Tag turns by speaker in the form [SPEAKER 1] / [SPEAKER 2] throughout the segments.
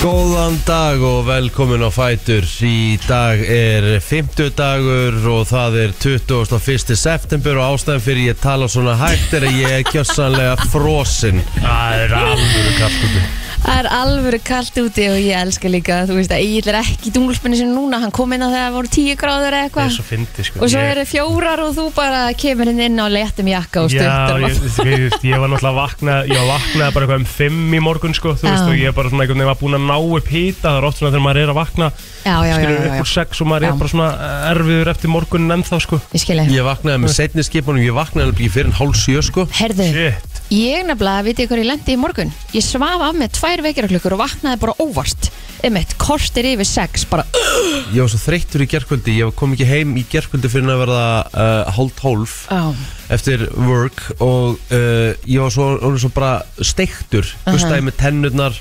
[SPEAKER 1] Góðan dag og velkomin á Fætur Í dag er 50 dagur og það er 21. september og ástæðan fyrir ég tala svona hægt er að ég er kjössanlega frosin
[SPEAKER 2] Það er alvöru kraftskutu
[SPEAKER 3] Það er alvöru kallt úti og ég elska líka Þú veist að ég er ekki í dungulpunni sem núna Hann kom inn á þegar það voru tíu gráður
[SPEAKER 2] Það
[SPEAKER 3] eða
[SPEAKER 2] er
[SPEAKER 3] eitthvað
[SPEAKER 2] svo fyndi sko
[SPEAKER 3] Og svo
[SPEAKER 2] Ég-
[SPEAKER 3] eru fjórar og þú bara kemur inn inn á léttum jakka og
[SPEAKER 2] Já,
[SPEAKER 3] stuttum
[SPEAKER 2] ég, ég, ég, ég var náttúrulega vakna Ég var vaknaði bara eitthvað um fimm í morgun sko Þú veist
[SPEAKER 3] Já.
[SPEAKER 2] og ég er bara svona einhvern veginn var búin að ná upp hýta Það er oft svona þegar maður er að vakna
[SPEAKER 3] Já, já, já,
[SPEAKER 2] Skilur
[SPEAKER 3] já,
[SPEAKER 2] upp úr
[SPEAKER 3] já.
[SPEAKER 2] sex og maður
[SPEAKER 3] Já.
[SPEAKER 2] er bara svona eh, erfiður eftir morgunin ennþá sko
[SPEAKER 3] Ég skil ég
[SPEAKER 1] Ég vaknaði með setni skipunum, ég vaknaði alveg ekki fyrir en hálf sjö sko
[SPEAKER 3] Herðu,
[SPEAKER 2] Shit
[SPEAKER 3] ég nefnilega, vitið þið hvað ég lendi í morgun Ég svaf af með tvær vekjaraklukkur og vaknaði bara óvart Einmitt, kortir yfir sex bara
[SPEAKER 1] Ég var svo þreyttur í gerkvöldi, ég kom ekki heim í gerkvöldi fyrir að verða uh, hálf tólf
[SPEAKER 3] oh.
[SPEAKER 1] eftir work og uh, ég var svo, orðinn svo bara steiktur,
[SPEAKER 3] Aha.
[SPEAKER 1] bustaði með tennurnar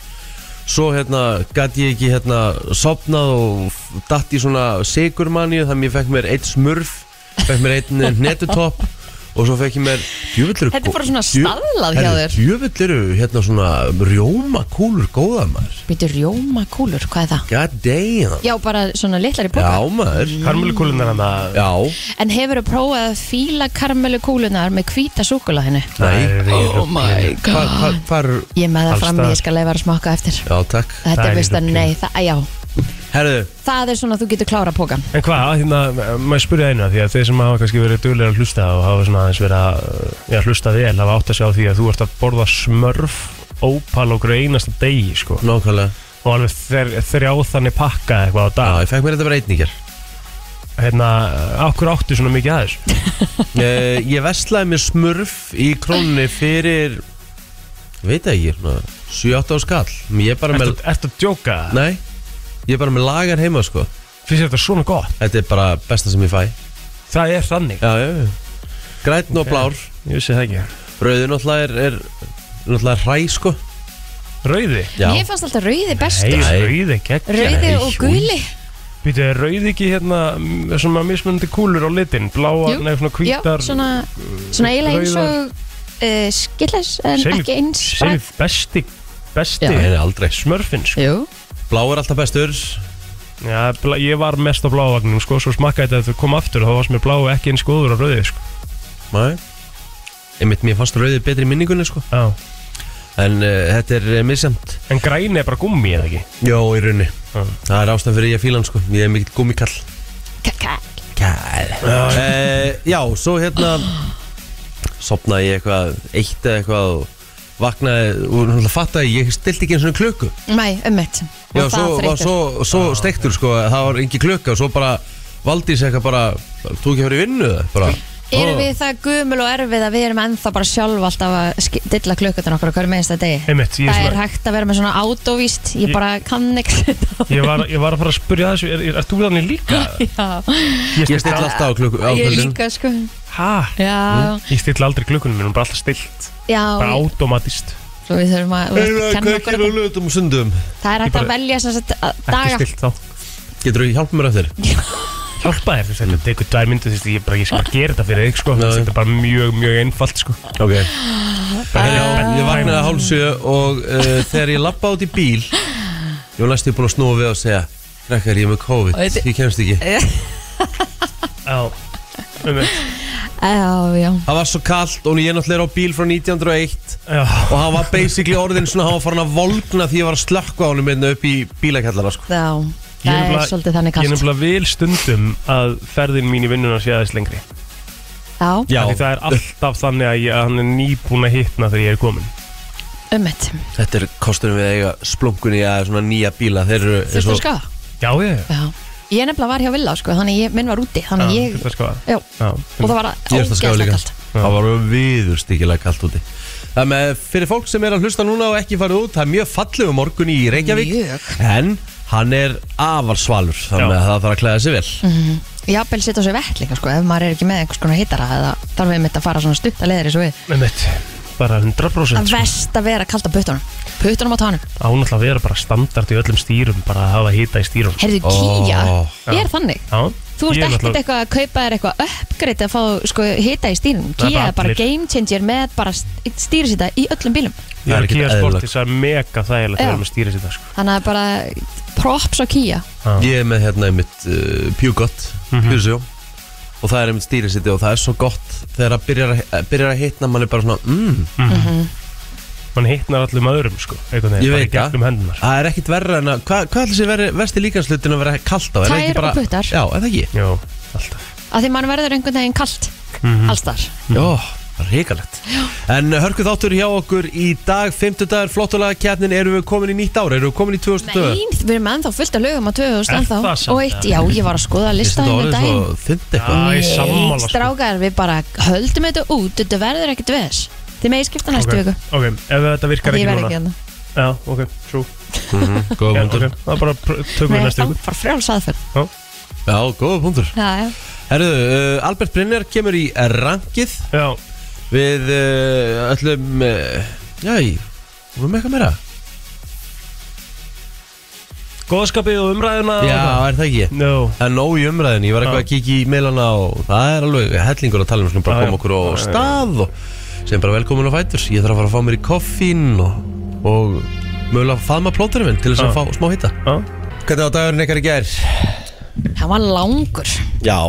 [SPEAKER 1] svo hérna gæti ég ekki hérna sopnað og f- datt í svona sigurmanju þannig að ég fekk mér eitt smurf fekk mér einn hnetutopp og svo fekk ég mér djöfullur
[SPEAKER 3] Þetta er bara svona staðlað hjá þér.
[SPEAKER 1] djöfullur hérna svona rjóma kúlur góða maður
[SPEAKER 3] Býtu rjóma kúlur, hvað er það?
[SPEAKER 1] god damn
[SPEAKER 3] Já, bara svona litlar
[SPEAKER 1] já
[SPEAKER 3] í boka
[SPEAKER 1] maður
[SPEAKER 2] Karmelukúlunar hann að
[SPEAKER 1] já
[SPEAKER 3] En hefur þú prófað að fíla karmelu kúlunar með hvíta súkulaðinu?
[SPEAKER 1] nei
[SPEAKER 3] Oh my
[SPEAKER 1] hvað hva, hva,
[SPEAKER 3] Ég er með það
[SPEAKER 2] Alls
[SPEAKER 3] frammi,
[SPEAKER 2] staðar.
[SPEAKER 3] ég skal leifa að smaka eftir
[SPEAKER 1] já takk
[SPEAKER 3] Þetta
[SPEAKER 2] Það
[SPEAKER 3] er
[SPEAKER 2] er
[SPEAKER 3] veist að
[SPEAKER 2] rugl.
[SPEAKER 3] nei, það, já
[SPEAKER 1] herðu
[SPEAKER 3] Það er svona að þú getur klára pókan
[SPEAKER 2] En hvað, hérna, maður spurði einu að því að þeir sem hafa kannski verið duglega að hlusta og hafa svona aðeins verið að já, hlusta vel hafa átt að sjá því að þú ert að borða smörf, ópal og greinasta degi, sko
[SPEAKER 1] nákvæmlega
[SPEAKER 2] og alveg þer, þrjá þannig pakka eitthvað á dag
[SPEAKER 1] já ég fekk mér þetta bara einningar
[SPEAKER 2] Hérna, okkur áttu svona mikið aðeins
[SPEAKER 1] Eh, ég veslaði mér smurf í krónunni fyrir veit það ekki, svona 7-8 á skall ég er bara með,
[SPEAKER 2] Ertu ertu að djóka?
[SPEAKER 1] nei ég er bara með lagar heima sko
[SPEAKER 2] Finnst þér þetta svona gott?
[SPEAKER 1] þetta er bara besta sem ég fæ já,
[SPEAKER 2] Það er þannig
[SPEAKER 1] já, já. græn og
[SPEAKER 2] Ok.
[SPEAKER 1] blár
[SPEAKER 2] Ég vissi það ekki
[SPEAKER 1] rauðin náttúrulega er, er náttúrulega hræ sko
[SPEAKER 2] Rauði?
[SPEAKER 1] já,
[SPEAKER 3] Mér fannst alltaf rauði best
[SPEAKER 2] Nei,
[SPEAKER 1] Nei.
[SPEAKER 2] rauði gegn
[SPEAKER 3] Rauði
[SPEAKER 1] Nei,
[SPEAKER 3] og
[SPEAKER 1] jú.
[SPEAKER 3] guli
[SPEAKER 2] Býtu, er rauði ekki hérna m, svona mismunandi kúlur á litin? Bláa,
[SPEAKER 3] Jú.
[SPEAKER 2] nei, svona
[SPEAKER 3] Já,
[SPEAKER 2] hvítar
[SPEAKER 3] svona, svona eiginlega eins
[SPEAKER 2] rauðar.
[SPEAKER 3] og uh, skilles en
[SPEAKER 2] Segðu-
[SPEAKER 3] ekki eins
[SPEAKER 2] segðu besti, besti
[SPEAKER 3] Já.
[SPEAKER 1] nei, nei, aldrei
[SPEAKER 2] smörfinn sko.
[SPEAKER 3] Jú,
[SPEAKER 1] blá er alltaf bestur
[SPEAKER 2] Já, bla- ég var mest á blávagninum sko, svo smakkaði þetta að þau kom aftur þá varst mér blá ekki eins góður á rauði sko.
[SPEAKER 1] nei einmitt mér fannst rauði betri í minningunni sko
[SPEAKER 2] Já.
[SPEAKER 1] en uh, þetta er uh, misjæmt
[SPEAKER 2] en græni er bara gummi eða ekki
[SPEAKER 1] já, í raunni
[SPEAKER 2] Já.
[SPEAKER 1] það er ástæðan fyrir ég fílan sko ég er mikill gummikall
[SPEAKER 3] kakka
[SPEAKER 1] Kæl uh, Já, svo hérna Sopnaði ég eitthvað Eitt eða eitthvað og Vaknaði og náttúrulega fattaði ég stilti ekki einu svona klöku
[SPEAKER 3] Mæ, um ömmett
[SPEAKER 1] Já, svo, var, svo, svo stektur sko að Það var engin klöka og svo bara Valdi sér eitthvað bara Þú ekki að fara í vinnu það bara,
[SPEAKER 3] Erum við það gumul og erfið að við erum ennþá bara sjálf alltaf að sk- dilla klukkutan okkur og hverju meðist að degi?
[SPEAKER 2] Einmitt, ég, er
[SPEAKER 3] Það er
[SPEAKER 2] svona,
[SPEAKER 3] hægt að vera með svona átóvíst, ég
[SPEAKER 2] Ég-
[SPEAKER 3] bara kann ekki
[SPEAKER 2] ég, var, ég var að fara að spurja þessu er, er, er þú þannig líka?
[SPEAKER 3] Já,
[SPEAKER 1] Ég stilla alltaf á klöku á
[SPEAKER 3] ég
[SPEAKER 1] kvöldin.
[SPEAKER 3] líka sko
[SPEAKER 2] Hæ?
[SPEAKER 3] Já,
[SPEAKER 2] Ég stilla aldrei klukkunum minn, hún er bara alltaf stillt
[SPEAKER 3] já
[SPEAKER 2] bara automatist
[SPEAKER 3] Svo við þurfum að við þurfum að
[SPEAKER 1] Eða,
[SPEAKER 3] kenna
[SPEAKER 1] kveikir
[SPEAKER 3] okkur
[SPEAKER 1] á lötum og sundum
[SPEAKER 3] Það er hægt
[SPEAKER 2] Ég
[SPEAKER 3] að
[SPEAKER 2] bara-
[SPEAKER 3] velja sem sagt að
[SPEAKER 2] ekki
[SPEAKER 3] daga
[SPEAKER 2] stillt þá
[SPEAKER 1] Getur þú hjálpa mér eftir?
[SPEAKER 2] Hjálpa þér þess að þetta tekur tvær myndu þess að ég bara ég skal bara gera þetta fyrir þig sko
[SPEAKER 1] Já.
[SPEAKER 2] þetta er bara mjög mjög einfalt sko
[SPEAKER 1] Ok Ég vaknaði hálsöðu og uh, þegar ég lappa út í bíl Ég var næstu búin að snúa við og segja Krakkar, ég er með
[SPEAKER 3] Og
[SPEAKER 1] COVID,
[SPEAKER 3] þetta-
[SPEAKER 1] ég kemst ekki
[SPEAKER 2] Já, Um, einmitt.
[SPEAKER 3] Já, já
[SPEAKER 1] Það var svo kallt og ég náttúrulega er á bíl frá 1901
[SPEAKER 2] Já.
[SPEAKER 1] og hann var basically orðin svona, hann var farin að volgna því ég var að slökka á honum einna upp í bílakallara sko.
[SPEAKER 3] Já,
[SPEAKER 2] Ég
[SPEAKER 3] það er
[SPEAKER 2] nefnilega-
[SPEAKER 3] svolítið þannig
[SPEAKER 2] Ég er
[SPEAKER 3] kast
[SPEAKER 2] nefnilega vil stundum að ferðin mín í vinnuna sé aðeins lengri
[SPEAKER 3] Já,
[SPEAKER 1] Já,
[SPEAKER 2] Af Því það er alltaf þannig að, ég, að hann er nýbúin að hitna þegar ég er komin
[SPEAKER 3] ummitt
[SPEAKER 1] þetta er kostunum við að eiga splunkunni að svona nýja bíla, þeir eru eins og-
[SPEAKER 3] Þurftu að skafa?
[SPEAKER 2] Já, ég
[SPEAKER 3] Já Ég nefnilega var hjá Villa sko, þannig ég, minn var úti Þannig
[SPEAKER 2] Já,
[SPEAKER 3] ég,
[SPEAKER 2] þetta er sko
[SPEAKER 3] já,
[SPEAKER 2] Já,
[SPEAKER 3] og það var
[SPEAKER 1] Ég er að skafa
[SPEAKER 3] ógeðslega
[SPEAKER 1] líka
[SPEAKER 3] kalt
[SPEAKER 1] Það var viður stíkilega kallt úti Það með fyrir fólk sem er að hlusta núna og ekki farið út Það er mjög fallegu morgun í Reykjavík
[SPEAKER 3] Mjög.
[SPEAKER 1] En hann er afarsvalur Þannig
[SPEAKER 2] Já.
[SPEAKER 1] að það þarf að klæða sig vel
[SPEAKER 3] Jafnvel setja á sig vett líka sko, ef maður er ekki með einhvers konar hittara eða þarf við mitt að fara svona stutt að leiðir eins og við
[SPEAKER 2] Einmitt, Um bara 100%
[SPEAKER 3] Það
[SPEAKER 2] sko.
[SPEAKER 3] verst að vera kalt á puttunum Puttunum á tánum
[SPEAKER 2] Ánáttúrulega að vera bara standart í öllum stýrum Bara að hafa hita í stýrum
[SPEAKER 3] Herðu
[SPEAKER 1] Ó.
[SPEAKER 3] kýja, ég er þannig
[SPEAKER 2] Já, Ég er
[SPEAKER 3] Þú ert ekkert
[SPEAKER 2] náttúrulega-
[SPEAKER 3] eitthvað að kaupa þér eitthvað uppgreitt að fá sko, hita í stýrinum
[SPEAKER 2] Það er
[SPEAKER 3] Kia
[SPEAKER 2] bara
[SPEAKER 3] er bara
[SPEAKER 2] allir.
[SPEAKER 3] game changer með bara stýrisita í öllum bílum
[SPEAKER 2] Ég
[SPEAKER 1] Það er
[SPEAKER 2] er
[SPEAKER 1] ekkert
[SPEAKER 2] Kia
[SPEAKER 1] eðlilegt.
[SPEAKER 2] Sportis, það er mega þægilegt
[SPEAKER 3] Já.
[SPEAKER 2] þegar maður stýrir sér það sko.
[SPEAKER 3] Þannig að bara props á Kia
[SPEAKER 2] Já.
[SPEAKER 1] Ég er með hérna einmitt uh, Pugott mm
[SPEAKER 2] Mhm.
[SPEAKER 1] og það er einmitt stýrisiti og það er svo gott þegar það byrjar, að- byrjar að hitna mann er bara svona, mmm,
[SPEAKER 2] Man hitnar allum öðrum sko, einhvern
[SPEAKER 1] Ég
[SPEAKER 2] veginn, bara í
[SPEAKER 1] veit það.
[SPEAKER 2] gegnum hendunar
[SPEAKER 1] það er ekkit verra en að hvað hva ætlis ég veri, vesti líkanslutin að vera kalt á? Er það
[SPEAKER 3] Tær
[SPEAKER 1] ekki bara,
[SPEAKER 3] og puttar.
[SPEAKER 1] Já, er það ekki?
[SPEAKER 2] Jó, alltaf
[SPEAKER 3] að því mann verður einhvern veginn kalt
[SPEAKER 2] Mhm.
[SPEAKER 3] alls þar
[SPEAKER 1] Jó, ríkalegt En eh, hörku þáttur hjá okkur í dag 50 dagar flottulega kjarnin, erum við komin í nýtt ár erum við komin í 2002
[SPEAKER 3] Nei, við erum ennþá fullt af lögum á 2000
[SPEAKER 2] Er
[SPEAKER 3] ennþá
[SPEAKER 2] það samt?
[SPEAKER 3] og eitt, já, ég var að skoða að lista henni daginn
[SPEAKER 1] svo þynd eitthvað
[SPEAKER 2] Já, ég sammála,
[SPEAKER 3] Nei,
[SPEAKER 2] sko.
[SPEAKER 3] strákar, við bara höldum þetta út, þetta verður ekkert veðs Þið megið skipta næstu
[SPEAKER 2] Ok,
[SPEAKER 3] viku
[SPEAKER 2] Ok, ef þetta virkar
[SPEAKER 3] Ég
[SPEAKER 2] ekki
[SPEAKER 3] verð ekki
[SPEAKER 2] núna
[SPEAKER 3] hérna
[SPEAKER 2] Já, ok, trú
[SPEAKER 1] Góða
[SPEAKER 2] Já, ok,
[SPEAKER 1] Mhm, punktur
[SPEAKER 2] það er bara pr- tökum við
[SPEAKER 3] Nei,
[SPEAKER 2] næstu
[SPEAKER 3] þá
[SPEAKER 2] ykkur
[SPEAKER 3] bara frjáls aðferð
[SPEAKER 1] Já, góða punktur
[SPEAKER 3] Já, já
[SPEAKER 1] Herðu, uh, Albert Brynjar kemur í rangið
[SPEAKER 2] Já,
[SPEAKER 1] Við uh, ætlum uh, Já, ég vorum með eitthvað meira
[SPEAKER 2] góðskapið og umræðuna
[SPEAKER 1] Já, er það ekki
[SPEAKER 2] no.
[SPEAKER 1] Það er nóg í umræðin, ég var eitthvað að kíkja í meilana og það er alveg hellingur að tala um skulum bara
[SPEAKER 2] Já, já.
[SPEAKER 1] koma okkur á stað og sem bara velkomin á fætur, ég þarf að fara að fá mér í koffín og, og mögulega faðma plóturinn minn til þess
[SPEAKER 2] Já.
[SPEAKER 1] að fá smá hitta
[SPEAKER 2] Já,
[SPEAKER 1] Hvernig var dagurinn ykkar í gær?
[SPEAKER 3] Hann var langur
[SPEAKER 1] Já,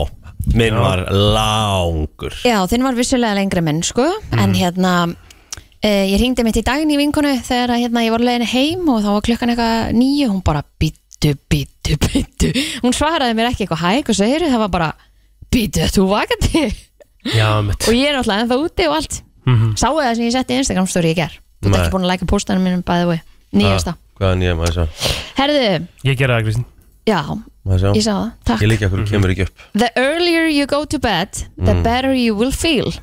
[SPEAKER 1] minn
[SPEAKER 2] Já.
[SPEAKER 1] var langur
[SPEAKER 3] Já, þinn var vissulega lengri menn, sko En hérna, uh, ég ringdi mitt í daginn í vinkonu Þegar að, hérna, ég var leiðin heim Og þá var klukkan eitthvað nýju Hún bara býttu, býttu, býttu Hún svaraði mér ekki eitthvað hæg Og segir það var bara Býttu, þú vakandi
[SPEAKER 2] já mitt
[SPEAKER 3] Og ég er náttúrulega ennþá úti og allt Sáu það sem ég setti í Instagram story í ger Þú ert
[SPEAKER 1] Nei.
[SPEAKER 3] ekki búin að læka póstanum mínum bæði vei Nýjasta
[SPEAKER 1] Hvað er nýja, maður sjá,
[SPEAKER 3] Herðu,
[SPEAKER 2] Ég gerði það, Kristín
[SPEAKER 3] já,
[SPEAKER 1] maður sjá
[SPEAKER 3] ég sá það, takk
[SPEAKER 1] Ég líka okkur kemur ekki upp
[SPEAKER 3] The earlier you go to bed, the
[SPEAKER 2] Mm.
[SPEAKER 3] better you will feel.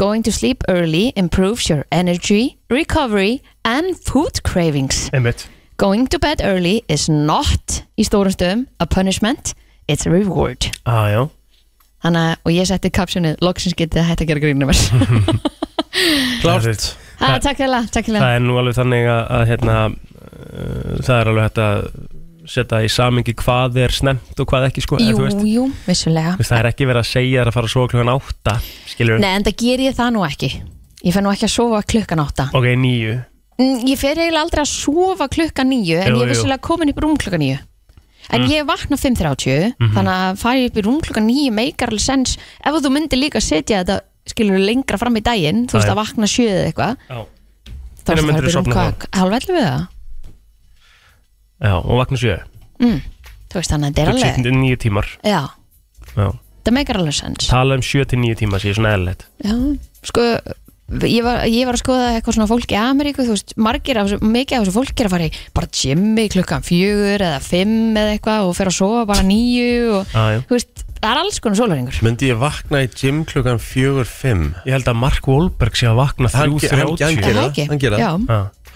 [SPEAKER 3] Going to sleep early improves your energy, recovery and food cravings.
[SPEAKER 2] Einmitt
[SPEAKER 3] Going to bed early is not, í stórum stöðum, a punishment, it's a reward.
[SPEAKER 2] ah, Já,
[SPEAKER 3] Þannig að, og ég setti kapsjónið, loksins getið að hætta að gera grínum þess.
[SPEAKER 1] Klárt
[SPEAKER 3] ah, takk fyrir það, takk fyrir það.
[SPEAKER 2] það er nú alveg þannig að, að hérna, uh, það er alveg hægt að setja í samingi hvað er snemt og hvað ekki sko, eða þú
[SPEAKER 3] Jú,
[SPEAKER 2] veist, þú
[SPEAKER 3] jú, vissulega.
[SPEAKER 2] veist, það er ekki verið að segja þér að fara svo klukkan átta skilur við,
[SPEAKER 3] Nei, en það ger ég það nú ekki. Ég fer nú ekki að sofa klukkan átta.
[SPEAKER 2] ok, nýju
[SPEAKER 3] Mm, Ég fer eiginlega aldrei að sofa klukka nýju en
[SPEAKER 2] Jú, Mm.
[SPEAKER 3] ég er
[SPEAKER 2] jú.
[SPEAKER 3] vissulega komin upp í rúm klukka nýju en ég vakna 5.30
[SPEAKER 2] Mhm.
[SPEAKER 3] þannig að fara upp í rúm klukka nýju meikar alveg sens ef þú myndir líka setja þetta skilur lengra fram í daginn þú veist
[SPEAKER 2] Já,
[SPEAKER 3] að vakna sjö eða eitthvað
[SPEAKER 2] já.
[SPEAKER 3] þá
[SPEAKER 2] Hvenær
[SPEAKER 3] ertu að um fara upp í
[SPEAKER 2] myndirðu
[SPEAKER 3] rúm
[SPEAKER 2] sofna
[SPEAKER 3] klukka halvveldu við það
[SPEAKER 2] já, og vakna sjö,
[SPEAKER 3] þú veist þannig að þetta er alveg
[SPEAKER 2] Alveg. nýju tímar
[SPEAKER 3] já,
[SPEAKER 2] já.
[SPEAKER 3] það meikar alveg sens
[SPEAKER 2] tala um sjö til nýju tímar sé svona eðlilegt
[SPEAKER 3] já, sko Ég var, ég var að skoða eitthvað svona fólk í Ameríku þú veist, margir af þessu, mikið af þessu fólk er að fara í bara gymmi klukkan fjögur eða fimm eða eitthvað og fer að sofa bara nýju og
[SPEAKER 2] ah, já.
[SPEAKER 3] þú veist, það er alls konar sólaringur
[SPEAKER 1] Myndi ég vakna í gym klukkan fjögur fimm
[SPEAKER 2] ég held að Mark Wahlberg sé að vakna
[SPEAKER 1] Hann-
[SPEAKER 2] þrjú
[SPEAKER 1] hann- hann
[SPEAKER 2] þrjátíu
[SPEAKER 1] gerir það, hann gerir það.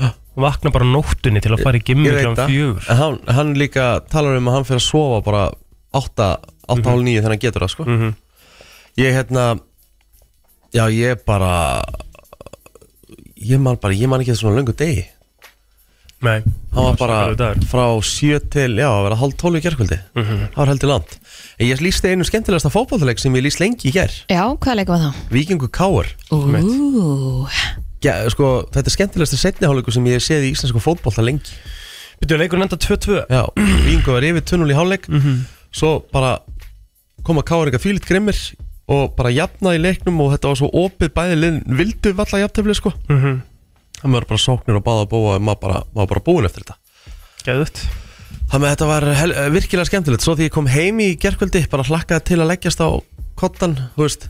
[SPEAKER 3] Já,
[SPEAKER 2] vakna bara á nóttunni til að fara í gimmi
[SPEAKER 1] Ég veit
[SPEAKER 2] klukkan
[SPEAKER 1] það.
[SPEAKER 2] fjögur
[SPEAKER 1] En hann, hann líka talar um að hann fyrir að sofa bara 8.30 þegar hann getur það sko
[SPEAKER 2] Mhm.
[SPEAKER 1] Ég hérna Já ég bara Ég man bara, ég man ekki þetta svona löngu degi
[SPEAKER 2] nei,
[SPEAKER 1] Hann var
[SPEAKER 2] Svakalegur
[SPEAKER 1] bara
[SPEAKER 2] dagur.
[SPEAKER 1] frá 7 til Já, að vera hálf 12 í gerkvöldi
[SPEAKER 2] Mhm.
[SPEAKER 1] Það var heldur land En ég lísti einu skemmtilegasta fótbollleik sem ég líst lengi í ger
[SPEAKER 3] já hvað leikum var það?
[SPEAKER 1] Víkingu Káar
[SPEAKER 3] Ú,
[SPEAKER 1] ja, sko, Þetta er skemmtilegasta setniháleiku sem ég hef séð í íslensku fótbollta lengi
[SPEAKER 2] byrjuðu leikur enda 2-2
[SPEAKER 1] Já, Víkingur var yfir 2-0 í hálfleik Svo bara koma Káringa fýlit grimmir Og bara jafnaði í leiknum Og þetta var svo opið bæði liðin Vildu valla jafntefli sko
[SPEAKER 2] Mhm.
[SPEAKER 1] Það var bara sóknir og báða að búa Og maður bara, maður bara búin eftir þetta
[SPEAKER 2] geðut
[SPEAKER 1] Þannig að þetta var hel, eh, virkilega skemmtilegt Svo því ég kom heim í gerkvöldi Bara hlakkaði til að leggjast á kottan Þú veist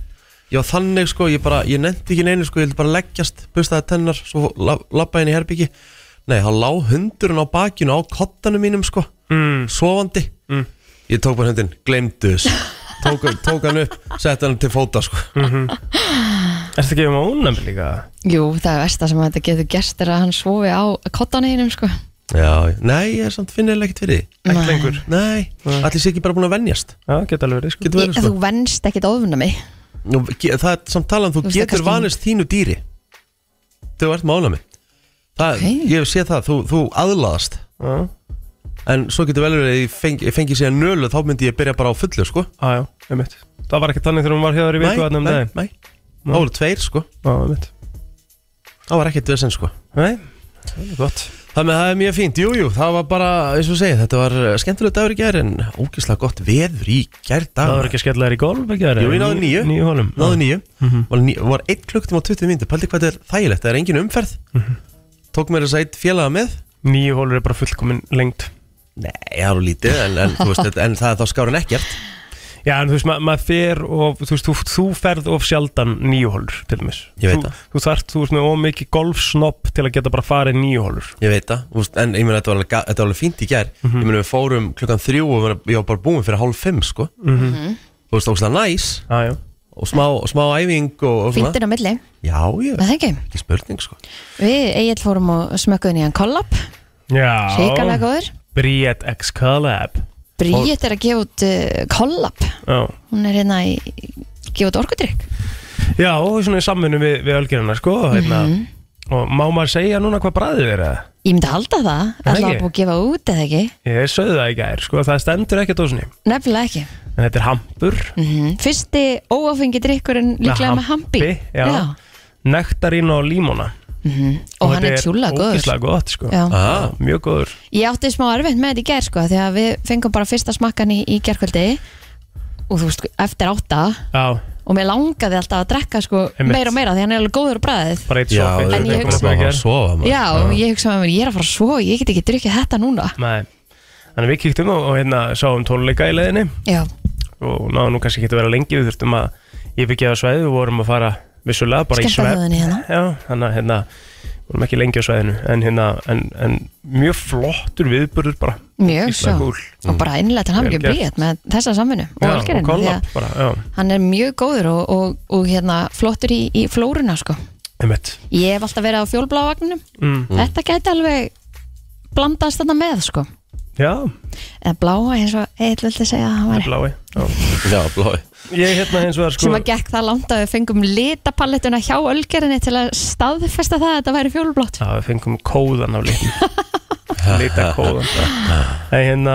[SPEAKER 1] Ég var þannig sko, ég bara, ég nefndi ekki neinu sko, ég vildi bara leggjast, bustaði tennar, svo la- labbaði inn í herbyggi. Nei, þá lá hundurinn á bakinu á kottanum mínum sko
[SPEAKER 2] mm.
[SPEAKER 1] sofandi ég tók bara hundin, glemdu þess tók, tók hann upp, setti hann til fóta sko.
[SPEAKER 2] Mm. erstu að gefa maður ónæmi líka
[SPEAKER 3] jú, það er versta sem þetta getur gerst er að hann svofi á kottaneginum sko.
[SPEAKER 1] já, nei, ég er samt finnilega ekkert fyrir því
[SPEAKER 3] Nei.
[SPEAKER 2] lengur.
[SPEAKER 1] nei,
[SPEAKER 2] Nei.
[SPEAKER 1] allir sé ekki bara búin að venjast
[SPEAKER 2] Já, geta alveg verið sko
[SPEAKER 1] getur
[SPEAKER 3] Ég,
[SPEAKER 1] verið sko
[SPEAKER 3] Þú venst ekkit ofna mig
[SPEAKER 1] Nú, ge- það er samt talað um
[SPEAKER 3] Þú
[SPEAKER 1] þú
[SPEAKER 3] veist, það
[SPEAKER 1] getur
[SPEAKER 3] kannski-
[SPEAKER 1] vanist þínu dýri þegar þú ert með ánæmi það,
[SPEAKER 3] Ok.
[SPEAKER 1] ég sé það, þú, þú aðlaðast
[SPEAKER 2] Já,
[SPEAKER 1] En svo getur vel verið að ég fengi, ég fengi sér nölu Þá myndi ég byrja bara á fullu sko
[SPEAKER 2] aðjá, einmitt það var ekki þannig þegar hún var hér í viku þarna um
[SPEAKER 1] nei,
[SPEAKER 2] daginn.
[SPEAKER 1] nei Það voru tveir sko
[SPEAKER 2] Já, einmitt
[SPEAKER 1] Það var ekkert vesend sko
[SPEAKER 2] nei, það er gott
[SPEAKER 1] Þannig að það er mjög fínt, jújú, jú, það var bara, eins og ég segi, þetta var skemmtilega dagur í gær en ógeðslega gott veður í gær dag.
[SPEAKER 2] það var ekki að skella þær í golf ekki þær
[SPEAKER 1] Ah. Jú, ég náði níu.
[SPEAKER 2] níu holum Mhm.
[SPEAKER 1] Náðu nýju, var, ní, var 1 klukktum og 20 mínútur, pældi hvað þetta er þægilegt, það er engin umferð.
[SPEAKER 2] Mhm.
[SPEAKER 1] Tók mér þess að eitt félaga með?
[SPEAKER 2] níu holur er bara fullkomin lengt
[SPEAKER 1] Nei, það er á lítið, en, en, þú veist, þetta- en það er þá skárun ekkert.
[SPEAKER 2] já, en þú veist, ma- maður fer og þú veist, þú, þú ferð of sjaldan níu holur til dæmis
[SPEAKER 1] Ég veit
[SPEAKER 2] þú,
[SPEAKER 1] það.
[SPEAKER 2] þú þarft, þú veist, með ómikið golfsnopp til að geta bara farið níu holur
[SPEAKER 1] Ég veit það, þú veist, en ég meina þetta var alveg, ga- þetta var alveg fínt í gær. Ég meina við fórum klukkan 3 og við- ég var bara búin fyrir hálf 5, sko.
[SPEAKER 2] Mm-hmm.
[SPEAKER 1] Þú veist, ógeðslega næs
[SPEAKER 2] aðjá,
[SPEAKER 1] og smá, smá æfing og, og svona.
[SPEAKER 3] Fyndir á milli,
[SPEAKER 1] Já, ég
[SPEAKER 3] er það ekki?
[SPEAKER 1] ekki spurning, sko.
[SPEAKER 3] Við Egil fórum og smökkuðum í hann kollab Sýkarlega
[SPEAKER 2] já
[SPEAKER 3] góður
[SPEAKER 2] Briett X Collab
[SPEAKER 3] Bríett er að gefa út uh, kollab
[SPEAKER 2] já,
[SPEAKER 3] Hún er hérna í gefa út orkudrykk
[SPEAKER 2] já og svona í samvinnu við, við ölgerina sko, hérna
[SPEAKER 3] Mhm.
[SPEAKER 2] og má maður segja núna hvað bræðið er eða?
[SPEAKER 3] Ég myndi halda það,
[SPEAKER 2] Er það
[SPEAKER 3] alltaf
[SPEAKER 2] ekki?
[SPEAKER 3] búið að gefa út eða ekki
[SPEAKER 2] ég sögðu það í gær, sko, það stendur ekki á dósinni
[SPEAKER 3] Nefnilega ekki
[SPEAKER 2] en þetta er hampur
[SPEAKER 3] mm Fyrsti óáfengi drykkurinn líklega
[SPEAKER 2] Með
[SPEAKER 3] með hampi
[SPEAKER 2] hampi, já. nektarín og límóna
[SPEAKER 3] Mhm. Og hann er tjúla góður
[SPEAKER 2] ógislega gott sko
[SPEAKER 3] Já.
[SPEAKER 1] Ah.
[SPEAKER 2] mjög góður
[SPEAKER 3] Ég átti smá erfitt með þetta í ger sko Því að við fengum bara fyrsta smakkan í, í gerkvöldi Og þú veist, eftir átta
[SPEAKER 2] já,
[SPEAKER 3] Og mér langaði alltaf að drekka sko
[SPEAKER 2] Einmitt.
[SPEAKER 3] Meira og meira því hann er alveg góður á bræðið
[SPEAKER 2] bara eitt
[SPEAKER 1] Já,
[SPEAKER 2] sopi
[SPEAKER 1] það
[SPEAKER 3] En ég
[SPEAKER 1] er
[SPEAKER 3] hugsa-
[SPEAKER 1] bara að sofa maður.
[SPEAKER 3] Já, og ég hugsa með mér, ég er að fara svo Ég get ekki drukkið þetta núna
[SPEAKER 2] Nei. þannig við kíktum og, og hérna sáum tónleika í leiðinni
[SPEAKER 3] Já,
[SPEAKER 2] og náðum nú kannski ekki að vera lengi við þurftum að yfirgefa svæði við vorum að fara vissulega bara í
[SPEAKER 3] skemmta
[SPEAKER 2] svæði
[SPEAKER 3] þjóðinni hérna
[SPEAKER 2] já, þannig að hérna vorum ekki lengi á svæðinu en hérna en, en mjög flottur viðburður bara
[SPEAKER 3] Mjög
[SPEAKER 2] Gísla
[SPEAKER 3] svo
[SPEAKER 2] kúl.
[SPEAKER 3] Og bara innlega til hamingju
[SPEAKER 2] Vel gert.
[SPEAKER 3] bríðat með þessa samvinnu og
[SPEAKER 2] Já, og
[SPEAKER 3] algerinn Því
[SPEAKER 2] kollab
[SPEAKER 3] að
[SPEAKER 2] bara, já,
[SPEAKER 3] hann er mjög góður og, og, og hérna, flottur í, í flóruna sko.
[SPEAKER 2] einmitt
[SPEAKER 3] Ég hef alltaf verið á fjólblávagnum
[SPEAKER 2] mm.
[SPEAKER 3] Þetta gæti alveg blandast þarna með sko.
[SPEAKER 2] já,
[SPEAKER 3] Eða bláa eins og eitt vildi segja að hann
[SPEAKER 2] það er
[SPEAKER 3] væri
[SPEAKER 2] blái já.
[SPEAKER 1] Já, blói
[SPEAKER 2] ég hérna eins og það
[SPEAKER 3] sem
[SPEAKER 2] sko
[SPEAKER 3] að gekk það langt að við fengum litapalettuna hjá ölgerinni til að staðfesta það að þetta væri fjólblótt
[SPEAKER 2] Já, við fengum kóðan af litnum Lita kóðan En hérna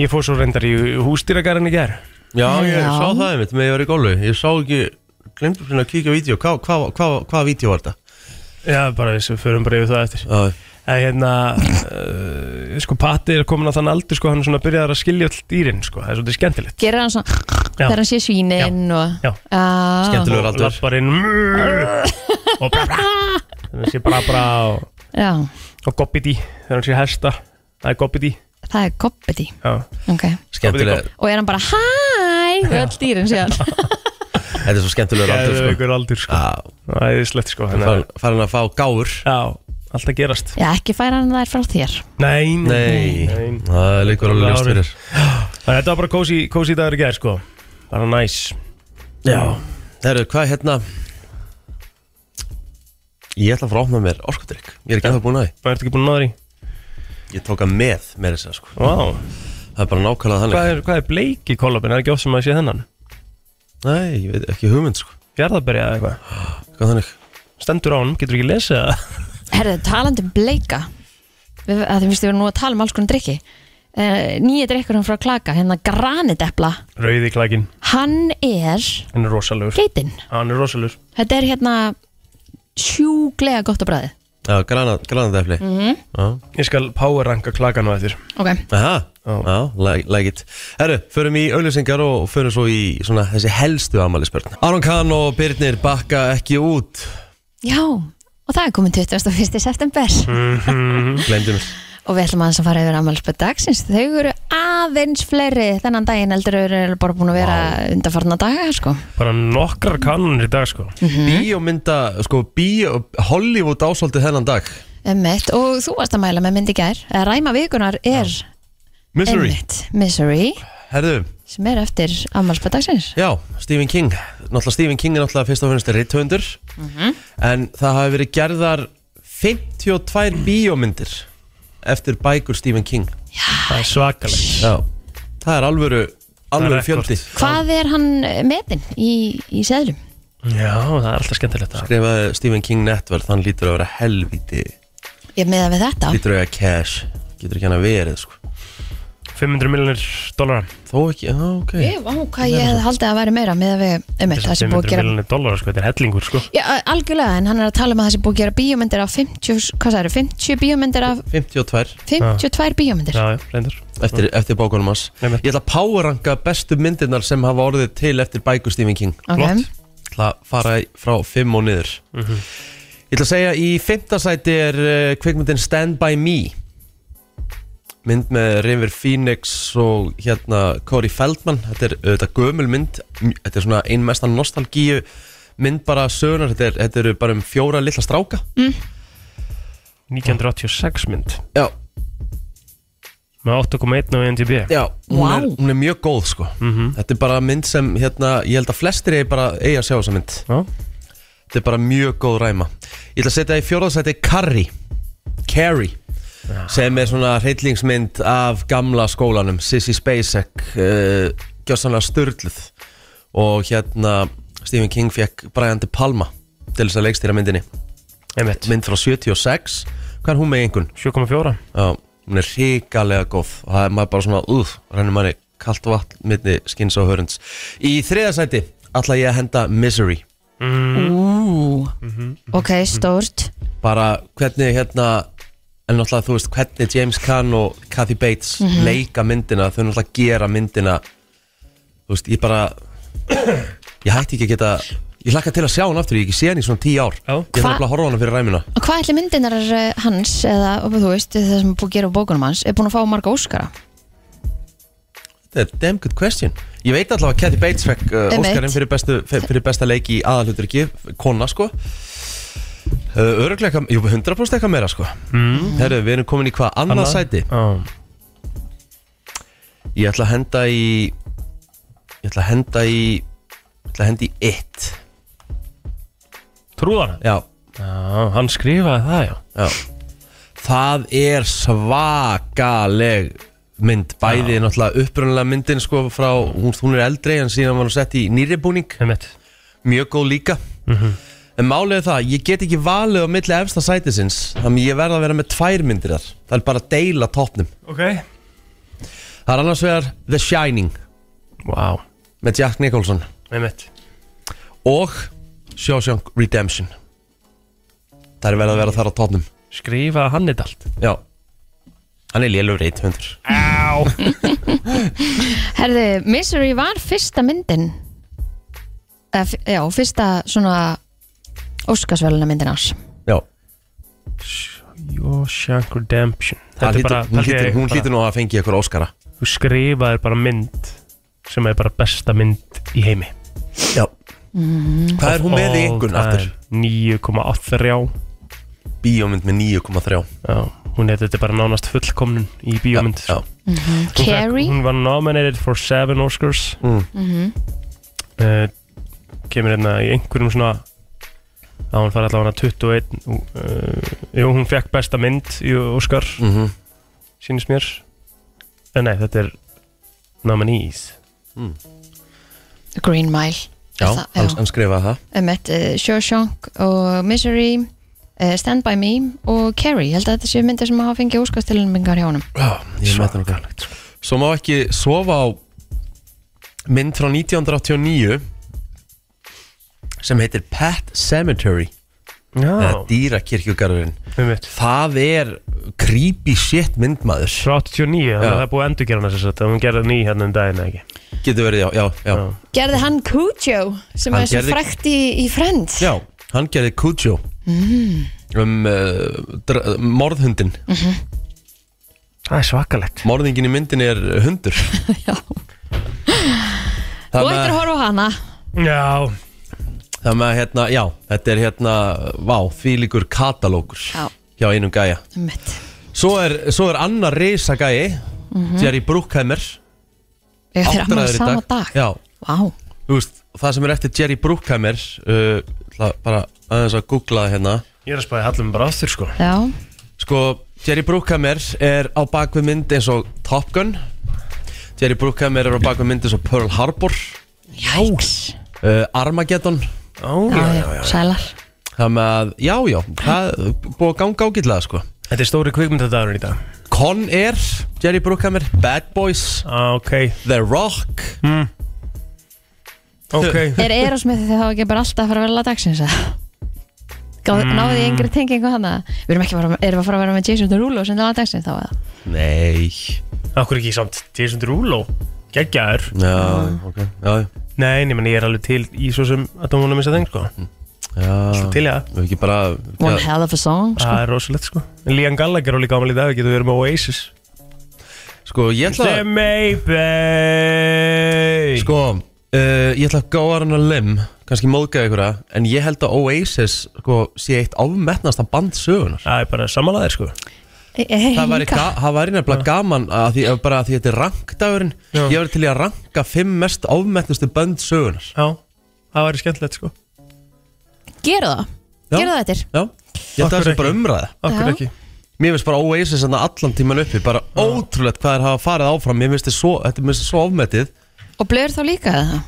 [SPEAKER 2] Ég fór svo reyndar í hústýragarinn í ger
[SPEAKER 1] Já, ég
[SPEAKER 3] Já.
[SPEAKER 1] sá það einmitt með ég var í golfi Ég sá ekki, glemdu svona að kíkja á vídeo Hvað hva, hva, hva vídeo var þetta? Ah.
[SPEAKER 2] Já, bara þess að förum bara yfir það eftir
[SPEAKER 1] Já,
[SPEAKER 2] En hérna uh, Sko Patti er komin á þann aldur sko Hann er svona byrjaðar að skilja all dýrin sko Það er svolítið skemmtilegt
[SPEAKER 3] Gerir hann svona
[SPEAKER 2] Já.
[SPEAKER 3] þegar hann sé svínin og
[SPEAKER 2] Já.
[SPEAKER 3] Ah.
[SPEAKER 1] Skemmtilegur
[SPEAKER 2] Og
[SPEAKER 1] aldur.
[SPEAKER 2] lappar inn mm. Og bra bra Þannig sé bra bra og,
[SPEAKER 3] Já,
[SPEAKER 2] og gobbiti Þegar hann sé hesta Það er gobbiti
[SPEAKER 3] það er koppeti
[SPEAKER 2] Já,
[SPEAKER 3] okay.
[SPEAKER 1] skemmtilega
[SPEAKER 3] og er hann bara hæ við öll dýrin síðan
[SPEAKER 1] Þetta er svo skemmtilegur aldur
[SPEAKER 2] Geðveikur
[SPEAKER 1] sko.
[SPEAKER 2] aldur sko
[SPEAKER 1] Já,
[SPEAKER 2] Það er slett sko þannig að-
[SPEAKER 1] farin- farin að fá gáur
[SPEAKER 2] Já, allt að gerast
[SPEAKER 3] já ekki færa hann þær frá þér
[SPEAKER 2] Nei,
[SPEAKER 1] Nei,
[SPEAKER 2] nei.
[SPEAKER 1] það er líkur alveg ljóst fyrir
[SPEAKER 2] Þannig að Þetta var bara kósi, kósi dagur í gerð sko Bara næs
[SPEAKER 1] Já, herru, hvað hérna Ég ætla að fara að opna mér orkudrykk Ég er ekki að búin að
[SPEAKER 2] Það ertu ekki búin að náður í
[SPEAKER 1] því Ég tók að með, með þess að segja, sko
[SPEAKER 2] Vá,
[SPEAKER 1] Það er bara nákvæmlega
[SPEAKER 2] hvað
[SPEAKER 1] þannig
[SPEAKER 2] er, hvað er bleiki kollabin? Er ekki oft sem að sé þennan?
[SPEAKER 1] Nei, ég veit ekki hugmynd, sko
[SPEAKER 2] Fjarðaberja eða eitthvað
[SPEAKER 1] Hvað þannig?
[SPEAKER 2] Stendur á honum, getur ekki lesið það
[SPEAKER 3] herðu talandi um bleika við, að þið finnst við erum nú að tala um alls konar drikki uh, nýja drikkurinn frá klaka hérna granitepla
[SPEAKER 2] Rauði klækin,
[SPEAKER 3] hann er
[SPEAKER 2] hann er rosalegur Ah,
[SPEAKER 3] geitinn
[SPEAKER 2] Hann er rosalegur
[SPEAKER 3] þetta er hérna sjúglega gott á bræði
[SPEAKER 1] Já, granadefli mm -hmm. Já,
[SPEAKER 2] Ég skal power ranka klakan á eftir
[SPEAKER 3] ok
[SPEAKER 1] Aha,
[SPEAKER 2] Já.
[SPEAKER 1] já, like, like it Herru, förum í auðlýsingar og förum svo í svona þessi helstu amalisbörn Aron Kahn og Birnir bakka ekki út
[SPEAKER 3] já og það er komin 21. september
[SPEAKER 1] Gleimdum við
[SPEAKER 3] og við ætlum aðeins að fara yfir ammálspöld dagsins þau eru aðeins fleiri þennan daginn heldur eru bara búin að vera undanfarna daga sko
[SPEAKER 2] Bara nokkrar kanunir í dag sko
[SPEAKER 1] Bíómynda, sko, bíó, Hollywood ásaldi þennan dag
[SPEAKER 3] Emmett, og þú varst að mæla með myndi gær Eða Ræma vikunar er
[SPEAKER 1] Misery
[SPEAKER 3] Emmett Misery
[SPEAKER 1] Herru,
[SPEAKER 3] sem er eftir afmælspadagsins
[SPEAKER 1] já, Stephen King Náttúrulega Stephen King er náttúrulega fyrst og finnst rithöndur En það hafi verið gerðar 52 bíómyndir Eftir bækur Stephen King
[SPEAKER 2] Það er svakalegt
[SPEAKER 1] Já Það er alvöru, alvöru
[SPEAKER 2] rekord.
[SPEAKER 1] fjöldi
[SPEAKER 3] Hvað er hann metin í, í seðlum?
[SPEAKER 2] Já, það er alltaf skemmtilegt það
[SPEAKER 1] Skrifaði Stephen King Network, hann lítur að vera helviti
[SPEAKER 3] Ég meða við þetta
[SPEAKER 1] Lítur að eiga cash Getur ekki hann að verið sko
[SPEAKER 2] 500 miljonir dólara
[SPEAKER 1] Þó ekki, já, ok
[SPEAKER 3] Ég vá hvað ég hefði haldið að væri meira með að við, um það sem búið að
[SPEAKER 2] 500
[SPEAKER 3] gera
[SPEAKER 2] miljonir dólara, sko, þetta er hellingur, sko
[SPEAKER 3] Já, algjörlega, en hann er að tala um að það sem búið að gera bíómyndir af 50, hvað það eru, 50 bíómyndir af
[SPEAKER 1] 52
[SPEAKER 3] 52 bíómyndir
[SPEAKER 2] Já, já, reyndar
[SPEAKER 1] eftir, eftir bókunum hans
[SPEAKER 2] Einmitt.
[SPEAKER 1] Ég ætla að powerranka bestu myndirnar sem hafa orðið til eftir bækur Stephen King
[SPEAKER 3] Ok,
[SPEAKER 2] flott.
[SPEAKER 1] Ég ætla að fara í- frá 5 og niður Ég ætla að segja í 5. sæti er uh, kvikmyndin Stand By Me mynd með River Phoenix og hérna Corey Feldman þetta er auðvitað gömul mynd M- þetta er svona ein mestan nostalgíu mynd bara sögunar, þetta, er, þetta eru bara um fjóra litla stráka
[SPEAKER 2] 1986 mynd
[SPEAKER 1] Já,
[SPEAKER 2] Með 8,1 á NTB
[SPEAKER 1] já, hún,
[SPEAKER 3] Vá.
[SPEAKER 1] er, hún er mjög góð sko Þetta er bara mynd sem hérna, ég held að flestir eigi bara eigi að sjá þessa mynd
[SPEAKER 2] Já,
[SPEAKER 1] Þetta er bara mjög góð ræma Ég ætla að setja í fjórðarsæti Carrie Carrie sem er svona hryllingsmynd af gamla skólanum Sissy Spacek uh, gjössanlega störluð og hérna Stephen King fekk Brian De Palma til þess að leikstýra myndinni
[SPEAKER 2] einmitt
[SPEAKER 1] mynd frá 76 hvað er hún með einhvern?
[SPEAKER 2] 7,4
[SPEAKER 1] Já, hún er hrikalega góð og það er maður bara svona, úð, rennir manni kalt vatn myndi skins og hörunds Í þriðarsæti ætla ég að henda Misery
[SPEAKER 3] ú, ok, stórt
[SPEAKER 1] bara hvernig hérna en náttúrulega þú veist hvernig James Caan og Kathy Bates leika myndina þau náttúrulega gera myndina þú veist ég bara ég hætti ekki að geta ég hlakka til að sjá hann aftur, ég hef ekki sé hann í svona tíu ár
[SPEAKER 2] Já.
[SPEAKER 1] ég þarf
[SPEAKER 3] Hva-
[SPEAKER 1] nefnilega að horfa á hann fyrir ræmina
[SPEAKER 3] Og hvað ætli myndinar hans eða, þú veist, það sem er búið að gera á bókunum hans er búin að fá marga óskara
[SPEAKER 1] þetta er damn good question ég veit allavega að Kathy Bates fekk uh,
[SPEAKER 3] Einmitt.
[SPEAKER 1] Óskarinn fyrir, bestu- fe- fyrir besta leiki í aðalhutur ekki, kona sko uh, öruglega, jú 100% eitthvað meira sko mm. herru, við erum komin í hvað annað
[SPEAKER 2] Annað?
[SPEAKER 1] sæti
[SPEAKER 2] Já,
[SPEAKER 1] Ég ætla að henda í Ég ætla að henda í Ég ætla að henda í it
[SPEAKER 2] trúðana
[SPEAKER 1] Já,
[SPEAKER 2] Já, hann skrifaði það, já
[SPEAKER 1] já Það er svakaleg mynd Bæði náttúrulega upprunalega myndin sko frá Hún, hún er eldri en síðan var hún sett í nýri búning
[SPEAKER 2] Einmitt
[SPEAKER 1] Mjög góð líka En málið er það, ég get ekki valið á milli efsta sætisins Þannig ég verð að vera með tvær myndir þar Það er bara að deila toppnum
[SPEAKER 2] Ok
[SPEAKER 1] Það er annars vegar The Shining
[SPEAKER 2] Vá, wow.
[SPEAKER 1] með Jack Nicholson
[SPEAKER 2] einmitt
[SPEAKER 1] og Shawshank Redemption Það er verið að vera þar á tónum
[SPEAKER 2] Skrifaði hann þetta allt
[SPEAKER 1] Já Hann er lélur reitt hundur
[SPEAKER 2] Á
[SPEAKER 3] Herði, Misery var fyrsta myndin eða, f- Já, fyrsta svona Óskarsveluna myndin ás
[SPEAKER 1] Já,
[SPEAKER 2] Shawshank Redemption Þetta
[SPEAKER 1] hann
[SPEAKER 2] er bara
[SPEAKER 1] hlýtur- hún
[SPEAKER 2] pældi ég
[SPEAKER 1] hlýtur- hún
[SPEAKER 2] bara-
[SPEAKER 1] hlýtur nú að fengi ykkur Óskara
[SPEAKER 2] Þú skrifaðir bara mynd sem er bara besta mynd í heimi
[SPEAKER 1] Já Mm-hmm. Hvað er hún með í einhvern
[SPEAKER 2] Það
[SPEAKER 1] aftur?
[SPEAKER 2] er 9,83
[SPEAKER 1] Bíómynd með 9,3
[SPEAKER 2] Já, hún er þetta er bara nánast fullkomnun í bíómynd
[SPEAKER 1] Já, já.
[SPEAKER 2] Hún fékk-
[SPEAKER 3] Carrie,
[SPEAKER 2] Hún var nominated for seven Oscars
[SPEAKER 1] Mm.
[SPEAKER 2] uh, Kemur hérna í einhverjum svona að hún fari allavega 21 uh, Jú, hún fekk besta mynd í Oscar
[SPEAKER 1] Mhm.
[SPEAKER 2] sýnist mér en nei, þetta er nominees
[SPEAKER 3] Green Mile
[SPEAKER 1] Já,
[SPEAKER 3] það,
[SPEAKER 1] hann,
[SPEAKER 3] já.
[SPEAKER 1] hann skrifaði það
[SPEAKER 3] Um eitt, uh, Shawshank og Misery uh, Stand By Me og Carrie, ég held að þetta séu myndir sem hafa fengið óskarstilunningar hjá honum
[SPEAKER 1] Já, ég með það
[SPEAKER 2] Svakalegt, sko.
[SPEAKER 1] Svo má ekki sofa á mynd frá 1989 sem heitir Pet Cemetery eða
[SPEAKER 2] Já,
[SPEAKER 1] dýrakirkjugarðurinn
[SPEAKER 2] um veit
[SPEAKER 1] Það er creepy shit myndmaður
[SPEAKER 2] Frá 89, þannig
[SPEAKER 1] Já.
[SPEAKER 2] að það er búið að endurgera hana þess að hún gerði ný hérna um daginn eða ekki
[SPEAKER 1] Getur verið, já, já, já
[SPEAKER 2] Já.
[SPEAKER 3] Gerði hann Cujo sem
[SPEAKER 1] Hann
[SPEAKER 3] er svo
[SPEAKER 1] gerði-
[SPEAKER 3] frækt í, í Friends
[SPEAKER 1] Já, hann gerði Cujo
[SPEAKER 3] Mm.
[SPEAKER 1] um uh, dr- morðhundin
[SPEAKER 3] Mhm.
[SPEAKER 2] Það er svakalegt
[SPEAKER 1] Morðingin í myndin er hundur
[SPEAKER 3] Já. Þú
[SPEAKER 1] Það
[SPEAKER 3] ættir að
[SPEAKER 1] með,
[SPEAKER 3] horfa á hana
[SPEAKER 2] Já,
[SPEAKER 1] það með hérna, já, þetta er hérna Vá, þvílíkur katalókur
[SPEAKER 3] Já.
[SPEAKER 1] Hjá einum gæja
[SPEAKER 3] Um eitt,
[SPEAKER 1] Svo er, svo er annar risa gæi
[SPEAKER 3] Mhm.
[SPEAKER 1] Jerry Bruckheimer
[SPEAKER 3] ég þeir
[SPEAKER 1] áttræður í
[SPEAKER 3] ammala sama dag
[SPEAKER 1] Já,
[SPEAKER 3] Vá,
[SPEAKER 1] þú veist, það sem er eftir Jerry Bruckheimer uh, ætla Bara aðeins að googla það hérna
[SPEAKER 2] ég er að spæði hallum bara aftur sko
[SPEAKER 3] já,
[SPEAKER 1] Sko, Jerry Bruckheimer er á bakvið mynd eins og Top Gun Jerry Bruckheimer er á bakvið mynd eins og Pearl Harbor
[SPEAKER 3] jæks
[SPEAKER 1] uh, Armageddon
[SPEAKER 2] Ó,
[SPEAKER 3] Já, já, sælar
[SPEAKER 1] Það með að, já, já, það er búið að ganga ágætlega, sko
[SPEAKER 2] Þetta er stóri kvikmyndadagurinn í dag
[SPEAKER 1] Con Air, Jerry Bruckheimer Bad Boys,
[SPEAKER 2] ah, ok,
[SPEAKER 1] The Rock
[SPEAKER 2] ok
[SPEAKER 3] Er Erosmith þegar þá ekki bara alltaf að fara að vera lagdagsins að Gáð, mm. náði ég yngri tengingu hana við erum ekki að fara, erum að fara að vera með Jason Derulo sem það var dagsins þá eða
[SPEAKER 1] Nei
[SPEAKER 2] Akkur ekki samt Jason Derulo Geggjaður
[SPEAKER 1] Já, ok Já,
[SPEAKER 2] Nei, nei, menn ég er alveg til í svo sem að það múna missa þeng sko
[SPEAKER 1] Mm. já
[SPEAKER 2] Til ég að
[SPEAKER 1] Við ekki bara
[SPEAKER 3] One
[SPEAKER 1] já, Ah.
[SPEAKER 3] hell of a song sko.
[SPEAKER 2] Það er rosalegt sko En Liam Gallagher á líka ámæli í dag Getur verið með Oasis
[SPEAKER 1] Sko, ég ætla
[SPEAKER 2] The Maybe
[SPEAKER 1] Sko, uh, ég ætla að gáða hann að lim kannski móðgæði ykkur að En ég held að Oasis, sko, sé eitt ámetnasta band sögunar
[SPEAKER 2] Það er bara samanlæðir sko
[SPEAKER 3] Ég- ég-
[SPEAKER 1] Það væri,
[SPEAKER 3] líka.
[SPEAKER 1] ga það væri nefnilega gaman að því, að bara að því þetta er rankdagurinn
[SPEAKER 2] Já.
[SPEAKER 1] Ég væri til í að ranka fimm mest ámetnustu band sögunar
[SPEAKER 2] Já, það væri skemmtilegt sko
[SPEAKER 3] Gerðu það,
[SPEAKER 1] Já.
[SPEAKER 3] gerðu það eftir
[SPEAKER 1] Já, ég held að það
[SPEAKER 2] Okkur
[SPEAKER 1] sé bara
[SPEAKER 2] ekki.
[SPEAKER 1] umræða
[SPEAKER 2] Akkur
[SPEAKER 3] Já.
[SPEAKER 2] ekki
[SPEAKER 1] Mér finnst bara Oasis hann allan tíman uppi Bara ótrúlegt hvað er að hafa farið áfram Mér finnst þið svo, þetta er mér finnst svo ofmetið
[SPEAKER 3] Og blöður þá líka það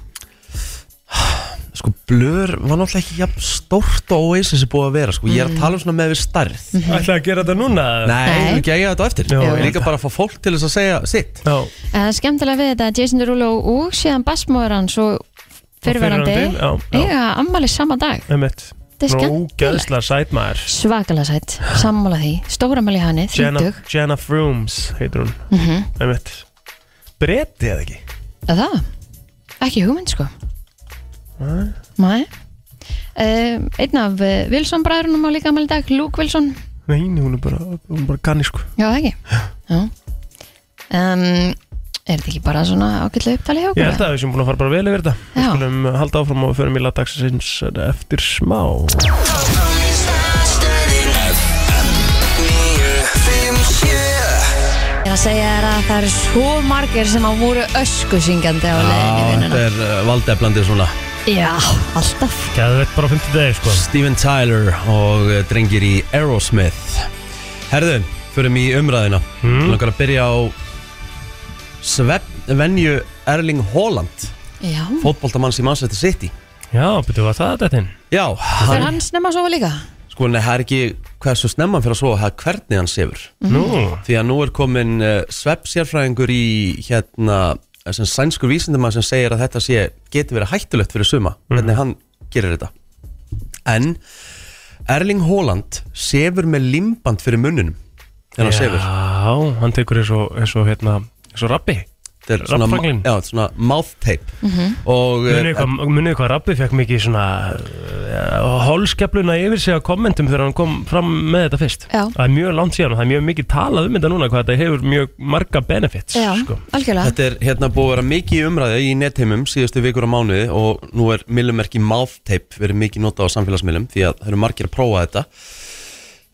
[SPEAKER 1] Sko blur var náttúrulega ekki jafn stórt og Oasis er búið að vera Sko ég er að tala um svona með við starð
[SPEAKER 2] Ætla að gera þetta núna
[SPEAKER 1] Nei,
[SPEAKER 3] Nei.
[SPEAKER 1] við ekki að eiga þetta á eftir
[SPEAKER 2] Jú,
[SPEAKER 1] Ég
[SPEAKER 2] jú.
[SPEAKER 1] er líka bara að fá fólk til þess að segja sitt
[SPEAKER 2] Já
[SPEAKER 3] En það er skemmtilega við þetta að Jason Derulo og síðan bassmóður hans og fyrirverandi
[SPEAKER 2] fyrrverandi, já, já.
[SPEAKER 3] eiga ammali sama dag
[SPEAKER 2] Emmett
[SPEAKER 3] Þetta er skemmtilegt
[SPEAKER 2] Ógæðsla sætmaður
[SPEAKER 3] Svakalega sætt, sammála því Stóramæli hann er
[SPEAKER 2] Jenna,
[SPEAKER 3] þýndug
[SPEAKER 2] Jenna Frooms heitur hún
[SPEAKER 3] mm -hmm.
[SPEAKER 2] Emmett Breti eða ekki
[SPEAKER 3] Það, ekki hugmynd sko Mæ um, Einn af uh, Wilson bræðrunum á líka ammali dag Luke Wilson,
[SPEAKER 2] Nei, hún er bara, hún er bara kanni sko
[SPEAKER 3] já það ekki Já um, Er þetta ekki bara svona ágætlega upptalið hjá okkur?
[SPEAKER 2] Ég held að við séum búin að fara bara vel yfir þetta Við
[SPEAKER 3] Já.
[SPEAKER 2] skulum halda áfram og við förum í lagdagsins eftir smá
[SPEAKER 3] Ég er að segja þér að það eru svo margir sem að voru ösku syngjandi á leiðinni í vinnuna.
[SPEAKER 1] þetta er uh, valdeflandið svona
[SPEAKER 3] Já, alltaf.
[SPEAKER 2] Gæðveitt bara á 50 degi sko
[SPEAKER 1] Steven Tyler og uh, drengir í Aerosmith Herðu, förum í umræðina mm. Langar að byrja á Svefnvenju Erling Haaland
[SPEAKER 3] Já.
[SPEAKER 1] Fótboltamanns í Manchester City
[SPEAKER 2] Já, betur við að það þetta inn
[SPEAKER 1] Já,
[SPEAKER 3] Er
[SPEAKER 1] hann,
[SPEAKER 3] hann snemma að sofa líka?
[SPEAKER 1] sko nei, það er ekki hversu snemman fyrir að svo Það er hvernig hann sefur
[SPEAKER 3] Mhm.
[SPEAKER 2] Nú,
[SPEAKER 1] Því að nú er komin uh, sveppsérfræðingur í hérna sem sænskur vísindamann sem segir að þetta sé geti verið hættulegt fyrir suma
[SPEAKER 2] Mhm.
[SPEAKER 1] hvernig hann gerir þetta en Erling Haaland sefur með limband fyrir munnunum þegar hann sefur
[SPEAKER 2] Já, hann tekur eins og, eins og hérna eins og rabbi
[SPEAKER 1] þetta er svona,
[SPEAKER 2] Raffranglin.
[SPEAKER 1] já, þetta er svona mouth tape og eh,
[SPEAKER 2] Munið hvað, munið hvað rabbi fekk mikið svona uh, hálskefluna yfir sig á kommentum þegar hann kom fram með þetta fyrst
[SPEAKER 3] Já.
[SPEAKER 2] Það er mjög langt síðan og það er mjög mikið talað um þetta núna hvað þetta hefur mjög marga benefits
[SPEAKER 3] Já,
[SPEAKER 2] sko.
[SPEAKER 3] algjörlega.
[SPEAKER 1] Þetta er hérna búið að vera mikið í umræði í netheimum síðustu vikur á mánuði og nú er millumerki mouth tape verið mikið notað á samfélagsmiðlum því að það eru margir að prófa þetta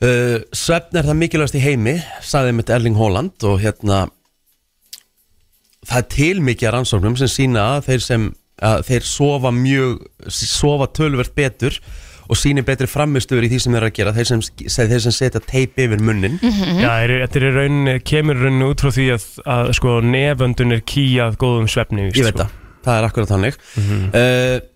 [SPEAKER 1] uh, Svefn er það mikilvægast í heimi sagði mitt Erling Haaland og hérna það er til mikið af rannsóknum sem sína að þeir sem að þeir sofa mjög sofa tölvert betur og síni betri framistöður í því sem þeir eru að gera þeir sem, þeir sem setja tape yfir munnin
[SPEAKER 3] Mhm.
[SPEAKER 2] Já, er, þetta er í rauninni, kemur í rauninni út frá því að, að sko, neföndun er kýjað góðum svefni víst,
[SPEAKER 1] Ég veit
[SPEAKER 2] sko.
[SPEAKER 1] það, það er akkurat þannig mm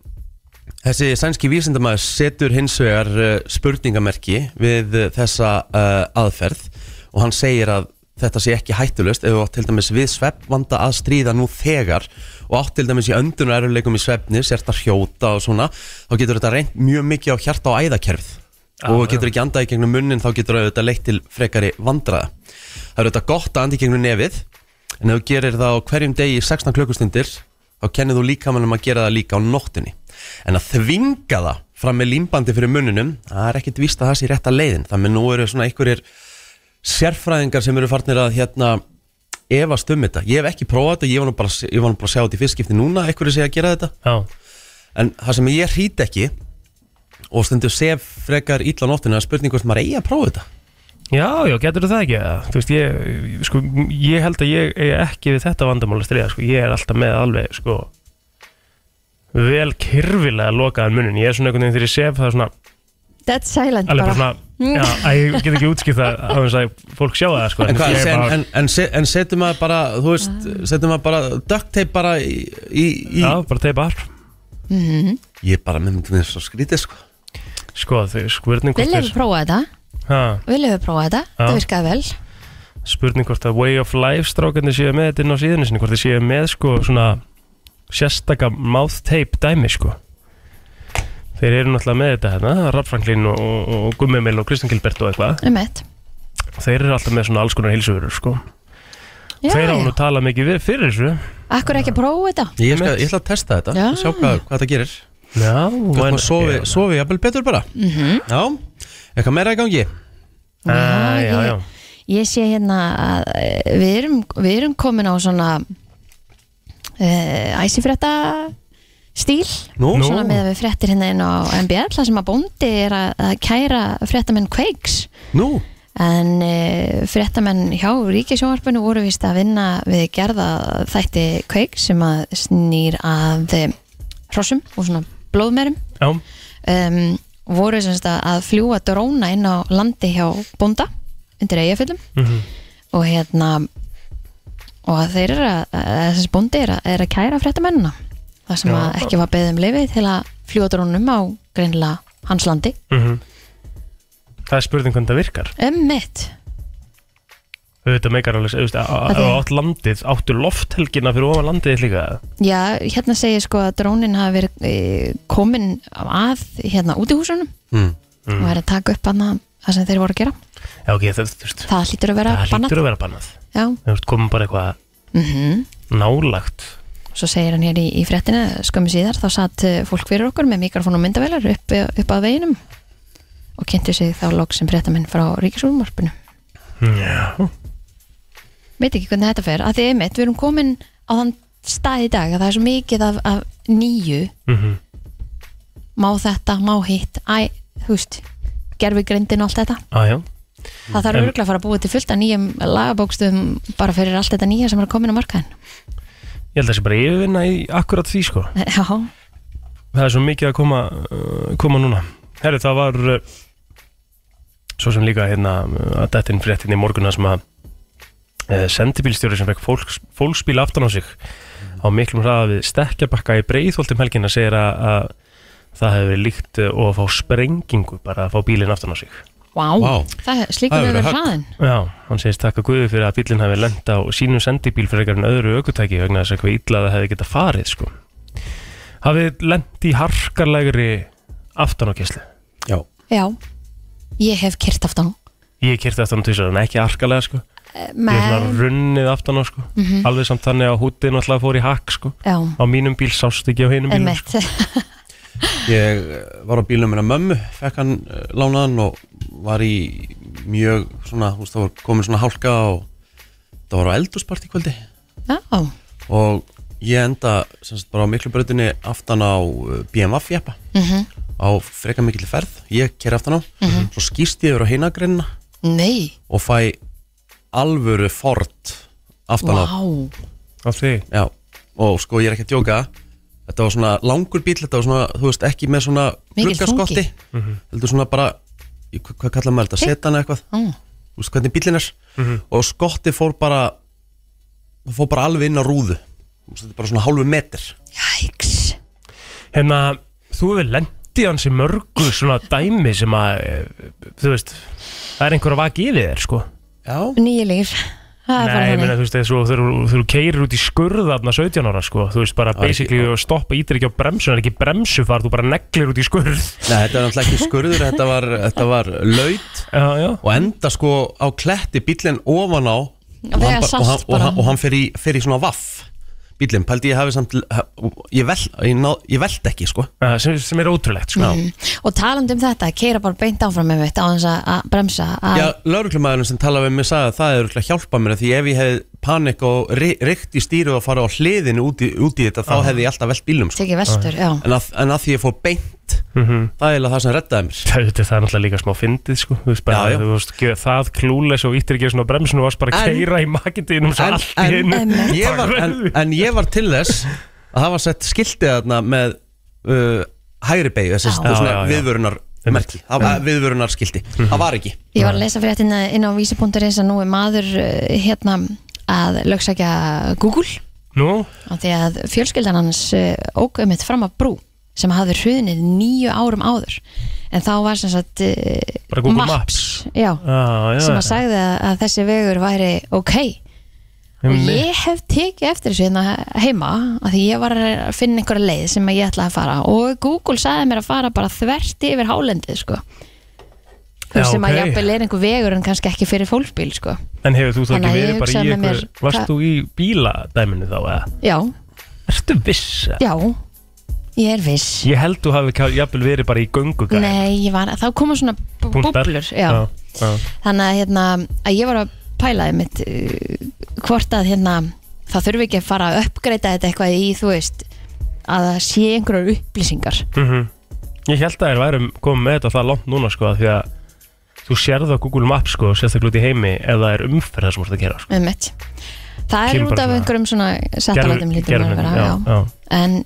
[SPEAKER 1] Þessi sænski vísindamæður setur hins vegar uh, spurningamerki við uh, þessa uh, aðferð og hann segir að þetta sé ekki hættulust ef þú átt til dæmis við sveppvanda að stríða nú þegar og átt til dæmis í öndunaröruleikum í svefni, sért að hrjóta og svona þá getur þetta reynd mjög mikið á hjarta og æðakerfið og
[SPEAKER 2] Já,
[SPEAKER 1] getur ekki andað í gegnum munnin þá getur þetta leitt til frekari vandraða Það er auðvitað gott að anda í gegnum nefið en ef þú gerir það á hverjum degi í 16 klukkustundir þá kennir þú líkamannum að gera það líka á nóttinni en að þvinga það fram með límbandi fyrir munninum það er ekkit víst að það sé rétt að leiðin þannig nú eru svona einhverjir sérfræðingar sem eru farnir að hérna efast um þetta, ég hef ekki prófað þetta ég var nú bara, ég var nú bara að sjá þetta í fyrstskipti núna einhverju segja að gera þetta
[SPEAKER 2] Já,
[SPEAKER 1] En það sem ég hrýt ekki og stundu sef frekar illa á nóttina það er spurning hvort maður eigi að prófa þetta
[SPEAKER 2] já, já getur það ekki eða? Þú veist, ég, sko, ég held að ég er ekki við þetta vandamál að stríða sko. Ég er alltaf með alveg sko, vel kyrfilega lokaðan munin Ég er svona einhvern veginn þegar ég sef það er svona
[SPEAKER 3] Dead silent
[SPEAKER 2] Alveg bara
[SPEAKER 3] bara.
[SPEAKER 2] svona, já, æ, ég get ekki útskipt það á þess að fólk sjá það sko.
[SPEAKER 1] En, hvað,
[SPEAKER 2] ég er
[SPEAKER 1] en,
[SPEAKER 2] bara-
[SPEAKER 1] en, en, se- en setjum maður bara þú veist,
[SPEAKER 3] Ah.
[SPEAKER 1] setjum maður bara duct tape bara í, í, í
[SPEAKER 2] Já, bara teipa allt
[SPEAKER 1] ég er bara með myndum þess að skrítið sko
[SPEAKER 2] Sko, þau skurðning
[SPEAKER 3] Viljum við prófa þetta?
[SPEAKER 2] Ha,
[SPEAKER 3] Viljum við prófa þetta?
[SPEAKER 2] Já.
[SPEAKER 3] Það virkaði vel.
[SPEAKER 2] spurning hvort að Way of Life strákarnir séu með þetta inn á síðunni sinni hvort þið séu með sko svona sérstaka mouth tape dæmi sko þeir eru náttúrulega með þetta hérna Raff Franklin og, og, og Gummi Mil og Kristján Gilbert og eitthvað
[SPEAKER 3] um eitt
[SPEAKER 2] þeir eru alltaf með svona alls konar heilsuverur sko þeir án og tala mikið við- fyrir þessu
[SPEAKER 3] Akkur ekki að prófa þetta
[SPEAKER 1] Ég, skal, ég ætla að testa þetta,
[SPEAKER 3] Já.
[SPEAKER 1] sjá hvað, hvað það gerir
[SPEAKER 2] Já,
[SPEAKER 1] Hvað
[SPEAKER 2] en-
[SPEAKER 1] maður sofi, sofi jafnvel betur bara
[SPEAKER 3] Mhm.
[SPEAKER 1] Já, eitthvað meira í gangi
[SPEAKER 2] Ah, Já, já, já
[SPEAKER 3] Ég sé hérna að eh, við erum, við erum komin á svona uh, æsifrétta stíl
[SPEAKER 1] Nú,
[SPEAKER 2] Nú.
[SPEAKER 3] svona með að við fréttir hérna inn á MBL þar sem að bóndi er að, að kæra fréttamenn Quakes
[SPEAKER 1] nú
[SPEAKER 3] en uh, fréttamenn hjá Ríkisjónvarpinu voru vist að vinna við gerða þætti Quakes sem að snýr að eh, hrossum og svona blóðmerum
[SPEAKER 2] Já,
[SPEAKER 3] um, voru semst að, að fljúa dróna inn á landi hjá bónda undir eigafyllum
[SPEAKER 2] mhm.
[SPEAKER 3] og hérna og að þeir eru að, að þessi bóndi er að, er að kæra fréttamennina það sem
[SPEAKER 2] Já.
[SPEAKER 3] að ekki var beðið um leifi til að fljúa drónum á greinlega hans landi
[SPEAKER 2] mhm. Það er spurning hvernig það virkar
[SPEAKER 3] um mitt
[SPEAKER 2] Þetta meikar alveg, þú veist, á- á-
[SPEAKER 3] Af því-
[SPEAKER 2] á átt landið Áttu lofthelgina fyrir ofan landið líka
[SPEAKER 3] Já, hérna segir sko að drónin hafi verið e, komin að hérna út í húsunum
[SPEAKER 1] mm.
[SPEAKER 3] og er að taka upp hana það sem þeir voru að gera
[SPEAKER 2] Mhm. Já, ok, það, þú veist
[SPEAKER 3] það hlýtur að vera
[SPEAKER 2] Það
[SPEAKER 3] bannað
[SPEAKER 2] hlýtur að vera bannað
[SPEAKER 3] Já,
[SPEAKER 2] Þú veist, komum bara eitthvað
[SPEAKER 3] mhm
[SPEAKER 2] nálagt
[SPEAKER 3] Svo segir hann hér í, í fréttina skömmu síðar þá satt eh, fólk fyrir okkur með mikrofón og myndavelar upp, e, upp að veginum og kynntu sig þá loks sem fréttamenn frá Ríkisúmarpinu.
[SPEAKER 2] Já,
[SPEAKER 3] Veit ekki hvernig þetta fer, að því einmitt við erum komin á þann stað í dag að það er svo mikið af, af nýju,
[SPEAKER 2] mhm
[SPEAKER 3] má þetta, má hitt, æ, þú veist, gerfi grindin og allt þetta.
[SPEAKER 2] Á, Ah, já
[SPEAKER 3] Það þarf
[SPEAKER 2] En-
[SPEAKER 3] örgulega að fara að búa til fullt af nýjum lagabókstum bara fyrir allt þetta nýja sem er að komin á markaðin.
[SPEAKER 2] Ég held að það sé bara yfirvinna í akkurat því, sko
[SPEAKER 3] Já,
[SPEAKER 2] það er svo mikið að koma, uh, koma núna Herri, það var uh, svo sem líka hérna uh, að dettin fréttin í morgunna sem að uh, sendibílstjóri sem fekk fólks, fólksbíl aftan á sig á miklum hraða við stekkjabakka í breiðholtum helgina segir að, að það hefur verið líkt uh, og að fá sprengingu bara að fá bílinn aftan á sig
[SPEAKER 3] vá,
[SPEAKER 1] Vá.
[SPEAKER 3] það slíkum
[SPEAKER 1] Það hefur
[SPEAKER 3] við verið
[SPEAKER 1] verið
[SPEAKER 3] hraðin.
[SPEAKER 2] Já, hann segist takka guði fyrir að bílinn hefði lenda á sínum sendibíl fyrir einhverjum öðru aukutæki vegna þess að hvað illa það hefði getað farið sko. Hafið lent í harkarlegri aftan á kesslu
[SPEAKER 1] Já,
[SPEAKER 3] Já, ég hef kyrt aftan.
[SPEAKER 2] Ég kyrti aftan á tvisar en ekki harkarlega sko. Ég er
[SPEAKER 3] Nei, Mhm.
[SPEAKER 2] svona runnið aftan á sko. Alveg samt þannig að hútið náttúrulega fór í hakk sko.
[SPEAKER 3] já,
[SPEAKER 2] Á mínum bíl sást ekki á hinum bílum sko.
[SPEAKER 3] emmitt
[SPEAKER 1] ég eh, var á bílnum minna mömmu, fekk hann eh, lánaðan og var í mjög svona, þú veist, það var komin svona hálka og það var á eldúspart í kvöldi
[SPEAKER 3] Já,
[SPEAKER 1] og ég enda sem sagt bara á miklubröðinni aftan á eh, BMW jeppa
[SPEAKER 3] mhm.
[SPEAKER 1] á freka mikill ferð, ég ker aftan á svo skýrst ég yfir á heinagrinna
[SPEAKER 3] nei
[SPEAKER 1] og fæ alvöru fort aftan á
[SPEAKER 3] Vá,
[SPEAKER 2] Á þig
[SPEAKER 1] Já, og sko ég er ekki að djóka Þetta var svona langur bíl, þetta var svona, þú veist, ekki með svona
[SPEAKER 3] Mikill
[SPEAKER 1] gluggaskotti Heldur svona bara, í- hva- hvað kallar maður þetta, setana eitthvað
[SPEAKER 3] Mm.
[SPEAKER 1] Þú veist hvernig bílinn er Og skotti fór bara, það fór bara alveg inn á rúðu Þú veist, Þetta er bara svona hálfu metr
[SPEAKER 3] jæks
[SPEAKER 2] Hérna, þú hefur lent í hansi mörgu svona dæmi sem að eh, þú veist, það er einhver að vaki yfir þér sko.
[SPEAKER 1] Já,
[SPEAKER 3] Nýju líf Það er bara
[SPEAKER 2] Nei, ég meina,
[SPEAKER 3] þannig
[SPEAKER 2] þú veist, þessu, þegar þú- þegar þú keirir út í skurðarna 17 ára, sko, þú veist, bara
[SPEAKER 1] Það er ekki-
[SPEAKER 2] basically og stoppa ítir ekki á bremsun, er ekki bremsu far, þú bara neglir út í skurð.
[SPEAKER 1] Nei, þetta er náttúrulega ekki skurður, þetta var, þetta var laut
[SPEAKER 2] Já, já.
[SPEAKER 1] Og enda sko á kletti bílinn ofan á Og
[SPEAKER 3] vega
[SPEAKER 1] hann, bara-
[SPEAKER 3] salt
[SPEAKER 1] og hann, og
[SPEAKER 3] bara.
[SPEAKER 1] hann, og hann fer, í, fer í svona vaff Bílinn, pældi ég hafi samt, ég velt, ég, náð- ég velt ekki sko
[SPEAKER 2] Uh, sem, sem er ótrúlegt, sko.
[SPEAKER 1] Já,
[SPEAKER 3] Og talandi um þetta, keira bara beint áfram með mitt á þess að- að bremsa að,
[SPEAKER 1] Já lauruglumæðurinn sem talaði við mig sagði að það er örugglega að hjálpa mér af því ef ég hefði panik og reykt í stýru og farið á hliðinu út í, út í þetta þá hefði ég alltaf velt bílum sko.
[SPEAKER 3] tekið vestur, já
[SPEAKER 1] en, að, en að því ég fór beint það er eiginlega það sem reddaði mér
[SPEAKER 2] Það, þetta, það er náttúrulega líka smá fyndið, sko, þú veist, bara,
[SPEAKER 1] Já, já.
[SPEAKER 2] þú veist, gjöð, það klúles og ítir ekki á svona bremsun og varst bara að
[SPEAKER 1] En-
[SPEAKER 2] keira í makindiðinum svo allt í
[SPEAKER 1] en,
[SPEAKER 2] einu.
[SPEAKER 1] en, ég var, en, en ég var til þess að það var sett skiltið þarna með uh, hægri beigju þessi
[SPEAKER 3] Já,
[SPEAKER 1] svona
[SPEAKER 2] já, já.
[SPEAKER 1] viðvörunar merki, það var viðvörunar skilti það var ekki
[SPEAKER 3] Ég var að lesa fyrir þetta inn á vísi.is að nú er maður eh, hérna að lögsækja Google
[SPEAKER 2] Nú,
[SPEAKER 3] á því að fjölskyldan hans eh, ók um eitt fram að brú sem hafði hruðnið nýju árum áður en þá var sem sagt eh,
[SPEAKER 2] Bara Google
[SPEAKER 3] já,
[SPEAKER 2] ah, já,
[SPEAKER 3] sem að sagði að, að þessi vegur væri ok og
[SPEAKER 2] Einmitt.
[SPEAKER 3] ég hef tekið eftir þessu hérna heima að því ég var að finna einhverja leið sem að ég ætlaði að fara og Google sagði mér að fara bara þvert yfir hálendið sko
[SPEAKER 2] Já,
[SPEAKER 3] já, sem
[SPEAKER 2] ok.
[SPEAKER 3] að jafnvel er einhver vegur en kannski ekki fyrir fólksbíl sko
[SPEAKER 2] En hefur þú þá
[SPEAKER 3] Þannig
[SPEAKER 2] ekki
[SPEAKER 3] að ég
[SPEAKER 2] verið bara í
[SPEAKER 3] hugsaði með
[SPEAKER 2] ykkur
[SPEAKER 3] mér,
[SPEAKER 2] Varst
[SPEAKER 3] hvað-
[SPEAKER 2] þú í bíladæminu þá eða?
[SPEAKER 3] já,
[SPEAKER 2] Ertu viss? eða?
[SPEAKER 3] já, ég er viss
[SPEAKER 2] Ég held þú hafi ka- jafnvel verið bara í göngugæð
[SPEAKER 3] Nei, ég var, þá koma svona bú- búblur já.
[SPEAKER 2] já.
[SPEAKER 3] þannig að, hérna, að ég var að pæla einmitt uh, hvort að hérna, það þurfi ekki að fara að uppgreita þetta eitthvað í þú veist að það sé einhverjar upplýsingar
[SPEAKER 2] Mhm. Ég held að þér værum komið með þetta það langt núna sko af Því að þú sérðu á Google Maps sko Sérstaklega út í heimi ef það er umferð það sem þú ert að gera sko.
[SPEAKER 3] um mitt það er
[SPEAKER 2] Kemur
[SPEAKER 3] út
[SPEAKER 2] bara
[SPEAKER 3] af
[SPEAKER 2] svona-
[SPEAKER 3] einhverjum svona setalætum
[SPEAKER 2] Gervi-
[SPEAKER 3] lítum að
[SPEAKER 2] gervihlutum,
[SPEAKER 3] vera
[SPEAKER 2] já,
[SPEAKER 3] já.
[SPEAKER 2] já.
[SPEAKER 3] en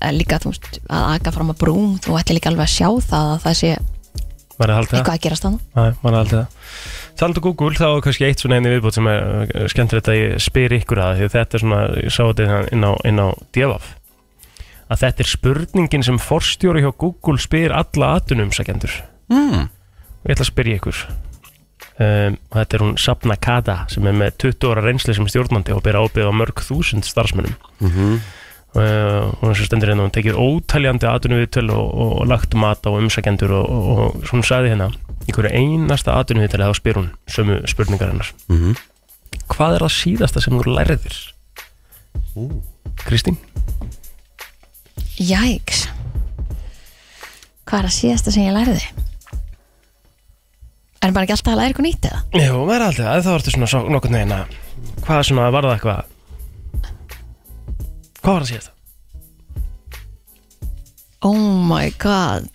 [SPEAKER 3] en líka þú veist að aga fram að brún þú ætti líka alveg að sjá það að það sé
[SPEAKER 2] Maður er haldið
[SPEAKER 3] eitthvað að gerast þannig
[SPEAKER 2] Nei, maður er aldrei það. Talandi um Google, þá er kannski eitt svona einni viðbútt sem er uh, skemmtilegt að ég spyr ykkur að því að þetta er svona, ég sá þetta hérna inn á, inn á Devaf að þetta er spurningin sem forstjóri hjá Google spyr alla atunumsækjendur
[SPEAKER 1] Mm.
[SPEAKER 2] og ég ætla að spyrja ykkur um, og þetta er hún Sapna Kata sem er með 20 ára reynsli sem stjórnandi og byrja ábyrð á mörg þúsund starfsmönnum uh, hún er svo stendur hérna hún tekið ótaljandi atvinnuviðtöl og, og, og lagt mat á umsækjendur og, og, og svo hún sagði hérna í hverju einasta atvinnuviðtöli þá spyr hún sömu spurningar hennar
[SPEAKER 1] Mhm.
[SPEAKER 2] hvað er það síðasta sem þú lærðir? Kristín?
[SPEAKER 3] Jæks Hvað er að síðasta sem ég læriði? Er maður ekki alltaf að læra eitthvað nýtt eða?
[SPEAKER 2] Jú, maður er aldrei að það vartu svona nokkur neina hvað svona var það eitthvað hvað var það síðasta?
[SPEAKER 3] Oh my god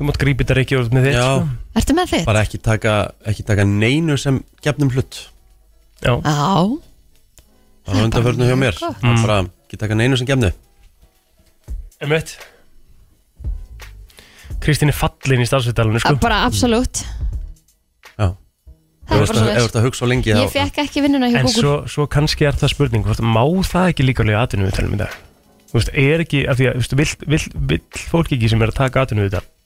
[SPEAKER 2] Þú mátt grípa þetta ekki úr með þitt
[SPEAKER 1] Já,
[SPEAKER 2] sko.
[SPEAKER 3] Ertu með þitt?
[SPEAKER 1] bara ekki taka, ekki taka neinu sem gefnum hlut
[SPEAKER 2] Já,
[SPEAKER 3] Já,
[SPEAKER 1] Það var undanförnum hjá mér
[SPEAKER 3] Gott.
[SPEAKER 1] Það er bara ekki taka neinu sem gefnu
[SPEAKER 2] emmitt Kristín er fallin í starfsveitalunum sko.
[SPEAKER 3] bara absolutt
[SPEAKER 1] Já Ef
[SPEAKER 3] Það
[SPEAKER 1] þú
[SPEAKER 3] er
[SPEAKER 1] ert að- ef
[SPEAKER 3] bara
[SPEAKER 1] þú
[SPEAKER 3] svona
[SPEAKER 1] ert að hugsa á lengi
[SPEAKER 3] Ég fekk ekki vinnuna hjá
[SPEAKER 2] En
[SPEAKER 3] Google
[SPEAKER 2] svo, svo kannski er það spurning hvort, Má það ekki líka alveg atvinnum við talum í dag? Þú veist, er ekki af því að, þú veist, vill, vill, vill fólk ekki sem er að taka atvinnum við þetta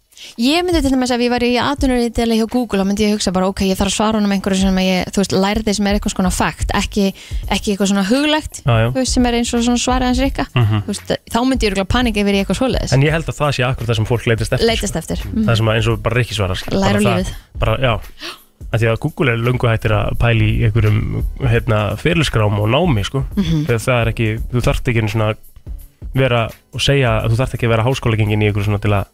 [SPEAKER 3] Ég myndi til dæmis að ég væri í atunurítili hjá Google þá myndi ég hugsa bara, ok, ég þarf að svara honum einhverju sem að ég, þú veist, lærði sem er eitthvað svona fakt ekki, ekki eitthvað svona huglegt
[SPEAKER 2] Já, já. Mhm.
[SPEAKER 3] þú veist, sem er eins og svona svarið hans rikka Þú veist, þá myndi ég örugglega panika yfir í eitthvað svoleiðis
[SPEAKER 2] En ég held að það sé akkur það sem fólk leitast eftir sko.
[SPEAKER 3] Leitast eftir mm.
[SPEAKER 2] Það sem að eins og bara Rikki svarar skilur,
[SPEAKER 3] Læra
[SPEAKER 2] bara
[SPEAKER 3] á
[SPEAKER 2] það- bara, Já, af því að Google er löngu hættir að pæli í einhverjum hérna, fyrirliskrám og námi sko.
[SPEAKER 3] Mhm.
[SPEAKER 2] þegar það er ekki, þú þarft ekki einu svona vera og segja að þú þarft ekki að vera háskólagengin í einhverju svona til að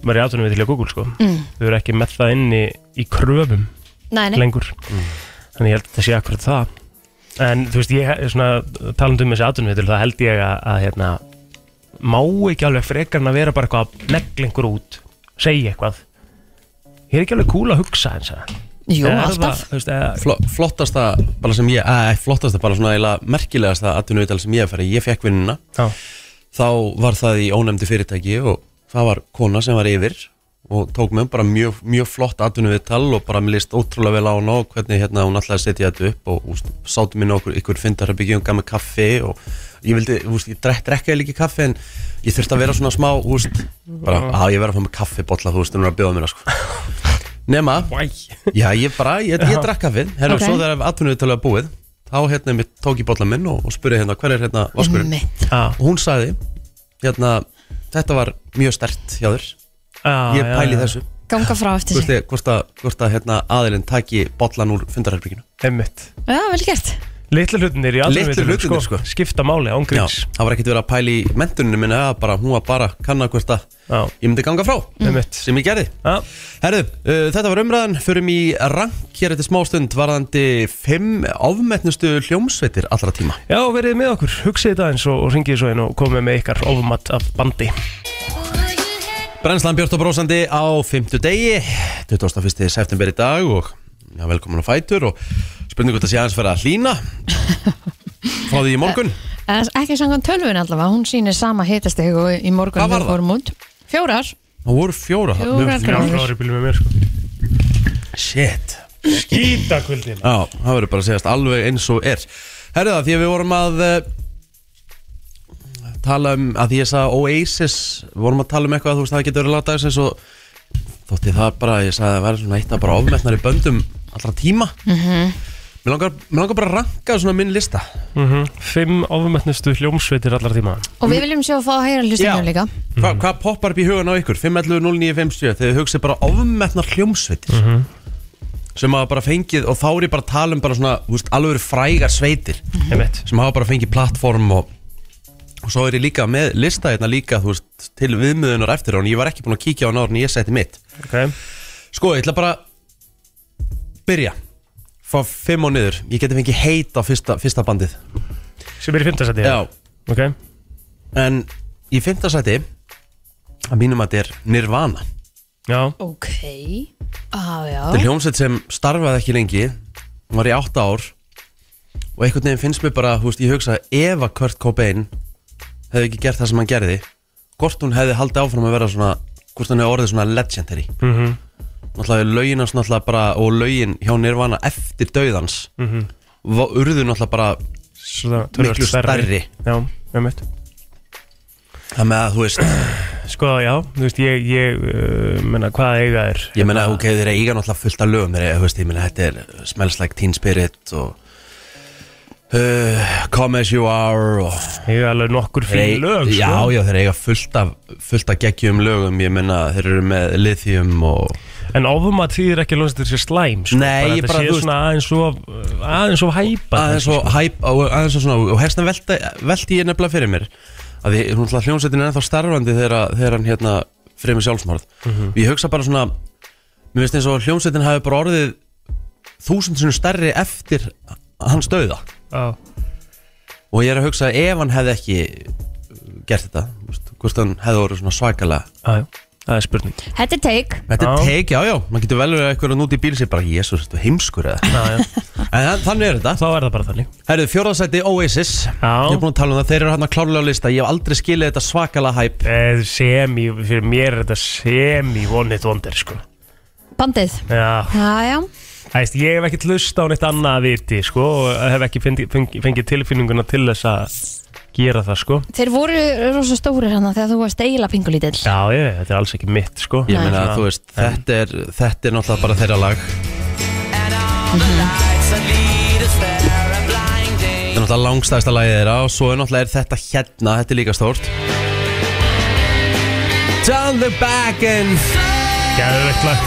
[SPEAKER 2] vera í atvinnum við til að Google sko.
[SPEAKER 3] Mm.
[SPEAKER 2] þau eru ekki með það inni í kröfum
[SPEAKER 3] Nei, nei.
[SPEAKER 2] lengur
[SPEAKER 1] Mm.
[SPEAKER 2] þannig ég held að þetta sé akkurat það en þú veist, ég er svona talandi um þessi atvinnuvitul, það held ég að, að hérna, má ekki alveg frekar en að vera bara eitthvað að negla einhver út segja eitthvað ég er ekki alveg kúl að hugsa eins og
[SPEAKER 3] Jú,
[SPEAKER 2] Er það,
[SPEAKER 3] alltaf
[SPEAKER 2] þú veist, eða-
[SPEAKER 1] Flo, flottasta bara sem ég, að, flottasta bara svona eila merkilegasta atvinnuvital sem ég hef farið, ég fekk vinnuna
[SPEAKER 2] Já.
[SPEAKER 1] þá var það í ónefndi fyrirtæki og það var kona sem var yfir og tók með bara mjög, mjög flott atvinnuvital og bara mér list ótrúlega vel á hana og hvernig hérna hún alltaf að setja þetta upp og úst, sátum minn okkur ykkur fyndarherbyggi og gaf mig kaffi og ég vildi, úst, ég drekk, drekkaði líki kaffi en ég þurfti að vera svona smá úst, bara að ég verði að fá mig kaffibotla þú veist, hún er að bjóða mér það, sko. nema, já ég bara, ég, ég drekk kaffið herru,
[SPEAKER 3] Ok.
[SPEAKER 1] svo þegar atvinnuvitalið var búið þá hérna mitt tók ég botla minn og, og spurði hérna hver er hérna vaskurinn
[SPEAKER 3] Einmitt.
[SPEAKER 2] Já,
[SPEAKER 1] og hún sagði hérna, þetta var mjög stert hjá þér
[SPEAKER 2] já,
[SPEAKER 1] ég
[SPEAKER 2] Ah, já,
[SPEAKER 1] pæli
[SPEAKER 2] já.
[SPEAKER 1] þessu
[SPEAKER 3] Ganga frá eftir
[SPEAKER 1] hvort, ég,
[SPEAKER 3] sig
[SPEAKER 1] hvort að, hvort að hérna, aðilinn taki bollan úr fundarherbygginu
[SPEAKER 2] Einmitt.
[SPEAKER 3] Já, vel gert
[SPEAKER 2] litlu hlutinir í
[SPEAKER 1] Litlu
[SPEAKER 2] atvinnuvitul
[SPEAKER 1] hlutirnir, sko.
[SPEAKER 2] skipta máli
[SPEAKER 1] Já,
[SPEAKER 2] án gríns
[SPEAKER 1] það var ekkert verið að pæli í mentuninu minna að bara, hún var bara að kanna hvort að
[SPEAKER 2] Já.
[SPEAKER 1] ég myndi ganga frá
[SPEAKER 2] Einmitt.
[SPEAKER 1] sem ég gerði
[SPEAKER 2] Já.
[SPEAKER 1] Herðu, uh, þetta var umræðan, förum í rank hér eftir smástund varðandi fimm ofmetnustu hljómsveitir allra tíma
[SPEAKER 2] Já, verið með okkur, hugsið þetta eins og, og ringið svo einn og komið með ykkar ofumatt af bandi
[SPEAKER 1] Brennslan Björn og Brósandi á 5. degi 21. september í dag og já, velkomin á Fætur og spurningu þetta sé aðeins fyrir að hlýna frá því í morgun
[SPEAKER 3] En Ekki sangan tölvun allavega, hún sýnir sama hitasteg og í morgun
[SPEAKER 1] Hvað var það?
[SPEAKER 3] Vormund. Fjórar
[SPEAKER 1] Það voru fjóra þarna.
[SPEAKER 3] Fjórar
[SPEAKER 1] Mér-
[SPEAKER 3] gráður.
[SPEAKER 2] í bílum með mér sko
[SPEAKER 1] Shit
[SPEAKER 2] Skýta kvöldin
[SPEAKER 1] Já, það verður bara að segjast alveg eins og er Herðu það, því að við vorum að eh, tala um að því ég sagði Oasis við vorum að tala um eitthvað að þú veist það getur verið lagdagsins og þótti það bara, ég sagði að það væri svona eitt að bara ofmetnar í böndum allra tíma Mér langar, mér langar bara að ranka svona minn lista
[SPEAKER 2] mm Fimm ofumötnustu hljómsveitir allar tíma
[SPEAKER 3] Og
[SPEAKER 1] Mm.
[SPEAKER 3] við viljum sjá að fá að heyra hlustingum líka
[SPEAKER 1] Hva, Hvað poppar upp í hugan á ykkur? 511-0957 Þegar þið hugsið bara ofmetnar hljómsveitir sem hafa bara fengið og þá er ég bara að tala um bara svona, þú veist, alveg frægar sveitir
[SPEAKER 2] Einmitt
[SPEAKER 1] sem hafa bara fengið plattform og, og svo er ég líka með lista hérna líka, þú veist, til viðmiðunar eftir á en ég var ekki búin að kíkja á hann áður en ég setti mitt
[SPEAKER 2] Ok
[SPEAKER 1] Sko, ég ætla bara að byrja Fá fimm og niður Ég geti fengið heit á fyrsta, fyrsta bandið
[SPEAKER 2] Sem er í fimmtasæti Ok
[SPEAKER 1] En í fymta sæti Að mínum að þetta er Nirvana
[SPEAKER 2] Já
[SPEAKER 3] Ok ah, já.
[SPEAKER 1] Þetta er hljómsveit sem starfaði ekki lengi Hún var í átta ár Og einhvern veginn finnst mér bara, þú veist, ég hugsa Ef að Kurt Cobain hefði ekki gert það sem hann gerði Hvort hún hefði haldið áfram að vera svona Hvort hún hefði orðið svona legendary
[SPEAKER 2] mm
[SPEAKER 1] Náttúrulega er lögin hans náttúrulega bara Og lögin hjá Nirvana eftir dauðans mm -hmm. Urðu náttúrulega bara
[SPEAKER 2] Svona tölvöld
[SPEAKER 1] Miklu stærri
[SPEAKER 2] Já, einmitt
[SPEAKER 1] Það með að þú veist,
[SPEAKER 2] Sko, já, þú veist, ég, ég uh, menna, hvað eiga er
[SPEAKER 1] ég meina, ok, þeir eru eiga náttúrulega fullt af lögum þeir eru, þú veist, ég meina, þetta er Smells Like Teen Spirit og uh, Come As You Are og
[SPEAKER 2] Eiga alveg nokkur
[SPEAKER 1] Þeir-
[SPEAKER 2] fyrir lög, sko
[SPEAKER 1] Já, já, þeir eiga fullt af, fullt af geggjum lögum, ég meina, þeir eru með lithium og
[SPEAKER 2] En ofum að þýðir ekki lónsið þessi slæm, sko
[SPEAKER 1] Nei, ég bara,
[SPEAKER 2] Þetta
[SPEAKER 1] þú
[SPEAKER 2] sé
[SPEAKER 1] veist-
[SPEAKER 2] svona aðeins of, aðeins of sko. hæpa
[SPEAKER 1] aðeins og hæp, og aðeins og svona, og hestan velti, velti ég nefnilega fyrir mér að því, hún ætla hljómsveitin er ennþá starfandi þegar, þegar hann hérna fremur sjálfsmorð
[SPEAKER 2] Mhm.
[SPEAKER 1] ég hugsa bara svona, mér finnst eins og hljómsveitin hafi bara orðið þúsundsunum stærri eftir hans döða
[SPEAKER 2] Já,
[SPEAKER 1] og ég er að hugsa ef hann hefði ekki gert þetta, þú veist, hvort hann hefði orðið svona svakalega
[SPEAKER 2] já, já, það er spurning
[SPEAKER 3] Þetta er take
[SPEAKER 1] Þetta
[SPEAKER 2] Já.
[SPEAKER 1] er teik, já, já, maður getur vel verið að eitthvað út í bíl sér bara, jésus, þetta er heimskur eða
[SPEAKER 2] Já, já,
[SPEAKER 1] En þa- þannig er þetta
[SPEAKER 2] þá er það bara þannig
[SPEAKER 1] Herðu, fjórðarsæti Oasis Ég er búin að tala um það, þeir eru hann að klárlega á lista Ég hef aldrei skilið þetta svakalega hæp
[SPEAKER 2] Eh, Semi, fyrir mér er þetta semi one hit wonder, sko
[SPEAKER 3] Bandið
[SPEAKER 2] Já,
[SPEAKER 3] Já, já,
[SPEAKER 2] Æst, ég hef ekkert lust á neitt annað að viti sko, og hef ekki fengi, fengi, fengið tilfinninguna til þess að gera það sko.
[SPEAKER 3] þeir voru rosa stórir hann þegar þú varst eiginlega pingulítill
[SPEAKER 2] Já, ég, þetta er alls ekki mitt sko.
[SPEAKER 1] Ég meina,
[SPEAKER 2] Svona-
[SPEAKER 1] þú veist, þetta er, þetta er náttúrulega bara þeirra lag Þetta er náttúrulega langstæðsta lagið þeirra Og svo er náttúrulega er þetta hérna, þetta er líka stórt Down the back and
[SPEAKER 2] Geðveikt lag.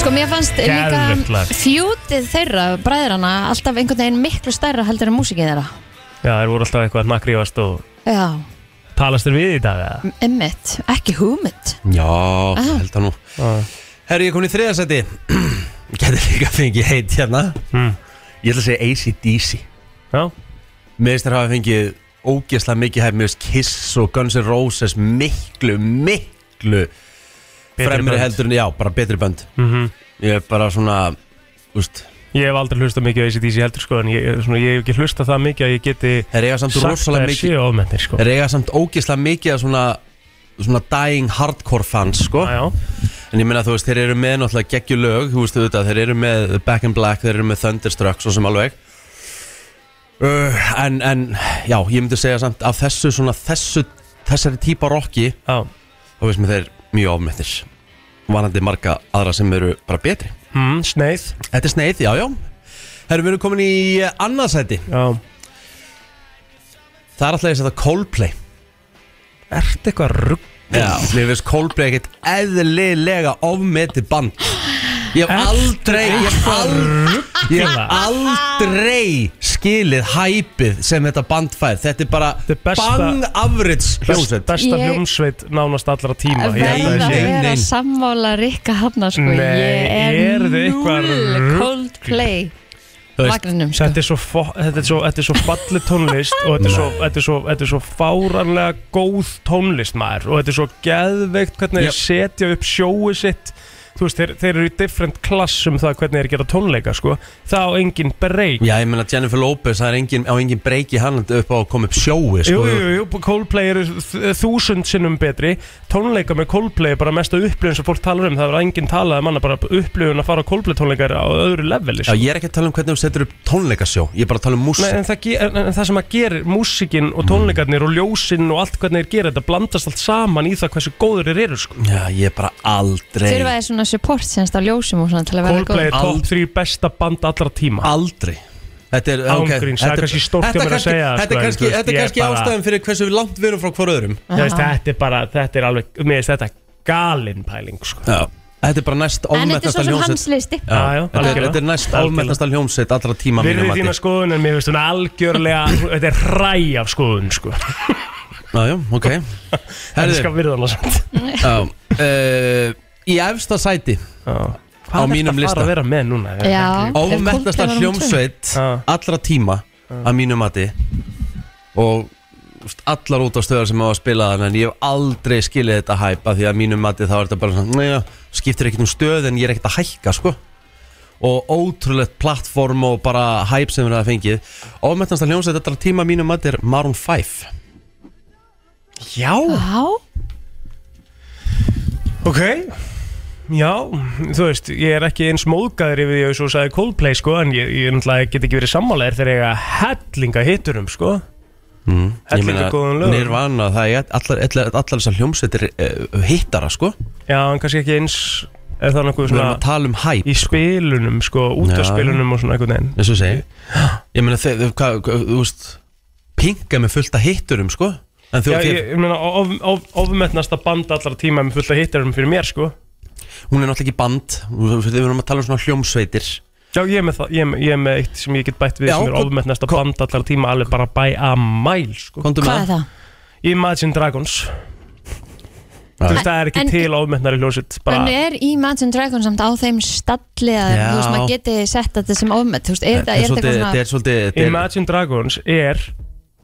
[SPEAKER 3] Sko mér fannst
[SPEAKER 2] Geðveikt
[SPEAKER 3] líka
[SPEAKER 2] lag.
[SPEAKER 3] fjútið þeirra, bræðrana alltaf einhvern veginn miklu stærra heldur en músikið þeirra
[SPEAKER 2] Já, þeir voru alltaf eitthvað að nakrífast og
[SPEAKER 3] Já,
[SPEAKER 2] talast þér við í dag eða?
[SPEAKER 3] emmitt, ekki hugmynd
[SPEAKER 1] Já, ég held það nú
[SPEAKER 2] Já.
[SPEAKER 1] Herru, ég er komin í þriðarsæti Getur líka fengið heit hérna
[SPEAKER 2] Mm.
[SPEAKER 1] Ég ætla að segja ACDC
[SPEAKER 2] Já,
[SPEAKER 1] Meðistar hafa fengið ógeðslega mikið hæf Meðist Kiss og Guns N' Roses Miklu, miklu
[SPEAKER 2] Betri
[SPEAKER 1] Fremri
[SPEAKER 2] bönd.
[SPEAKER 1] heldur en já, bara betri bönd
[SPEAKER 2] mhm.
[SPEAKER 1] Ég er bara svona Úst,
[SPEAKER 2] Ég hef aldrei hlustað mikið á ACDC heldur sko, en ég, svona, ég hef ekki hlustað það mikið að ég geti
[SPEAKER 1] þeir eiga samt
[SPEAKER 2] sagt að
[SPEAKER 1] rosalega
[SPEAKER 2] þeir
[SPEAKER 1] mikið
[SPEAKER 2] séu ofmennir sko.
[SPEAKER 1] Þeir eiga samt ógeðslega mikið af svona Svona dying hardcore fans sko
[SPEAKER 2] Já, já.
[SPEAKER 1] En ég meina þú veist, þeir eru með náttúrulega geggjulög Þú veist þetta, þeir eru með Back in Black Þeir eru með Thunderstruck, svo sem alveg uh, en, en já, ég myndi segja samt Af þessu, svona þessu Þessari típa rocki,
[SPEAKER 2] Já.
[SPEAKER 1] þá veist mér þeir mjög ofmettir Vanandi marga aðra sem eru bara betri
[SPEAKER 2] Mm, sneið
[SPEAKER 1] Þetta er sneið, já, já Herru, við erum komin í eh, annað sæti
[SPEAKER 2] Já.
[SPEAKER 1] Það er alltaf að setja Coldplay
[SPEAKER 2] Ertu eitthvað rugg?
[SPEAKER 1] Já, mér finnst Coldplay ekkert eðlilega ofmeti band Ég hef aldrei Ég hef aldrei, ég hef aldrei skilið hæpið sem þetta band fær Þetta er bara
[SPEAKER 2] Þetta er besta-
[SPEAKER 1] bang average
[SPEAKER 2] Best,
[SPEAKER 1] hljómsveit
[SPEAKER 2] besta
[SPEAKER 3] Ég-
[SPEAKER 2] hljómsveit nánast allra tíma Ég held að
[SPEAKER 3] verða
[SPEAKER 2] það
[SPEAKER 3] að
[SPEAKER 2] sé-
[SPEAKER 1] nei,
[SPEAKER 3] vera
[SPEAKER 1] nei.
[SPEAKER 3] sammála Rikka Hanna sko
[SPEAKER 2] Nei,
[SPEAKER 3] ég er
[SPEAKER 2] eru þið eitthvað
[SPEAKER 3] null
[SPEAKER 2] rugl?
[SPEAKER 3] Coldplay
[SPEAKER 1] Þú veist,
[SPEAKER 3] vagninum sko
[SPEAKER 2] Þetta er svo, fo- þetta er svo, þetta er svo falli tónlist og þetta er svo, þetta er svo, þetta er svo fáranlega góð tónlist maður og þetta er svo geðveikt
[SPEAKER 1] Já.
[SPEAKER 2] hvernig þeir setja upp sjóið sitt þú veist, þeir, þeir eru í different class um það hvernig þeir gera tónleika sko. það á engin breyk
[SPEAKER 1] Já, ég meina Jennifer Lopez, það er engin, á engin breyki hann upp á að koma upp sjói
[SPEAKER 2] Jú,
[SPEAKER 1] sko.
[SPEAKER 2] jú, jú, Coldplay eru þ- þúsund sinnum betri Tónleika með Coldplay er bara mesta upplifun sem fólk talar um Það er enginn talað um hana bara upplifun að fara á Coldplay tónleikar á öðru leveli
[SPEAKER 1] Já,
[SPEAKER 2] sko.
[SPEAKER 1] ég er ekki að tala um hvernig þú setur upp tónleikasjó Ég er bara að tala um músík
[SPEAKER 2] Nei, en, það ge- en, en það sem að gerir músikinn og tónleikarnir og ljósinn og allt hvernig þeir gera þetta blandast allt saman í það hversu góður þeir eru sko.
[SPEAKER 1] Já, ég er bara aldrei
[SPEAKER 3] Þurfa þeir svona support semst á ljósum og svona til að vera
[SPEAKER 2] Coldplay er
[SPEAKER 1] Ald-
[SPEAKER 2] top 3 besta band allra tíma
[SPEAKER 1] Aldrei Þetta er,
[SPEAKER 2] Án
[SPEAKER 1] ok,
[SPEAKER 2] gríns,
[SPEAKER 1] þetta
[SPEAKER 2] það er kannski stórt hjá
[SPEAKER 1] þetta
[SPEAKER 2] mér að
[SPEAKER 1] kannski-
[SPEAKER 2] segja það,
[SPEAKER 1] Þetta er
[SPEAKER 2] sko, en þú
[SPEAKER 1] kannski,
[SPEAKER 2] veist,
[SPEAKER 1] þetta er
[SPEAKER 2] ég er
[SPEAKER 1] kannski
[SPEAKER 2] bara-
[SPEAKER 1] ástæðan fyrir hversu við langt við erum frá hvora öðrum
[SPEAKER 2] Ég veist, þetta er bara, þetta er alveg, mér veist þetta galin pæling sko.
[SPEAKER 1] Já Þetta er bara næst
[SPEAKER 3] En þetta er svo
[SPEAKER 1] ofmettasta
[SPEAKER 3] sem
[SPEAKER 1] hljómsveit
[SPEAKER 3] hans listi
[SPEAKER 1] Já,
[SPEAKER 2] Já, já,
[SPEAKER 1] þetta, er,
[SPEAKER 2] algjörlega.
[SPEAKER 1] þetta er næst
[SPEAKER 2] Algjörlega.
[SPEAKER 1] ofmettasta hljómsveit allra tíma
[SPEAKER 2] Virði
[SPEAKER 1] mínum
[SPEAKER 2] þína
[SPEAKER 1] mati.
[SPEAKER 2] skoðun en mér veist hún algjörlega Þetta er ræ af skoðun sko.
[SPEAKER 1] Já, já, ok
[SPEAKER 2] Þetta
[SPEAKER 1] Herðu,
[SPEAKER 2] skal virða hann samt
[SPEAKER 1] já uh, Í efsta sæti
[SPEAKER 2] Hvað
[SPEAKER 1] Á
[SPEAKER 2] er
[SPEAKER 1] mínum
[SPEAKER 2] þetta að
[SPEAKER 1] lista.
[SPEAKER 2] fara að vera með núna?
[SPEAKER 3] Já, ef
[SPEAKER 1] Ofmettasta
[SPEAKER 3] Coldplay var númer tvö.
[SPEAKER 1] hljómsveit
[SPEAKER 2] Já.
[SPEAKER 1] allra tíma að mínu mati og þú veist, allar út á stöðar sem hafa spilað hann en ég hef aldrei skilið þetta hæpa því að mínu mati þá er þetta bara svona "Nei, já, skiptir ekkert um stöð en ég er ekkert að hækka sko og ótrúlegt plattform og bara hæp sem við hafa fengið ofmettasta hljómsveit allra tíma að mínu mati er Maroon 5
[SPEAKER 2] Já,
[SPEAKER 3] Já,
[SPEAKER 2] ok Já, þú veist, ég er ekki eins móðgæður yfir því að ég svo sagði Coldplay sko En ég, ég náttúrulega get ekki verið sammálaðir þegar ég að hellinga hitturum sko
[SPEAKER 1] mm. ég
[SPEAKER 2] Hellinga
[SPEAKER 1] meina
[SPEAKER 2] góðum lögum.
[SPEAKER 1] Nirvana það er allar, allar, allar þessar hljómsveitir uh, hittara sko við
[SPEAKER 2] Já, en kannski ekki eins Er það nokkuð
[SPEAKER 1] erum
[SPEAKER 2] svona
[SPEAKER 1] að tala um hæp
[SPEAKER 2] í spilunum sko Út af
[SPEAKER 1] Já.
[SPEAKER 2] spilunum og svona einhvern veginn
[SPEAKER 1] eins og segi ég meina þeir, þeir- hvað, hvað- þú veist pinga með fullt að hitturum sko en þú,
[SPEAKER 2] Já,
[SPEAKER 1] þér,
[SPEAKER 2] ég, ég meina, of, of, ofmetnasta band allra tíma með fullt af hitturum fyrir mér sko
[SPEAKER 1] hún er náttúrulega ekki band þú veist, við erum að tala um svona hljómsveitir
[SPEAKER 2] Já, ég er með, það, ég er með, ég er með eitt sem ég get bætt við
[SPEAKER 1] Já,
[SPEAKER 2] sem er
[SPEAKER 1] kom-
[SPEAKER 2] ofmett næsta
[SPEAKER 1] kom-
[SPEAKER 2] band allar tíma alveg bara by a mile sko.
[SPEAKER 1] Komdu
[SPEAKER 3] hvað er
[SPEAKER 1] með
[SPEAKER 3] það?
[SPEAKER 2] Imagine Dragons
[SPEAKER 1] Já.
[SPEAKER 2] Þú veist, það er ekki
[SPEAKER 3] En-
[SPEAKER 2] til ofmettnari hljósitt
[SPEAKER 3] En
[SPEAKER 2] bara,
[SPEAKER 3] er Imagine Dragons samt á þeim stalli að
[SPEAKER 1] Já.
[SPEAKER 3] þú veist maður geti sett þetta sem ofmet Þú veist, er þetta
[SPEAKER 1] Þetta
[SPEAKER 3] er þetta eitthvað
[SPEAKER 1] þetta
[SPEAKER 3] svona
[SPEAKER 1] er svolítið þetta er-
[SPEAKER 2] Imagine Dragons er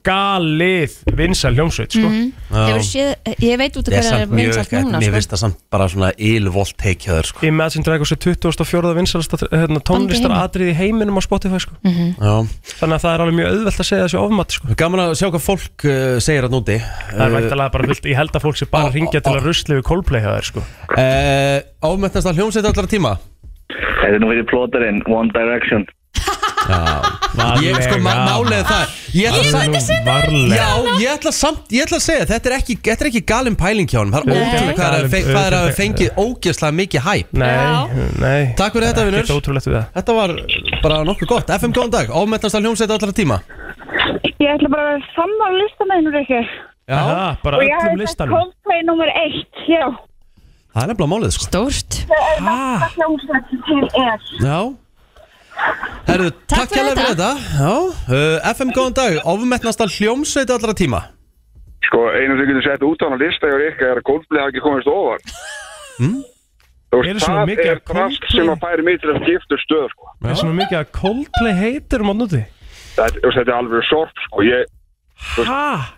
[SPEAKER 2] galið vinsal hljómsveit sko.
[SPEAKER 4] Mhm.
[SPEAKER 1] já,
[SPEAKER 3] Hefur séð, ég veit út af
[SPEAKER 1] þetta er
[SPEAKER 3] hverja er
[SPEAKER 1] samt mjög
[SPEAKER 3] vinsalt núna
[SPEAKER 1] mér
[SPEAKER 3] sko.
[SPEAKER 1] finnst það samt bara svona ylvolt teikjaður sko
[SPEAKER 2] Imagine Dragons er 2004. vinsalasta hérna, tónlistaratriði í heiminum á Spotify sko.
[SPEAKER 4] Mm.
[SPEAKER 1] já
[SPEAKER 2] þannig að það er alveg mjög auðvelt að segja þessu ofmatt sko.
[SPEAKER 1] Gaman að sjá hvað fólk uh, segir að núti
[SPEAKER 2] það er væntalega bara fullt, ég held að fólk sé bara
[SPEAKER 1] Eh. Ó,
[SPEAKER 2] að ringja til
[SPEAKER 1] ó,
[SPEAKER 2] að rusli við Coldplay hjá þér sko.
[SPEAKER 1] uh, Ámettnasta hljómsveit allra tíma
[SPEAKER 5] Þetta er nú verið plótarinn, One Direction
[SPEAKER 1] Ég sko má- málið er það Ég ætla samt-
[SPEAKER 2] varlega
[SPEAKER 1] Já, ég ætla samt, ég ætla að segja Þetta er ekki, þetta er ekki galin pæling hjá hann Það er
[SPEAKER 2] Nei.
[SPEAKER 1] ótrúlega hvað er að fe- hvað er að fengið ógeðslega mikið hæp
[SPEAKER 2] Nei, nei
[SPEAKER 1] Takk fyrir þetta,
[SPEAKER 2] Þetta er
[SPEAKER 1] vinnur
[SPEAKER 2] ótrúlegt við það
[SPEAKER 1] Þetta var bara nokkuð gott FM, góðan dag, ofmennast að hljómsveit allra tíma
[SPEAKER 4] Ég ætla bara að vera saman á listamennur ekki.
[SPEAKER 1] Já,
[SPEAKER 2] Aha, bara
[SPEAKER 4] Og ég
[SPEAKER 2] öllum
[SPEAKER 4] hef þetta
[SPEAKER 2] listanum
[SPEAKER 4] Coldplay nummer eitt, já.
[SPEAKER 1] það er nefnilega málið sko
[SPEAKER 3] Stórt
[SPEAKER 2] Ha,
[SPEAKER 4] Hljómsveit sem til er.
[SPEAKER 1] Já Herðu, takk
[SPEAKER 3] fyrir
[SPEAKER 1] hérlega fyrir
[SPEAKER 3] þetta.
[SPEAKER 1] þetta Já, uh, FM, góðan dag, ofmennast að hljómsveit allra tíma
[SPEAKER 6] Sko, einu sem getur sett út á hana lista hjá ykkur er að Coldplay hafi ekki komist ofar. Þú
[SPEAKER 2] Hmm? Eru
[SPEAKER 6] veist,
[SPEAKER 2] svona
[SPEAKER 6] það
[SPEAKER 2] mikið
[SPEAKER 6] er
[SPEAKER 2] af
[SPEAKER 6] drast
[SPEAKER 2] Coldplay?
[SPEAKER 6] sem að færi mig til að skipta um stöð, sko.
[SPEAKER 2] það er svona mikið að Coldplay heitir um átnúti
[SPEAKER 6] Þetta, þú veist, þetta er alveg sorp, sko. Ég,
[SPEAKER 2] Ha,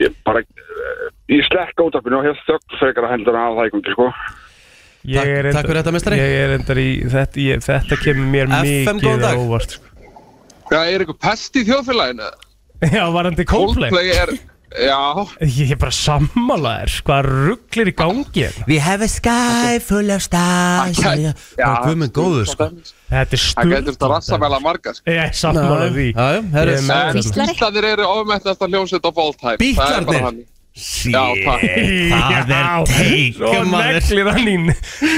[SPEAKER 6] ég bara, eh, ég slekk átafinu og hef þögg frekar að hendur að hafa það í gangi, sko.
[SPEAKER 2] ég
[SPEAKER 1] Takk-
[SPEAKER 2] er
[SPEAKER 1] takk fyrir þetta, meistari.
[SPEAKER 2] Ég er endar í, þetta, ég, þetta kemur mér
[SPEAKER 1] FM, góðan
[SPEAKER 2] mikið á
[SPEAKER 1] dag.
[SPEAKER 2] óvart sko.
[SPEAKER 7] Já, er eitthvað pest í þjóðfélaginu?
[SPEAKER 2] Já, varandi Coldplay
[SPEAKER 7] Coldplay er, já,
[SPEAKER 2] Ég er bara sammálaðir, hvað rugglir í gangi hérna?
[SPEAKER 1] We have a sky full of stars Já, hvað með góður sko
[SPEAKER 2] Þetta er
[SPEAKER 7] það getur þetta rassamæla
[SPEAKER 2] stund
[SPEAKER 7] marga sko.
[SPEAKER 2] Ég er sammálaðir því
[SPEAKER 1] Já, já, herðu,
[SPEAKER 2] Ég er
[SPEAKER 7] En
[SPEAKER 2] með
[SPEAKER 3] Hvíslari.
[SPEAKER 7] Íslandir eru ofmettast að hljómsveit of all time Það er bara
[SPEAKER 1] Bíklarnir
[SPEAKER 7] þannig. Já, takk
[SPEAKER 1] Það er teik,
[SPEAKER 2] Og
[SPEAKER 1] maður.
[SPEAKER 2] neglir hann inn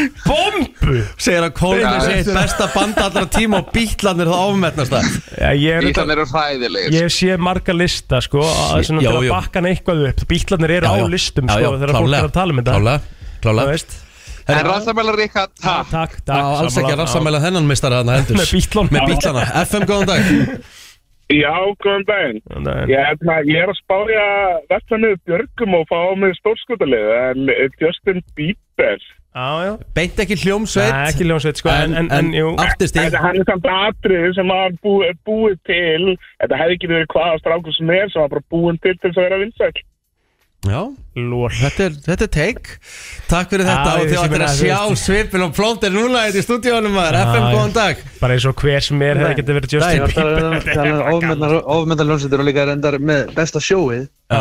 [SPEAKER 2] Bombu
[SPEAKER 1] segir að Coldplay sé eitt besta band allra tíma og bítlanir það ofmennast það
[SPEAKER 2] Já, ég er
[SPEAKER 7] Íslandir eru hræðilegir sko.
[SPEAKER 2] Ég hef séð marga lista sko að svona
[SPEAKER 1] Já,
[SPEAKER 2] til að
[SPEAKER 1] já.
[SPEAKER 2] bakka hann eitthvað upp Bítlarnir eru á listum sko þegar fólk er að tala um þetta
[SPEAKER 1] klálega,
[SPEAKER 2] Þú
[SPEAKER 1] klálega.
[SPEAKER 2] veist
[SPEAKER 7] En rassamæla ríka,
[SPEAKER 2] Takk,
[SPEAKER 7] takk
[SPEAKER 2] takk,
[SPEAKER 1] Á, alls ekki að rassamæla þennan mistara þarna heldur
[SPEAKER 2] Með bítlunum.
[SPEAKER 1] Með bítlana. FM, góðan dag
[SPEAKER 8] Já, góðan daginn. Ég,
[SPEAKER 2] samæla
[SPEAKER 8] hérna, ég er að spája vestan niður björgum og fá á mig stórskotalið, en eh, Justin Bieber,
[SPEAKER 2] Já, já
[SPEAKER 1] Beint ekki hljómsveit
[SPEAKER 2] Nei, ekki ljónsveit sko En, en, en, jú
[SPEAKER 1] artisti
[SPEAKER 8] þetta hann er samt atrið sem var búi, búið til, þetta hefði ekki verið hvaða strákur sem er sem var bara búin til til þess að vera vinsæl.
[SPEAKER 1] Já,
[SPEAKER 2] Lól
[SPEAKER 1] þetta er, þetta er take Takk fyrir þetta
[SPEAKER 2] Já,
[SPEAKER 1] og
[SPEAKER 2] ég
[SPEAKER 1] þið
[SPEAKER 2] vissi
[SPEAKER 1] áttir að
[SPEAKER 2] bara að
[SPEAKER 1] sjá
[SPEAKER 2] þú veist.
[SPEAKER 1] svipin og plóntir núna Þetta í stúdíónum maður,
[SPEAKER 2] Já,
[SPEAKER 1] FM
[SPEAKER 2] já.
[SPEAKER 1] góðan dag
[SPEAKER 2] Bara eins og hver sem er hefði
[SPEAKER 9] Nei.
[SPEAKER 2] getið verið Justin
[SPEAKER 1] Nei,
[SPEAKER 2] Bieber
[SPEAKER 9] Það er ofmyndan ljónsettur og líka reyndar með besta sjóið
[SPEAKER 1] Já,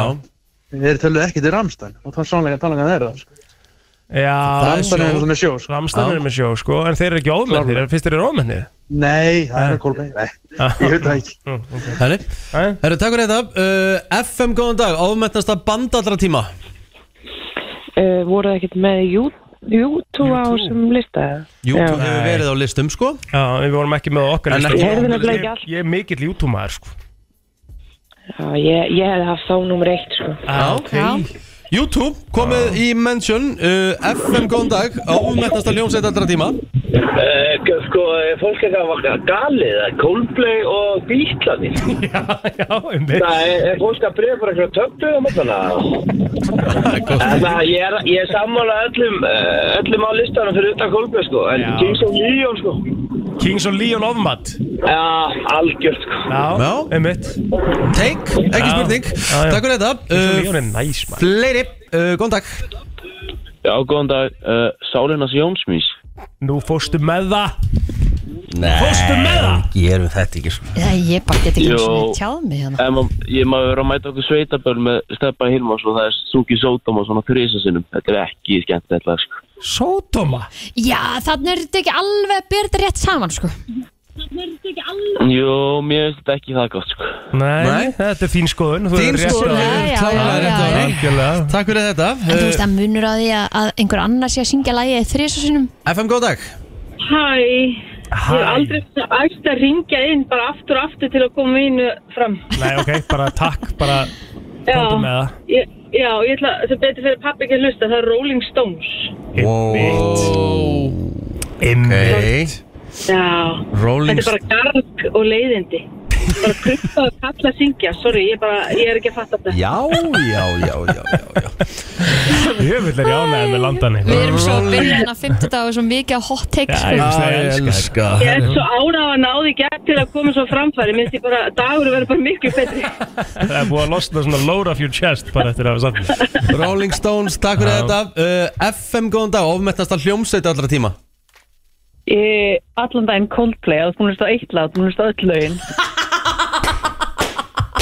[SPEAKER 9] Þeir eru töluð ekki til Ramstein og það er sannleika talangan þeirra sko.
[SPEAKER 1] Það
[SPEAKER 2] Já,
[SPEAKER 1] er
[SPEAKER 9] Ramstein er svona sjó sko.
[SPEAKER 2] Ramstæðan er með sjó sko En þeir eru ekki ómennir,
[SPEAKER 9] Klárlega.
[SPEAKER 2] þeir finnst þeir eru ómennir Ah.
[SPEAKER 9] Nei, það er Coldplay Nei, ég veit það ekki
[SPEAKER 1] þannig
[SPEAKER 2] Jæja.
[SPEAKER 1] Herru, takk fyrir þetta uh, FM góðan dag, ofmennasta band allra tíma
[SPEAKER 4] Uh, voru það ekkert með YouTube á sem lista?
[SPEAKER 1] YouTube
[SPEAKER 4] Já.
[SPEAKER 1] hefur verið á listum sko
[SPEAKER 2] Já, við vorum ekki með á okkar
[SPEAKER 1] En
[SPEAKER 2] lista.
[SPEAKER 1] ekki-
[SPEAKER 4] Ég heyrði nefnilega ekki
[SPEAKER 2] Ég-
[SPEAKER 4] allt.
[SPEAKER 2] Ég er mikill YouTube-maður sko
[SPEAKER 4] Já, ég, ég hefði haft þá nummer eitt, sko.
[SPEAKER 2] Ah, Já,
[SPEAKER 3] Já.
[SPEAKER 1] YouTube, komið í mention uh, FM góðan dag, ofmennasta ljónsett allra tíma
[SPEAKER 10] Sko, er fólk er að galið, það er Coldplay og Bíklanir.
[SPEAKER 2] Já, já, um þig
[SPEAKER 10] Það er, er fólk að bregja fyrir eitthvað töflu á mótana. En það, ég er, ég er sammála öllum, eh, öllum á listanum fyrir utan Coldplay, sko. En
[SPEAKER 2] Já.
[SPEAKER 10] Kings of Leon, sko.
[SPEAKER 2] Kings og Leon ofmat
[SPEAKER 10] Já, algjört, sko.
[SPEAKER 2] Já,
[SPEAKER 1] Já.
[SPEAKER 2] um mitt
[SPEAKER 1] Take, ekki
[SPEAKER 2] Já.
[SPEAKER 1] spurning
[SPEAKER 2] Já, já.
[SPEAKER 1] Takk fyrir þetta
[SPEAKER 2] Kings og
[SPEAKER 1] uh,
[SPEAKER 2] Leon er næs maður
[SPEAKER 1] Fleiri, uh, góðan dag
[SPEAKER 10] Já, góðan dag. Uh, Sálinas Jónsmís.
[SPEAKER 2] Nú fóstu með það
[SPEAKER 1] Nei,
[SPEAKER 2] Fórstu með það?
[SPEAKER 1] gerum þetta ekki sko. svona
[SPEAKER 3] Æ, Ég bara get ekki
[SPEAKER 10] Jú.
[SPEAKER 3] eins og tjáð mig hérna
[SPEAKER 10] En maður- ég maður vera að mæta okkur sveitaböl með Steppa Hilmars og það er Suki Sótam og svona þrísa sinnum. Þetta er ekki skemmt þetta, sko.
[SPEAKER 2] Sótoma
[SPEAKER 3] Já, þannig er þetta ekki alveg að byrja þetta rétt saman sko
[SPEAKER 10] Jú, mér finnst þetta ekki það gott, sko.
[SPEAKER 2] Nei,
[SPEAKER 1] Nei.
[SPEAKER 2] þetta er þín skoðun þú
[SPEAKER 1] Þín
[SPEAKER 2] hefur rétt á
[SPEAKER 1] skoðun,
[SPEAKER 2] þér.
[SPEAKER 3] Sko, já,
[SPEAKER 1] klálega
[SPEAKER 3] já,
[SPEAKER 1] rétt á
[SPEAKER 3] já,
[SPEAKER 1] þér.
[SPEAKER 2] Algjörlega
[SPEAKER 1] Takk fyrir þetta
[SPEAKER 3] En þú
[SPEAKER 1] Uh,
[SPEAKER 3] veist að munur á því að- að einhver annar sé að syngja lægið þrísasunum
[SPEAKER 1] FM góðan dag
[SPEAKER 4] Hæ, ég er aldrei ætti að ringja inn bara aftur og aftur til að koma mínu fram.
[SPEAKER 2] Nei, ok, bara takk, bara komdu með það
[SPEAKER 4] Ég, já, ég ætla, sem betur fyrir pappi ekki að hlusta, það er Rolling Stones.
[SPEAKER 1] Wow.
[SPEAKER 2] Einmitt
[SPEAKER 1] Hey.
[SPEAKER 4] Já,
[SPEAKER 1] Rolling
[SPEAKER 4] þetta er bara garg og leiðindi. Bara krukka og kalla að syngja, sorry, ég, bara, ég er ekki að fatta þetta.
[SPEAKER 1] Já, já, já, já, já, já.
[SPEAKER 2] Ég vil er ég ánægði með landan
[SPEAKER 3] Við erum svo að byrja hérna 50 dagar svo mikið á hot take
[SPEAKER 2] Já,
[SPEAKER 3] sko.
[SPEAKER 2] já.
[SPEAKER 1] Æ,
[SPEAKER 2] ég elska
[SPEAKER 4] Ég er svo ánað að náði gert til að koma svo á framfæri, minnst ég bara, dagur verður bara miklu betri.
[SPEAKER 2] Það er búið að losna svona load of your chest bara eftir að hafa samt
[SPEAKER 1] Rolling Stones, takk fyrir þetta uh, FM, góðan dag, ofmettnasta hljómsveit allra tíma
[SPEAKER 4] Ég, allan daginn Coldplay, að þú nýrst á eitt lát, þú nýrst á öll lögin.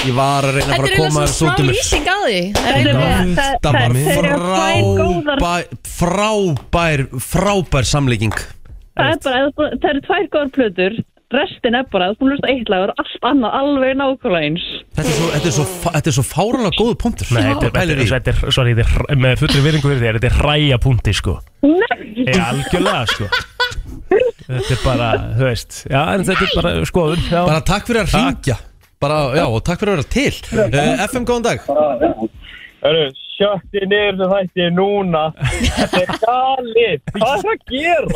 [SPEAKER 1] Ég var að reyna að
[SPEAKER 3] Þetta
[SPEAKER 1] fara
[SPEAKER 3] er
[SPEAKER 1] að koma
[SPEAKER 3] eiginlega
[SPEAKER 1] þér
[SPEAKER 3] svona
[SPEAKER 1] út
[SPEAKER 3] smá
[SPEAKER 1] um
[SPEAKER 3] lýsing á því Það er
[SPEAKER 4] Þetta
[SPEAKER 3] eiginlega-
[SPEAKER 4] er- það- það-
[SPEAKER 1] mig
[SPEAKER 4] þeir eru tvær góðar-
[SPEAKER 1] Frábær, frábær, frábær samlíking
[SPEAKER 4] Það er bara, ef þú- það eru tvær góðar plötur Restin er bara, þú hlust eitt lag og allt annað alveg nákvæmlega eins
[SPEAKER 1] Þetta er svo, þetta er svo, fa- þetta er svo fáranlega góðu punktur
[SPEAKER 2] Nei, þetta er-
[SPEAKER 1] Pælir
[SPEAKER 2] þetta
[SPEAKER 1] í.
[SPEAKER 2] er, þetta er, sorry, þetta er, hr- með fullri virðingu fyrir þér, þetta er hræja punkti, sko.
[SPEAKER 4] Nei,
[SPEAKER 2] Ég algjörlega, sko. Þetta er bara, þú veist, já, en þetta er bara skoðun, já.
[SPEAKER 1] Bara takk fyrir að
[SPEAKER 2] Takk.
[SPEAKER 1] ringja Bara, já, og takk fyrir að vera til uh, FM, góðan dag
[SPEAKER 10] Hörru, sjötti niður sem þætti núna. Þetta er galið. Hvað er það að gera?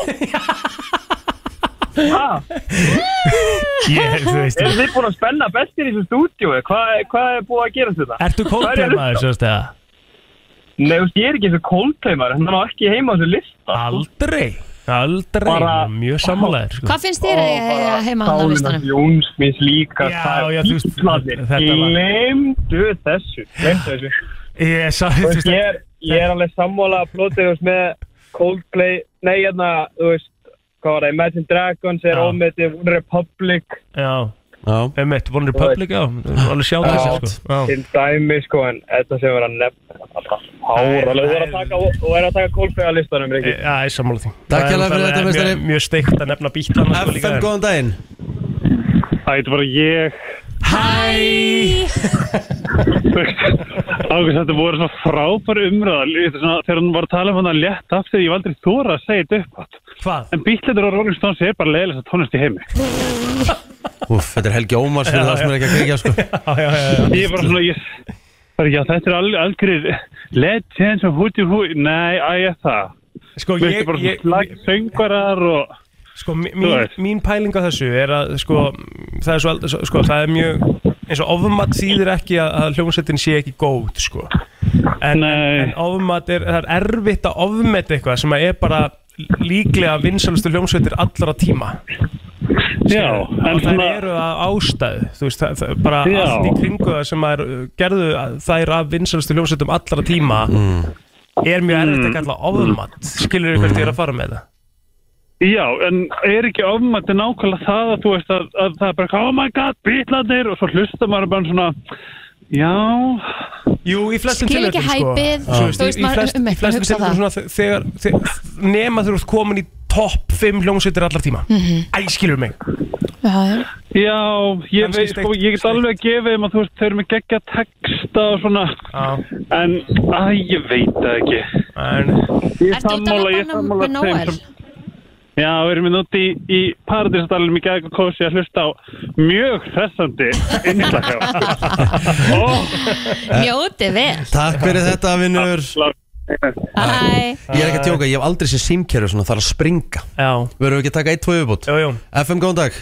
[SPEAKER 2] Ég, þú veist,
[SPEAKER 10] Erum þið búin að spenna bestir í þessu stúdíu? Hvað, hvað er búið að gera þetta?
[SPEAKER 2] ertu Coldplay maður, svo veist, eða?
[SPEAKER 10] Nei, þú veist, ég er ekki þessu kólteimar, hann er ekki heima á þessu lista.
[SPEAKER 2] Aldrei, aldrei,
[SPEAKER 10] Bara-
[SPEAKER 2] mjög sammálaðir, sko.
[SPEAKER 3] Hvað finnst þér að eiga heima hann á
[SPEAKER 10] Sálinas
[SPEAKER 3] listanum?
[SPEAKER 10] Jónsmís líka,
[SPEAKER 2] Já,
[SPEAKER 10] það
[SPEAKER 2] já,
[SPEAKER 10] er
[SPEAKER 2] þú veist,
[SPEAKER 10] bíklandir.
[SPEAKER 2] þetta var-
[SPEAKER 10] Glemdu þessu, glemdu þessu.
[SPEAKER 2] Ég, sá, þú
[SPEAKER 10] Þú veist,
[SPEAKER 2] veist,
[SPEAKER 10] ég er, ég er alveg sammála að plótið veist, með Coldplay, nei, hérna, þú veist, hvað var það, Imagine Dragons er
[SPEAKER 2] Já.
[SPEAKER 10] ofmetið, One Republic,
[SPEAKER 2] já,
[SPEAKER 1] Já,
[SPEAKER 2] emitt, One Republic, já, alveg sjá
[SPEAKER 10] Já.
[SPEAKER 2] þessi, sko. Já.
[SPEAKER 10] til dæmi, sko, en þetta sem verður að nefna, alltaf háralega, þú verður að taka, þú verður að taka Coldplay að listanum, Riki.
[SPEAKER 2] Já, ég sammála því.
[SPEAKER 1] Takk
[SPEAKER 2] Það er
[SPEAKER 1] hérlega fyrir þetta,
[SPEAKER 2] náttúrulega mjög-
[SPEAKER 1] meistari.
[SPEAKER 2] Mjög steikt að nefna bítlana, sko, líka.
[SPEAKER 1] FM, góðan daginn
[SPEAKER 10] Það er bara ég,
[SPEAKER 2] Hæ!
[SPEAKER 10] ákveðs, þetta voru svona frábæri umræðal, þegar hann var að tala um hann að létta af því, ég var aldrei þóra að segja þetta upp átt.
[SPEAKER 2] Hvað?
[SPEAKER 10] En Bíklættur og Rolling Stones er bara leiðilegst að tónlist í heimi.
[SPEAKER 1] Úf, þetta er Helgi Ómars fyrir það sem er ekki að kveikja sko.
[SPEAKER 2] Já, já, já, já.
[SPEAKER 10] Ég er bara svona, ég... Bara, já, þetta er alveg algjörir legends og húti húi. Nei, að ég það.
[SPEAKER 2] Sko,
[SPEAKER 10] Þú veist
[SPEAKER 2] ég,
[SPEAKER 10] bara svona
[SPEAKER 2] ég,
[SPEAKER 10] slag söngvarar og...
[SPEAKER 2] sko, mi-
[SPEAKER 10] Þú
[SPEAKER 2] mín,
[SPEAKER 10] veist.
[SPEAKER 2] mín pæling á þessu er að, sko, það er svo, ald- svo- sko, það er mjög, eins og ofumat þýðir ekki að, að hljómsveitin sé ekki góð, sko. En,
[SPEAKER 10] Nei.
[SPEAKER 2] en ofumat er, það er erfitt að ofmeta eitthvað sem að er bara líklega vinsalustu hljómsveitir allra tíma. Já, en þær eru að ástæðu þú veist, það, það, bara
[SPEAKER 11] Já.
[SPEAKER 2] allt í kringu það sem er, uh, gerðu að- þær af vinsalstu hljómsveitum allra tíma er mjög erfitt að kalla ofmat skilur þér hvert ég er að fara með það
[SPEAKER 11] Já, en er ekki ofmætti nákvæmlega það að þú veist að, að það er bara oh my god, bítlandir og svo hlusta maður bara svona já
[SPEAKER 2] Jú, í flestum
[SPEAKER 3] Skil ekki
[SPEAKER 2] tilvikum,
[SPEAKER 3] hæpið,
[SPEAKER 2] sko. Þú veist,
[SPEAKER 3] þú veist,
[SPEAKER 2] í- í
[SPEAKER 3] maður
[SPEAKER 2] flest-
[SPEAKER 3] um
[SPEAKER 2] í
[SPEAKER 3] eitthvað
[SPEAKER 2] flestum
[SPEAKER 3] hugsa
[SPEAKER 2] tilvikum
[SPEAKER 3] það.
[SPEAKER 2] svona þe- þegar, þegar, nema þú ert komin í topp 5 hljómsveitir allar tíma
[SPEAKER 3] Mhm.
[SPEAKER 2] Æ, skilur mig
[SPEAKER 3] Já, já.
[SPEAKER 11] Já, ég,
[SPEAKER 2] Kannski
[SPEAKER 11] veit,
[SPEAKER 2] steikt-
[SPEAKER 11] sko, ég get alveg að gefa þeim að þú veist, þau eru með geggja texta og svona en, að ég veit það ekki
[SPEAKER 2] en,
[SPEAKER 11] Ég sammála, ég sammála þeim sem Já, við erum við úti í, í paradísadalum í gegn og kósi að hlusta á mjög hressandi innslagjáð
[SPEAKER 3] Njótið vel
[SPEAKER 1] Takk fyrir þetta, vinnur
[SPEAKER 3] Æ,
[SPEAKER 1] Ég er ekki að tjóka, ég hef aldrei séð símkerfi svona þar að springa
[SPEAKER 2] Já
[SPEAKER 1] Verðum við ekki að taka 1-2 viðbútt?
[SPEAKER 2] Jú, jú
[SPEAKER 1] FM, góðan dag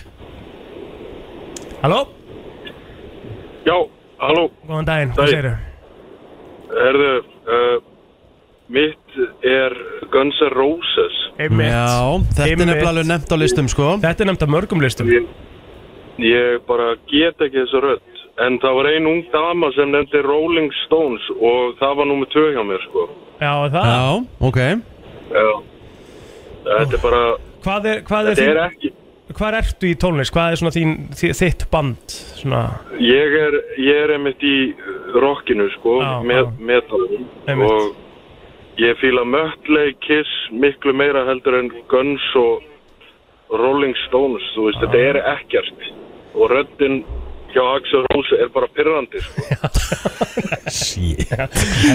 [SPEAKER 2] Halló?
[SPEAKER 12] Já, halló,
[SPEAKER 2] Góðan daginn,
[SPEAKER 12] Daginn.
[SPEAKER 2] hvað segir
[SPEAKER 12] herðu, uh, mitt er Guns N' Roses.
[SPEAKER 1] Já, þetta er nefnilega alveg nefnt á listum sko
[SPEAKER 2] Þetta er nefnt á mörgum listum
[SPEAKER 12] Ég bara get ekki þessu rödd, en það var ein ung dama sem nefndi Rolling Stones og það var nummer tvö hjá mér, sko.
[SPEAKER 2] Já, það
[SPEAKER 1] Já, ok
[SPEAKER 12] Já, þetta er bara,
[SPEAKER 2] Hvað er, hvað er,
[SPEAKER 12] þetta er
[SPEAKER 2] þín-
[SPEAKER 12] ekki,
[SPEAKER 2] Hvar ertu í tónlist? Hvað er svona þín, þi- þitt band? Svona,
[SPEAKER 12] ég er, ég er einmitt í rockinu, sko,
[SPEAKER 2] Já,
[SPEAKER 12] með,
[SPEAKER 2] já.
[SPEAKER 12] metalum
[SPEAKER 2] Einmitt.
[SPEAKER 12] og ég fíla Mötley, Kiss, miklu meira heldur en Guns og Rolling Stones, þú veist, þetta er ekkert og röddinn hjá Axel Rose er bara pirrandi, sko.
[SPEAKER 2] Þetta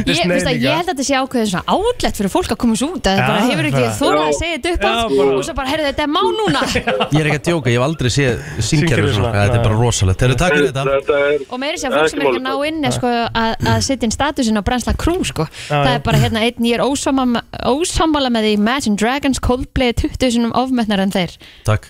[SPEAKER 3] Ég, veist að, ég held að þetta sé ákveðið svona átlegt fyrir fólk að komast út að
[SPEAKER 1] Já,
[SPEAKER 3] það bara hefur ekki
[SPEAKER 1] bara-
[SPEAKER 3] þórað að
[SPEAKER 1] Já.
[SPEAKER 3] segja þetta upp
[SPEAKER 1] Já,
[SPEAKER 3] að
[SPEAKER 1] bara-
[SPEAKER 3] og svo bara, heyrðu þetta er má núna
[SPEAKER 1] Ég er ekki að tjóka, ég hef aldrei séð símkerfi
[SPEAKER 2] Símkerfi
[SPEAKER 1] svona
[SPEAKER 2] svona,
[SPEAKER 1] Þetta
[SPEAKER 2] já.
[SPEAKER 1] er bara rosalegt Þegar takk fyrir þetta
[SPEAKER 12] er,
[SPEAKER 3] og meiri sem fólk sem er ekki að ná inn er, sko, að, að setja inn statusin á brennsla krú sko. það er bara hérna einn, ég er ósamma- ósammála með því Imagine Dragons Coldplay 20 sinum ofmetnar en þeir
[SPEAKER 1] Takk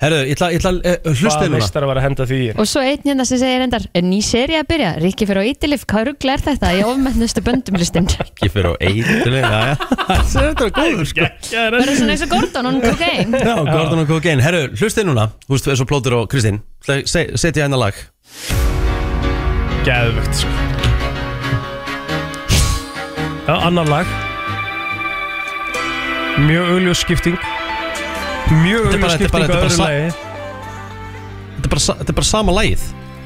[SPEAKER 1] Herðu, ég ætla- eh, ég ætla að hlusta
[SPEAKER 2] Hvað
[SPEAKER 1] inn núna
[SPEAKER 2] meistar að vera að henda því
[SPEAKER 3] og svo einn hérna sem segir endar er ný seri að byrja, Ríkki fyrir á Ítilif hvað ruggla er þetta í ofmetnustu böndumlistin
[SPEAKER 1] Ekki fyrir á eitileg, já, já Þetta er góður, sko
[SPEAKER 3] verður svona eins og Gordon on cocaine
[SPEAKER 1] Já, Gordon og Cocaine Herru, hlusta inn núna Þú veist, eins og plótur og Kristín Ætla- se- Setja hennar lag
[SPEAKER 2] Gæðvögt sko. Já, annar lag Mjög augljós skipting Mjög
[SPEAKER 1] Þetta er bara- þetta er
[SPEAKER 2] augljós
[SPEAKER 1] bara-
[SPEAKER 2] skipting á
[SPEAKER 1] þetta er bara
[SPEAKER 2] öðru
[SPEAKER 1] sa-
[SPEAKER 2] lagi
[SPEAKER 1] Þetta er bara, sa- þetta er bara sama lagið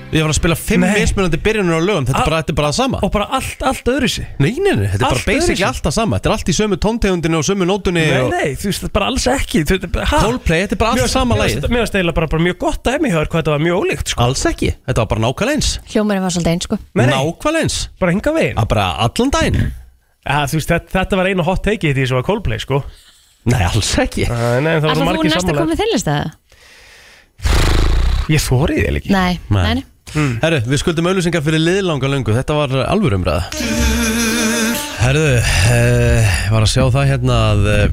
[SPEAKER 1] Ég var að spila fimm
[SPEAKER 2] Nei.
[SPEAKER 1] mismunandi byrjunir á lögum Þetta er bara, þetta er bara það sama
[SPEAKER 2] Og bara allt, allt öðru sig
[SPEAKER 1] Nei, nei, nei, þetta er bara
[SPEAKER 2] Allt
[SPEAKER 1] basically
[SPEAKER 2] öðruvísi.
[SPEAKER 1] alltaf sama Þetta er allt í sömu tóntegundinu og sömu nótunni
[SPEAKER 2] Nei,
[SPEAKER 1] og...
[SPEAKER 2] nei, þú veist, þetta er bara alls ekki Þú- þetta er bara- ha?
[SPEAKER 1] Coldplay, þetta er bara allt
[SPEAKER 2] Mér varst-
[SPEAKER 1] sama
[SPEAKER 2] mér varst-
[SPEAKER 1] lagið.
[SPEAKER 2] Mér varst eiginlega bara, bara mjög gott dæmi hjá þér hvað þetta var mjög ólíkt sko.
[SPEAKER 1] Alls ekki, þetta var bara nákvæmlega eins
[SPEAKER 3] hljómarinn var svolítið eins sko
[SPEAKER 1] Nákvæmlega eins
[SPEAKER 2] Bara hinga veginn
[SPEAKER 1] Að bara allan daginn
[SPEAKER 2] ja, Þú veist, þetta, þetta var einu hot take í því sem var Coldplay sko.
[SPEAKER 1] Nei, alls ekki
[SPEAKER 2] Nei, nei, það voru
[SPEAKER 3] Alltaf þú
[SPEAKER 2] margir
[SPEAKER 3] næst að koma
[SPEAKER 2] sammála
[SPEAKER 3] með þeirlistæða?
[SPEAKER 2] Ég þórið þér ekki
[SPEAKER 3] Nei,
[SPEAKER 1] Nei.
[SPEAKER 3] nei,
[SPEAKER 1] Herru, við skuldum auðlýsingar fyrir liðlanga löngu Þetta var alvöru umræða Herru, uh, var að sjá það hérna að uh,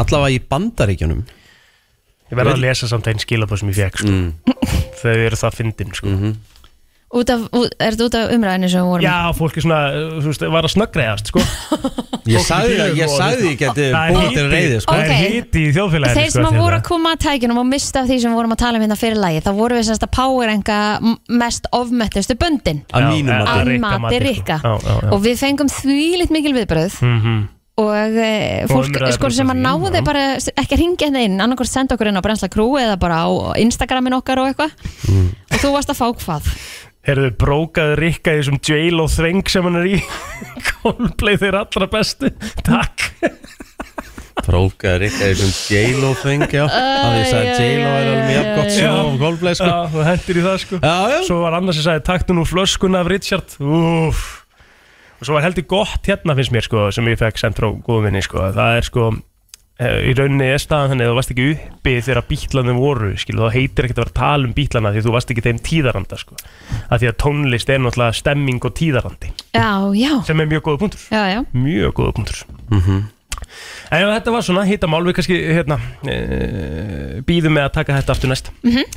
[SPEAKER 1] Allavega í bandaríkjunum
[SPEAKER 2] Ég verði að lesa samt einn skilabóð sem ég fekk sko.
[SPEAKER 1] Mm.
[SPEAKER 2] Þau eru það fyndin
[SPEAKER 1] Mhm.
[SPEAKER 2] sko.
[SPEAKER 3] Út af, út, er þetta út af umræðinu sem við vorum
[SPEAKER 2] Já, fólk er svona, uh, þú veist, var að snöggreiðast, sko
[SPEAKER 1] Ég sagði það, ég sagði ég geti búið til reyði sko.
[SPEAKER 2] Það er híti í þjóðfélaginu sko, hérna.
[SPEAKER 3] Þeir sem að voru að koma að tækjunum og mista af því sem við vorum að tala um hérna fyrir lagi þá vorum við semst að powerenga m- mest ofmettustu böndin
[SPEAKER 1] Að mínu mati.
[SPEAKER 3] Að
[SPEAKER 1] Rikka
[SPEAKER 3] mati
[SPEAKER 1] mati,
[SPEAKER 3] Rikka
[SPEAKER 1] sko. Já, já, já.
[SPEAKER 3] og við fengum þvílitt mikil viðbröð og e,
[SPEAKER 1] Og
[SPEAKER 3] fólk
[SPEAKER 1] umræða
[SPEAKER 3] sko,
[SPEAKER 1] bara
[SPEAKER 3] sem
[SPEAKER 1] frá
[SPEAKER 3] að
[SPEAKER 1] því,
[SPEAKER 3] náði
[SPEAKER 1] já.
[SPEAKER 3] bara s- ekki að ringja hérna inn annarkort senda okkur inn á Brensla Crew eða bara á Instagramin okkar og eitthvað og þú varst að fá hvað
[SPEAKER 2] Herðu, brókaði Rikka í þessum jail og þveng sem hann er í Coldplay þeir allra bestu Takk
[SPEAKER 1] Brókaður ykkar í þessum J-Lo þing, já Það ég sagði að J-Lo er alveg mjög gott sjó og Coldplay sko
[SPEAKER 2] Já, þú hendir í það, sko
[SPEAKER 1] Já, já
[SPEAKER 2] Svo var annars sem sagði, taktu nú flöskuna af Richard Úf Og svo var heldur gott hérna finnst mér, sko, sem ég fekk sendt frá góðvinni, sko Það er, sko, eh, í rauninni er staðan þannig að þú varst ekki uppi þegar bítlanum voru, skilu, þá heitir ekkert að vera að tala um bítlana því þú varst ekki þeim tíðaranda, sko að því að tónlist er náttúrulega stemming og tíðarandi
[SPEAKER 3] Já, já,
[SPEAKER 2] sem er mjög góða punktur
[SPEAKER 3] já, já
[SPEAKER 2] mjög góða punktur en ef þetta var svona hitta mál við kannski hérna e, býðum með að taka þetta aftur næst
[SPEAKER 3] Mhm.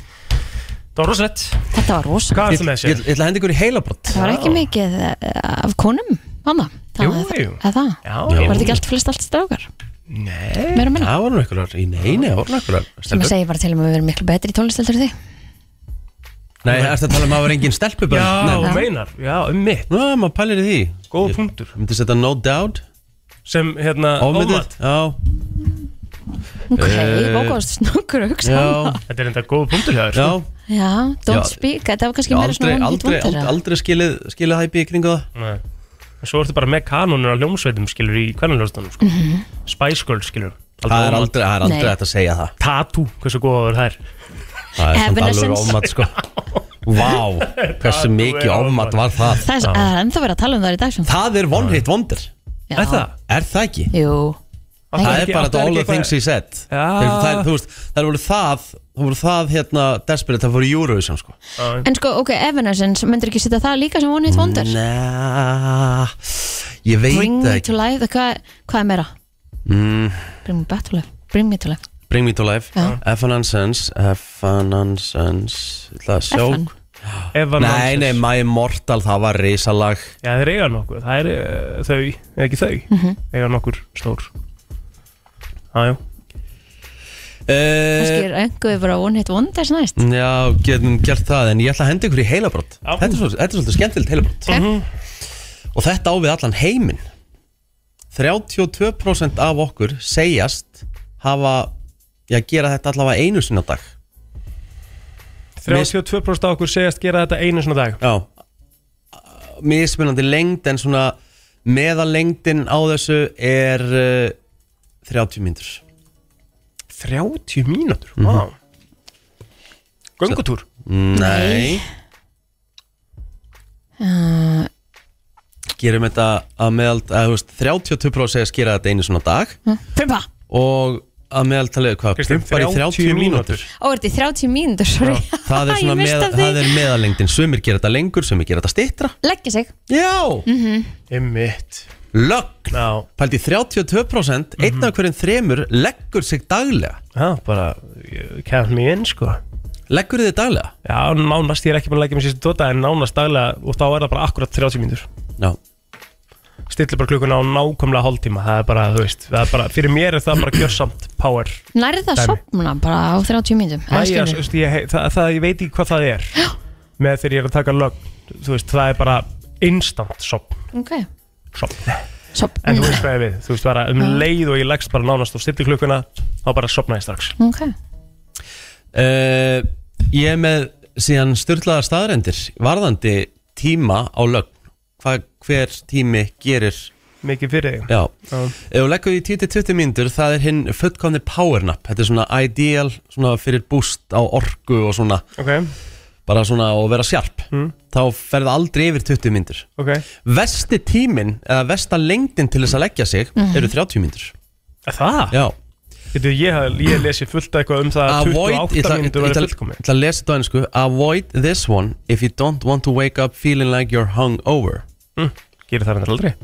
[SPEAKER 2] það var rosalett
[SPEAKER 3] Þetta var rosa
[SPEAKER 2] hvað er það með þessi?
[SPEAKER 1] Ég ætla að henda ykkur í heilabrott
[SPEAKER 3] Það var ekki mikið eh, af konum hana.
[SPEAKER 2] Jú, jú.
[SPEAKER 3] Eða það?
[SPEAKER 2] Já,
[SPEAKER 3] Var
[SPEAKER 2] jú.
[SPEAKER 3] þetta ekki allt flest allt strákar?
[SPEAKER 1] Nei,
[SPEAKER 3] Meira og minna.
[SPEAKER 1] það var nú einhverjar í neini, það var nú einhverjar
[SPEAKER 3] sem að
[SPEAKER 1] stelpur.
[SPEAKER 3] segja bara til um að við erum miklu betri í tónlisteldur þið
[SPEAKER 1] Nei, ertu að tala um að það var engin stelpu bara?
[SPEAKER 2] Já,
[SPEAKER 1] Nei.
[SPEAKER 2] þú meinar, já, um mitt
[SPEAKER 1] Ná, maður pælir í því
[SPEAKER 2] Góð punktur
[SPEAKER 1] Myndi setja no doubt
[SPEAKER 2] Sem, hérna,
[SPEAKER 1] Ómyndið, já
[SPEAKER 3] Ok,
[SPEAKER 1] Eh,
[SPEAKER 3] vókast snokkur að hugsa um það
[SPEAKER 2] Þetta er enda góð punktur hjá þér sko.
[SPEAKER 1] Já,
[SPEAKER 3] Já, don't
[SPEAKER 1] Já.
[SPEAKER 3] speak, þetta var
[SPEAKER 1] Já,
[SPEAKER 3] kannski meira
[SPEAKER 1] aldrei,
[SPEAKER 3] svona
[SPEAKER 1] aldrei,
[SPEAKER 3] vondir
[SPEAKER 1] aldrei, aldrei skilið, skilið hæpi í kringu það
[SPEAKER 2] Nei. En svo ertu bara með kanonur á hljómsveitum skilur í kvennaljóðstæðum sko.
[SPEAKER 3] Mhm.
[SPEAKER 2] Spice Girls skilur
[SPEAKER 1] Það er aldrei, það er aldrei
[SPEAKER 2] Nei.
[SPEAKER 1] hægt að segja það
[SPEAKER 2] Tattoo, hversu góða verður þær
[SPEAKER 1] Það er samt alveg
[SPEAKER 3] Evanescence.
[SPEAKER 1] ofmat sko Vá, hversu mikið ofmat var það
[SPEAKER 3] Það er- það er ennþá verið að tala um það í dag sem
[SPEAKER 1] Það er one hit wonder
[SPEAKER 3] Já. Er það?
[SPEAKER 1] Er það ekki?
[SPEAKER 3] Jú
[SPEAKER 1] Það er bara þetta all the
[SPEAKER 2] eitthvað-
[SPEAKER 1] things he said Þegar Það er, þú veist, það voru það Það voru það hérna desperate Það voru Eurovision sko
[SPEAKER 3] En sko, ok, Evanescence, myndir ekki setja það líka sem vonið vondur?
[SPEAKER 1] Næ, ég veit
[SPEAKER 3] Bring
[SPEAKER 1] það
[SPEAKER 3] me
[SPEAKER 1] ekki
[SPEAKER 3] to life, það- hvað hvað er meira?
[SPEAKER 1] Mm,
[SPEAKER 3] Bring me back to life, bring me to life
[SPEAKER 1] Bring me to life
[SPEAKER 3] Já.
[SPEAKER 1] Evanescence Evanescence Ég ætla að sjá
[SPEAKER 3] Evan.
[SPEAKER 1] Nei,
[SPEAKER 2] Evanescence.
[SPEAKER 1] nei, My Immortal Það var risalag
[SPEAKER 2] Já, þeir eiga nokkuð, það er uh, þau, eða ekki þau
[SPEAKER 3] Mhm.
[SPEAKER 2] Eiga nokkur stór Jájú
[SPEAKER 3] Kannski er einhverju bara one hit wonders næst
[SPEAKER 1] Eh, Já, getum gert það En ég ætla að henda ykkur í heilabrott
[SPEAKER 3] Já.
[SPEAKER 1] þetta er, svolítið, þetta er svolítið skemmtilegt heilabrott Og þetta á við allan heiminn 32% af okkur segjast hafa Já, gera þetta allavega einu sinna dag
[SPEAKER 2] 32% af okkur segjast gera þetta einu svona dag
[SPEAKER 1] Já Mismunandi lengd en svona Meðalengdin á þessu er uh, 30 mínútur
[SPEAKER 2] 30 mínútur,
[SPEAKER 1] Mhm.
[SPEAKER 2] vá wow. Göngutúr
[SPEAKER 1] Nei
[SPEAKER 3] uh,
[SPEAKER 1] Gerum þetta að meðal að, þú veist, 32% segjast gera þetta einu sinna dag
[SPEAKER 3] Pumpa,
[SPEAKER 1] og að meðaltalið hvað,
[SPEAKER 2] Kristín,
[SPEAKER 1] prumpar í 30 mínútur
[SPEAKER 3] ó, er þetta í 30 mínútur, sorry
[SPEAKER 1] það er,
[SPEAKER 3] Ég
[SPEAKER 1] svona með,
[SPEAKER 3] mista
[SPEAKER 1] það
[SPEAKER 3] því.
[SPEAKER 1] er meðalengdin sumir gera þetta lengur, sumir gera þetta stittra
[SPEAKER 3] Leggja sig
[SPEAKER 1] Já
[SPEAKER 3] Mhm.
[SPEAKER 2] Emmitt
[SPEAKER 1] Lögn,
[SPEAKER 2] Já.
[SPEAKER 1] pældi 32% einn af hverjum þremur leggur sig daglega
[SPEAKER 2] Já, bara kemst mig inn sko
[SPEAKER 1] Leggur þið daglega?
[SPEAKER 2] Já, nánast, ég er ekki búin að leggja mig sérstu dota en nánast daglega og þá er það bara akkurat 30 mínútur
[SPEAKER 1] Já
[SPEAKER 2] Stillir bara klukkuna á nákvæmlega hálftíma það er bara, þú veist, það er bara, fyrir mér er það bara gjörsamt power
[SPEAKER 3] Nærði það
[SPEAKER 2] Dæmi.
[SPEAKER 3] sopna bara á 30 mínútum
[SPEAKER 2] Næ, ég, þú veist, ég, það, það, ég veit ekki hvað það er með þegar ég er að taka lögn þú veist, það er bara instant sopn,
[SPEAKER 3] Ok,
[SPEAKER 2] sopn.
[SPEAKER 3] Sopn.
[SPEAKER 2] en þú veist hvað ég við, þú veist bara um
[SPEAKER 3] Já.
[SPEAKER 2] leið og ég leggst bara nánast og stilli klukkuna þá bara sopna ég strax
[SPEAKER 3] Mm, ok
[SPEAKER 1] uh, Ég er með síðan styrlaðar staðrendir varðandi tíma á lögn Hva, hver tími gerir
[SPEAKER 2] mikið fyrir þig
[SPEAKER 1] Já, ef þú leggur því 10-20 mínútur það er hinn fullkomni power nap þetta er svona ideal svona fyrir boost á orku og svona
[SPEAKER 2] Ok.
[SPEAKER 1] bara svona og vera sjarp
[SPEAKER 2] Mm.
[SPEAKER 1] þá ferði aldrei yfir 20 mínútur
[SPEAKER 2] Ok.
[SPEAKER 1] Vesti tíminn eða vesta lengdin til þess að leggja sig
[SPEAKER 2] Mhm.
[SPEAKER 1] eru 30 mínútur
[SPEAKER 2] Er það?
[SPEAKER 1] Já
[SPEAKER 2] Getur, ég, haf- ég lesi fullt eitthvað um það að
[SPEAKER 1] Avoid, ég
[SPEAKER 2] 28
[SPEAKER 1] ætla- ég
[SPEAKER 2] mínútur verið
[SPEAKER 1] ætla
[SPEAKER 2] fullkomi
[SPEAKER 1] ég ætla að lesa þetta á ennsku Avoid this one if you don't want to wake up feeling like you're hungover
[SPEAKER 2] mm. Gerir það hendur aldrei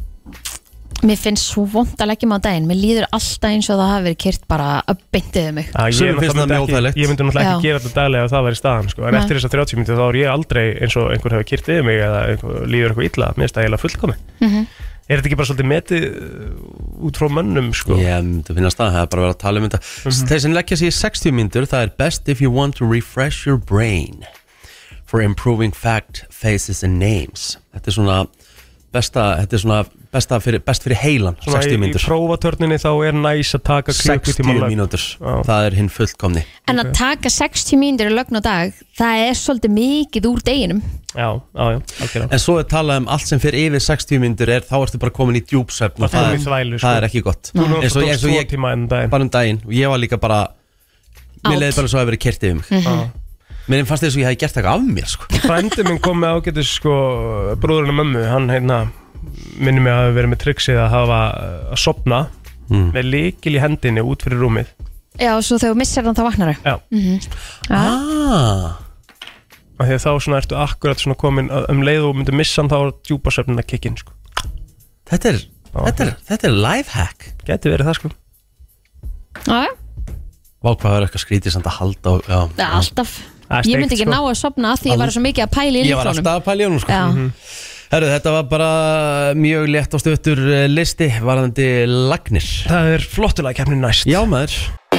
[SPEAKER 3] Mér finnst svo vond að leggja mig á daginn Mér líður alltaf eins og það hafi verið kyrt bara að beintið um mig
[SPEAKER 2] Já, ég,
[SPEAKER 1] Sumum finnst það
[SPEAKER 2] náttúrulega
[SPEAKER 1] mjög
[SPEAKER 2] myndi ekki-
[SPEAKER 1] óþægilegt.
[SPEAKER 2] ég myndi náttúrulega ekki
[SPEAKER 3] Já.
[SPEAKER 2] gera þetta daglega ef það væri staðan sko. en
[SPEAKER 3] Nei.
[SPEAKER 2] eftir þess að 30 mínútur þá er ég aldrei eins og einhver hefur kyrt yfir mig eða einhver, líður eitthvað illa, mér finnst það eiginlega fullkomi
[SPEAKER 3] Mhm.
[SPEAKER 2] Er þetta ekki bara svolítið metið uh, út frá mönnum sko?
[SPEAKER 1] Ég myndi finna stað, það er bara að vera að tala um þetta
[SPEAKER 2] Mhm.
[SPEAKER 1] Þeir sem leggja sig í 60 mínútur Það er best if you want to refresh your brain For improving fact, faces and names Þetta er svona besta, þetta er svona besta fyrir, best fyrir heilan
[SPEAKER 2] Svona
[SPEAKER 1] 60
[SPEAKER 2] í, í
[SPEAKER 1] mínútur
[SPEAKER 2] prófatörninni þá er næs að taka
[SPEAKER 1] 60
[SPEAKER 2] klukkutíma lag.
[SPEAKER 1] mínútur, það er hinn fullkomni
[SPEAKER 3] En að taka 60 mínútur í lögn og dag Það er svolítið mikið úr deginum
[SPEAKER 2] Já, já, já, algjörlega
[SPEAKER 1] En svo er talað um allt sem fyrir yfir 60 mínútur er, Þá ertu bara komin í djúpsvefn og
[SPEAKER 2] Það
[SPEAKER 1] það,
[SPEAKER 2] er í þvælu, sko.
[SPEAKER 1] það er ekki gott
[SPEAKER 2] Þú náttúrulega
[SPEAKER 1] Eins og-
[SPEAKER 2] tókst
[SPEAKER 1] eins og
[SPEAKER 2] tvo
[SPEAKER 1] ég-
[SPEAKER 2] tíma en daginn.
[SPEAKER 1] Bara um daginn, og ég var líka bara Mér
[SPEAKER 2] Out.
[SPEAKER 1] leiði bara svo að vera kert yfir mig
[SPEAKER 2] Mhm. Já.
[SPEAKER 1] Mér fannst þess að ég hefði gert eitthvað af mér sko.
[SPEAKER 2] Frændi minn kom með ágætis sko, bróðurinn og mömmu, hann hérna minni mig að hafa verið með triksið að hafa uh, að sopna með líkil í hendinni út fyrir rúmið
[SPEAKER 3] Já, svo þegar þú missir hann þá vaknar
[SPEAKER 2] Já.
[SPEAKER 1] ah.
[SPEAKER 3] ah.
[SPEAKER 2] af því að þá svona ertu akkurat svona komin að- um leið og myndu missan þá er djúpasöfnin að kikkin sko.
[SPEAKER 1] Þetta er, þetta er, þetta er lifehack
[SPEAKER 2] Gæti verið það sko
[SPEAKER 3] Já,
[SPEAKER 1] Vá hvað það er eitthvað skrítið samt að halda á, já,
[SPEAKER 3] já, alltaf
[SPEAKER 1] Það er
[SPEAKER 3] Ég
[SPEAKER 1] steikt,
[SPEAKER 3] myndi ekki
[SPEAKER 1] sko.
[SPEAKER 3] ná að sopna af því ég var
[SPEAKER 1] All-
[SPEAKER 3] svo mikið að pæla í
[SPEAKER 1] Ég var
[SPEAKER 3] líflónum
[SPEAKER 1] alltaf að pæla í honum sko
[SPEAKER 3] Já.
[SPEAKER 1] Mhm. Herru, þetta var bara mjög létt og stuttur eh, listi varðandi lagnir
[SPEAKER 2] Það er flottulega kemni næst
[SPEAKER 1] Já maður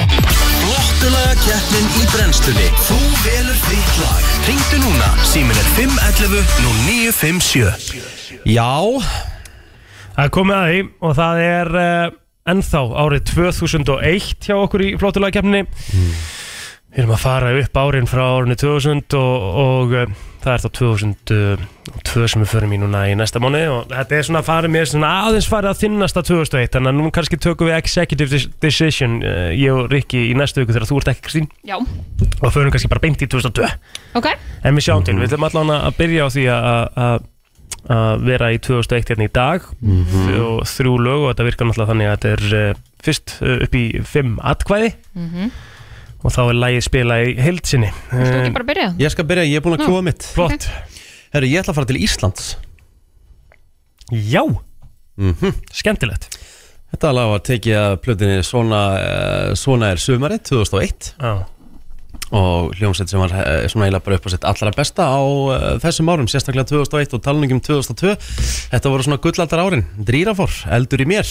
[SPEAKER 13] Flottulaga keppnin í brennstunni Þú velur þitt lag Ringdu núna, símin er 511 0957
[SPEAKER 1] Já
[SPEAKER 2] Það er komið að því og það er uh, ennþá árið 2001 hjá okkur í flottulega kemni Við erum að fara upp árin frá árinu 2000 og, og uh, það er þá 2002 sem við förum í núna í næsta mánu og þetta er svona farið mér svona aðeins farið að þinnast að 2001 þannig að nú kannski tökum við executive des- decision uh, ég og Rikki í næstu viku þegar þú ert ekki Kristín
[SPEAKER 3] Já,
[SPEAKER 2] og förum kannski bara beint í 2002
[SPEAKER 3] ok
[SPEAKER 1] Eh.
[SPEAKER 2] En við sjáum til, við ætlum allan að byrja á því að- að að- að vera í 2001 hérna í dag
[SPEAKER 1] Mhm.
[SPEAKER 2] og þrjú lög og þetta virkar náttúrulega þannig að þetta er uh, fyrst uh, upp í fimm atkvæði
[SPEAKER 3] Mhm.
[SPEAKER 2] og þá er lægið spilað í heild sinni Eh,
[SPEAKER 3] Þú ekki bara byrja
[SPEAKER 1] Ég skal byrja, ég er búin að
[SPEAKER 3] Nú,
[SPEAKER 1] kjóa mitt
[SPEAKER 3] Flott.
[SPEAKER 1] Herru, ég ætla að fara til Íslands
[SPEAKER 2] Já Skemmtilegt
[SPEAKER 1] Þetta lag var tekið að plötinni svona, eh, svona er sumarið 2001
[SPEAKER 2] Já.
[SPEAKER 1] og hljómsveit sem var eh, svona eiginlega bara upp á sitt allra besta á eh, þessum árum, sérstaklega 2001 og talningum 2002 Þetta voru svona gullaldar árin, drýrafor, eldur í mér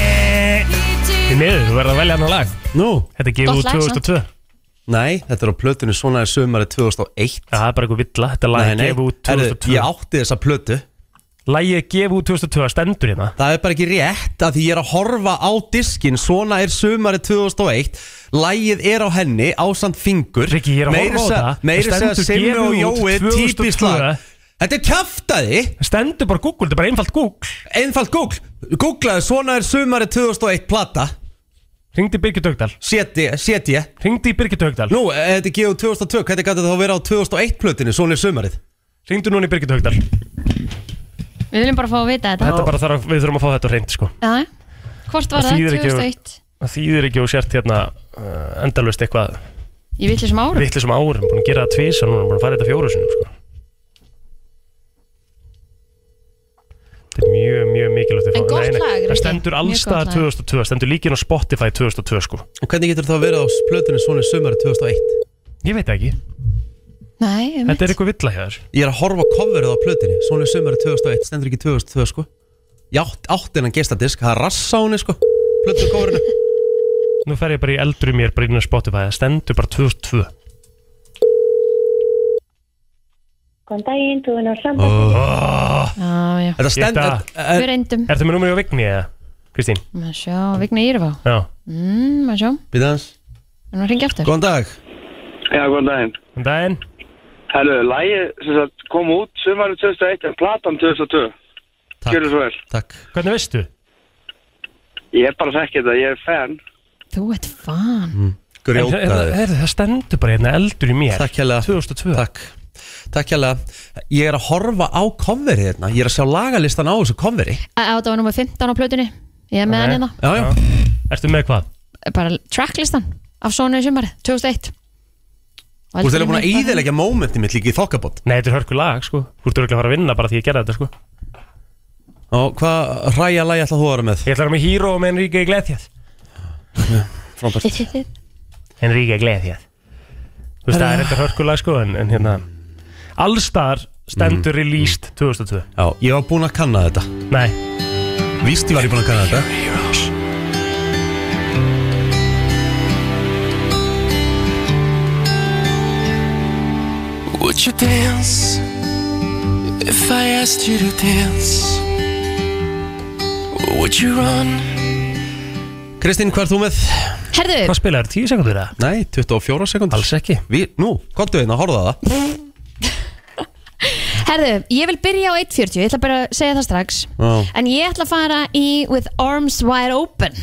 [SPEAKER 2] Því miður, þú verður að velja annar lag
[SPEAKER 1] Nú
[SPEAKER 2] Þetta er gefið
[SPEAKER 3] Gott
[SPEAKER 2] úr
[SPEAKER 3] lag,
[SPEAKER 2] 2002
[SPEAKER 1] Nei, þetta er á plötunni Svona er sumarið 2001
[SPEAKER 2] Það er bara eitthvað villa, þetta lag er gefið út 2002
[SPEAKER 1] Ég átti þessa plötu
[SPEAKER 2] Lægið er gefið út 2002, stendur hérna
[SPEAKER 1] Það er bara ekki rétt að því ég er að horfa á diskin Svona er sumarið 2001 Lægið er á henni ásand fingur
[SPEAKER 2] Rikki, ég er að
[SPEAKER 1] Meira segja-
[SPEAKER 2] horfa á þetta.
[SPEAKER 1] Meira
[SPEAKER 2] Það
[SPEAKER 1] segja
[SPEAKER 2] stendur
[SPEAKER 1] Simmi og
[SPEAKER 2] gefið út
[SPEAKER 1] Jói
[SPEAKER 2] 2002.
[SPEAKER 1] típist lag Þetta er kjaftaði
[SPEAKER 2] Stendur bara Google, þetta er bara einfalt Google
[SPEAKER 1] Einfalt Google Googlaði svona er sumarið 2001 plata
[SPEAKER 2] Ringdi Birgit Haugdal
[SPEAKER 1] Séti, séti ég
[SPEAKER 2] Ringdi Birgit Haugdal
[SPEAKER 1] Nú, eh, þetta er gefið út 2002 Hvernig gæti þetta þá vera á 2001 plötinu Svona er sumarið
[SPEAKER 2] Ringdu núna í Birgit Haugdal
[SPEAKER 3] Við viljum bara fá að vita þetta
[SPEAKER 2] Þetta bara þarf, að- við þurfum að fá þetta á hreint sko
[SPEAKER 3] Já, hvort var
[SPEAKER 2] Það
[SPEAKER 3] það?
[SPEAKER 2] þýðir ekki-
[SPEAKER 3] 2001
[SPEAKER 2] Það þýðir ekki og sért hérna uh, endalust eitthvað um
[SPEAKER 3] Ég vill þessum árum
[SPEAKER 2] vittlisum árum, búin að gera það tvís og núna búin að fara þetta fjóru sinum sko. Þetta er mjög, mjög mikilvægt að
[SPEAKER 3] En
[SPEAKER 2] fá-
[SPEAKER 3] gott
[SPEAKER 2] Nei, nei,
[SPEAKER 3] lag, Rikki.
[SPEAKER 2] Það stendur
[SPEAKER 3] Mjög
[SPEAKER 2] allstaðar
[SPEAKER 3] gott lag.
[SPEAKER 2] 2002, stendur líkin á Spotify 2002 sko
[SPEAKER 1] Hvernig getur það verið á plötinu Svona er sumarið 2001
[SPEAKER 2] Ég veit það ekki,
[SPEAKER 3] Nei, um
[SPEAKER 2] þetta er eitthvað villa hjá þér
[SPEAKER 1] Ég er að horfa á coverið á plötinni Svona er sömari 2001, stendur ekki 2002 sko Ég átt, átt innan gestadisk Það er rass á henni sko Plötu coverinu
[SPEAKER 2] Nú fer ég bara í eldri mér bara inn á Spotify, það stendur bara 2002
[SPEAKER 14] Góðan daginn, þú er náttúrulega
[SPEAKER 2] oh.
[SPEAKER 3] Já, já
[SPEAKER 2] Þetta stendur- Ég þetta-
[SPEAKER 3] Við reyndum
[SPEAKER 2] Ertu með númur í að vigni eða, Kristín?
[SPEAKER 3] Maður sjá, Vigna Írvá
[SPEAKER 2] Já
[SPEAKER 3] Mmm, maður sjá
[SPEAKER 1] Býta hans
[SPEAKER 3] En maður hringi aftur
[SPEAKER 1] Eh, Góðan dag
[SPEAKER 10] Já, góðan daginn.
[SPEAKER 2] Góðan daginn.
[SPEAKER 10] Herru, lægi sem sagt, kom út sumarið 2001 en platan 2002.
[SPEAKER 1] Takk.
[SPEAKER 10] Gjörðu svo vel.
[SPEAKER 1] Takk.
[SPEAKER 2] Hvernig veistu?
[SPEAKER 10] Ég er bara þekkið þetta, ég er fan.
[SPEAKER 3] Þú ert fan mm.
[SPEAKER 1] Grjótaður.
[SPEAKER 2] En hérna- hérna, Það stendur bara hérna eldur í mér
[SPEAKER 1] Takk hérlega
[SPEAKER 2] 2002
[SPEAKER 1] Takk Takk hérlega Ég er að horfa á coverið hérna Ég er að sjá lagalistan á þessu coveri
[SPEAKER 3] Þetta var nummer 15 á plötunni Ég er með hann hérna
[SPEAKER 1] Já, já
[SPEAKER 2] Ertu með hvað?
[SPEAKER 3] Bara tracklistan Af svona í sumari 2001
[SPEAKER 1] Þú ert eða búin að íðilegja momentið mitt líka í þokkabót
[SPEAKER 2] Nei, þetta er hörku lag sko Þú ert örgulega að fara að vinna bara því ég gerði þetta sko
[SPEAKER 1] Og hvað ræja lagi ætla þú að vera með?
[SPEAKER 2] Ég ætla að vera með Hero með Enrique Iglesias
[SPEAKER 1] Frábært
[SPEAKER 2] Enrique Iglesias Þú veist, það er þetta hörku lag sko En, en hérna Allstar
[SPEAKER 1] Mm.
[SPEAKER 2] stendur released 2002
[SPEAKER 1] Já, ég var búin að kanna þetta
[SPEAKER 2] Nei
[SPEAKER 1] Víst ég var ég búin að kanna þetta
[SPEAKER 13] Would you dance if I asked you to dance? Would you run?
[SPEAKER 1] Kristín, hvað er þú með?
[SPEAKER 3] Herðu
[SPEAKER 1] sko?
[SPEAKER 2] Hvað spilaður, 10 sekundur eða?
[SPEAKER 1] Nei, 24 sekundur
[SPEAKER 2] Alls ekki
[SPEAKER 1] Við, Nú, komdu hérna, horfðu að það
[SPEAKER 3] Herðu, ég vil byrja á 1.40 Ég ætla bara að segja það strax
[SPEAKER 1] Já.
[SPEAKER 3] En ég ætla að fara í With Arms Wide Open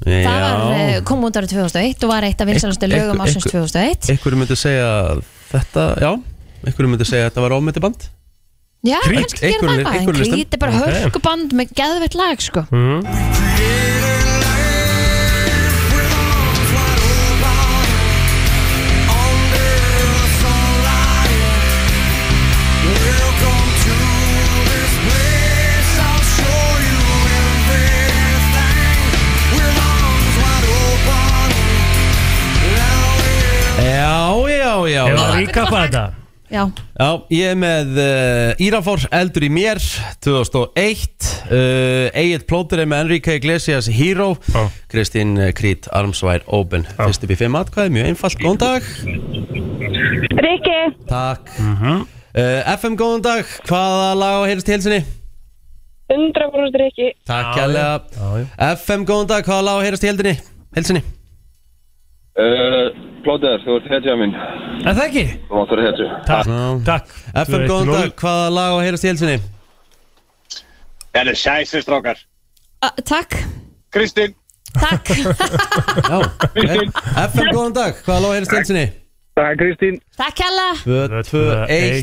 [SPEAKER 3] Það var, eh, kom út árið 2001 og var eitt af vinsalastu lögum ásins 2001
[SPEAKER 1] Ekkur myndi segja að þetta, já Ekkur myndi segja að þetta var ofmyndi band
[SPEAKER 3] Já,
[SPEAKER 1] Creed.
[SPEAKER 3] kannski gera
[SPEAKER 1] Einhverjum-
[SPEAKER 3] það bara En
[SPEAKER 1] einhverjum listum.
[SPEAKER 3] Creed er bara
[SPEAKER 1] Ok.
[SPEAKER 3] hörkuband með geðvett lag sko
[SPEAKER 2] mm.
[SPEAKER 13] All
[SPEAKER 2] recappa þetta
[SPEAKER 3] Já,
[SPEAKER 1] Já, ég er með uh, Írafór, Eldur í mér 2001 uh, Egil Plóter er með Enrique Iglesias Hero Kristín uh, Krít, Armsvær, Open Fyrst upp í fimm atkvæði, mjög einfalt, góðan dag
[SPEAKER 4] Rikki
[SPEAKER 1] Takk uh, FM, góðan dag, hvaða lag á heyrst í hilsinni?
[SPEAKER 4] 100% Rikki
[SPEAKER 1] Takk kærlega FM, góðan dag, hvaða lag á heyrst í hildinni? Hilsinni
[SPEAKER 12] Uh, Plóter, þú ert hetja mín
[SPEAKER 2] Er það ekki?
[SPEAKER 12] Þú máttur hetju
[SPEAKER 2] takk
[SPEAKER 1] FM, góðan dag, hvaða lag á heyrst í hilsinni?
[SPEAKER 12] Það er sæsir strákar
[SPEAKER 3] A, takk
[SPEAKER 12] Kristín
[SPEAKER 3] Takk
[SPEAKER 1] Já, eh, FM, góðan dag, hvaða lag á heyrst í hilsinni?
[SPEAKER 8] Það er Kristín
[SPEAKER 3] Takk hella
[SPEAKER 1] 2, 2,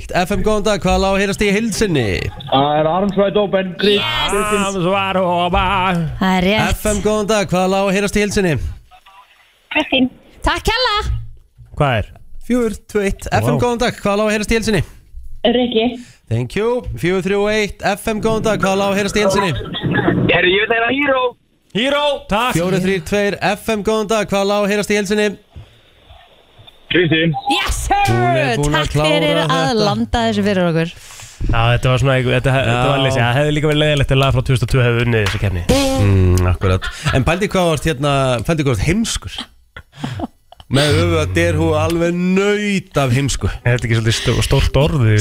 [SPEAKER 1] 1 FM, góðan dag, hvaða lág heyrast í hilsinni?
[SPEAKER 12] Það er Armsvæt Open
[SPEAKER 2] Armsvæt Open
[SPEAKER 3] Það er rétt
[SPEAKER 1] FM, góðan dag, hvaða lág heyrast í hilsinni?
[SPEAKER 3] Kristín Takk hella
[SPEAKER 2] Hvað er?
[SPEAKER 1] 4, 2, 1 FM, góðan dag, hvaða lág heyrast í hilsinni?
[SPEAKER 4] Rikki
[SPEAKER 1] Thank you 4, 3, 1 FM, góðan dag, hvaða lág heyrast í hilsinni?
[SPEAKER 10] Herri, ég veit að það er híró
[SPEAKER 2] Híró, takk
[SPEAKER 1] 4, 3, 2 FM, góðan dag, hvaða lág heyrast í hilsinni?
[SPEAKER 8] Kristín
[SPEAKER 3] Yes
[SPEAKER 1] Hún er
[SPEAKER 3] sir
[SPEAKER 1] búin að
[SPEAKER 3] Takk
[SPEAKER 1] klára
[SPEAKER 3] fyrir að
[SPEAKER 1] þetta.
[SPEAKER 3] landa þessu fyrir okkur
[SPEAKER 2] Já, þetta var svona einhver- Þetta, þetta var leysi Það hefði líka verið leiðilegt að laga frá 2002 hefði unnið þessu kefni
[SPEAKER 1] Mm, akkurat En pældi hvað vart hérna, pældi hvað vart heimskur Með höfuð að der hú alveg nöyt af heimsku
[SPEAKER 2] Er þetta ekki svolítið stórt orði?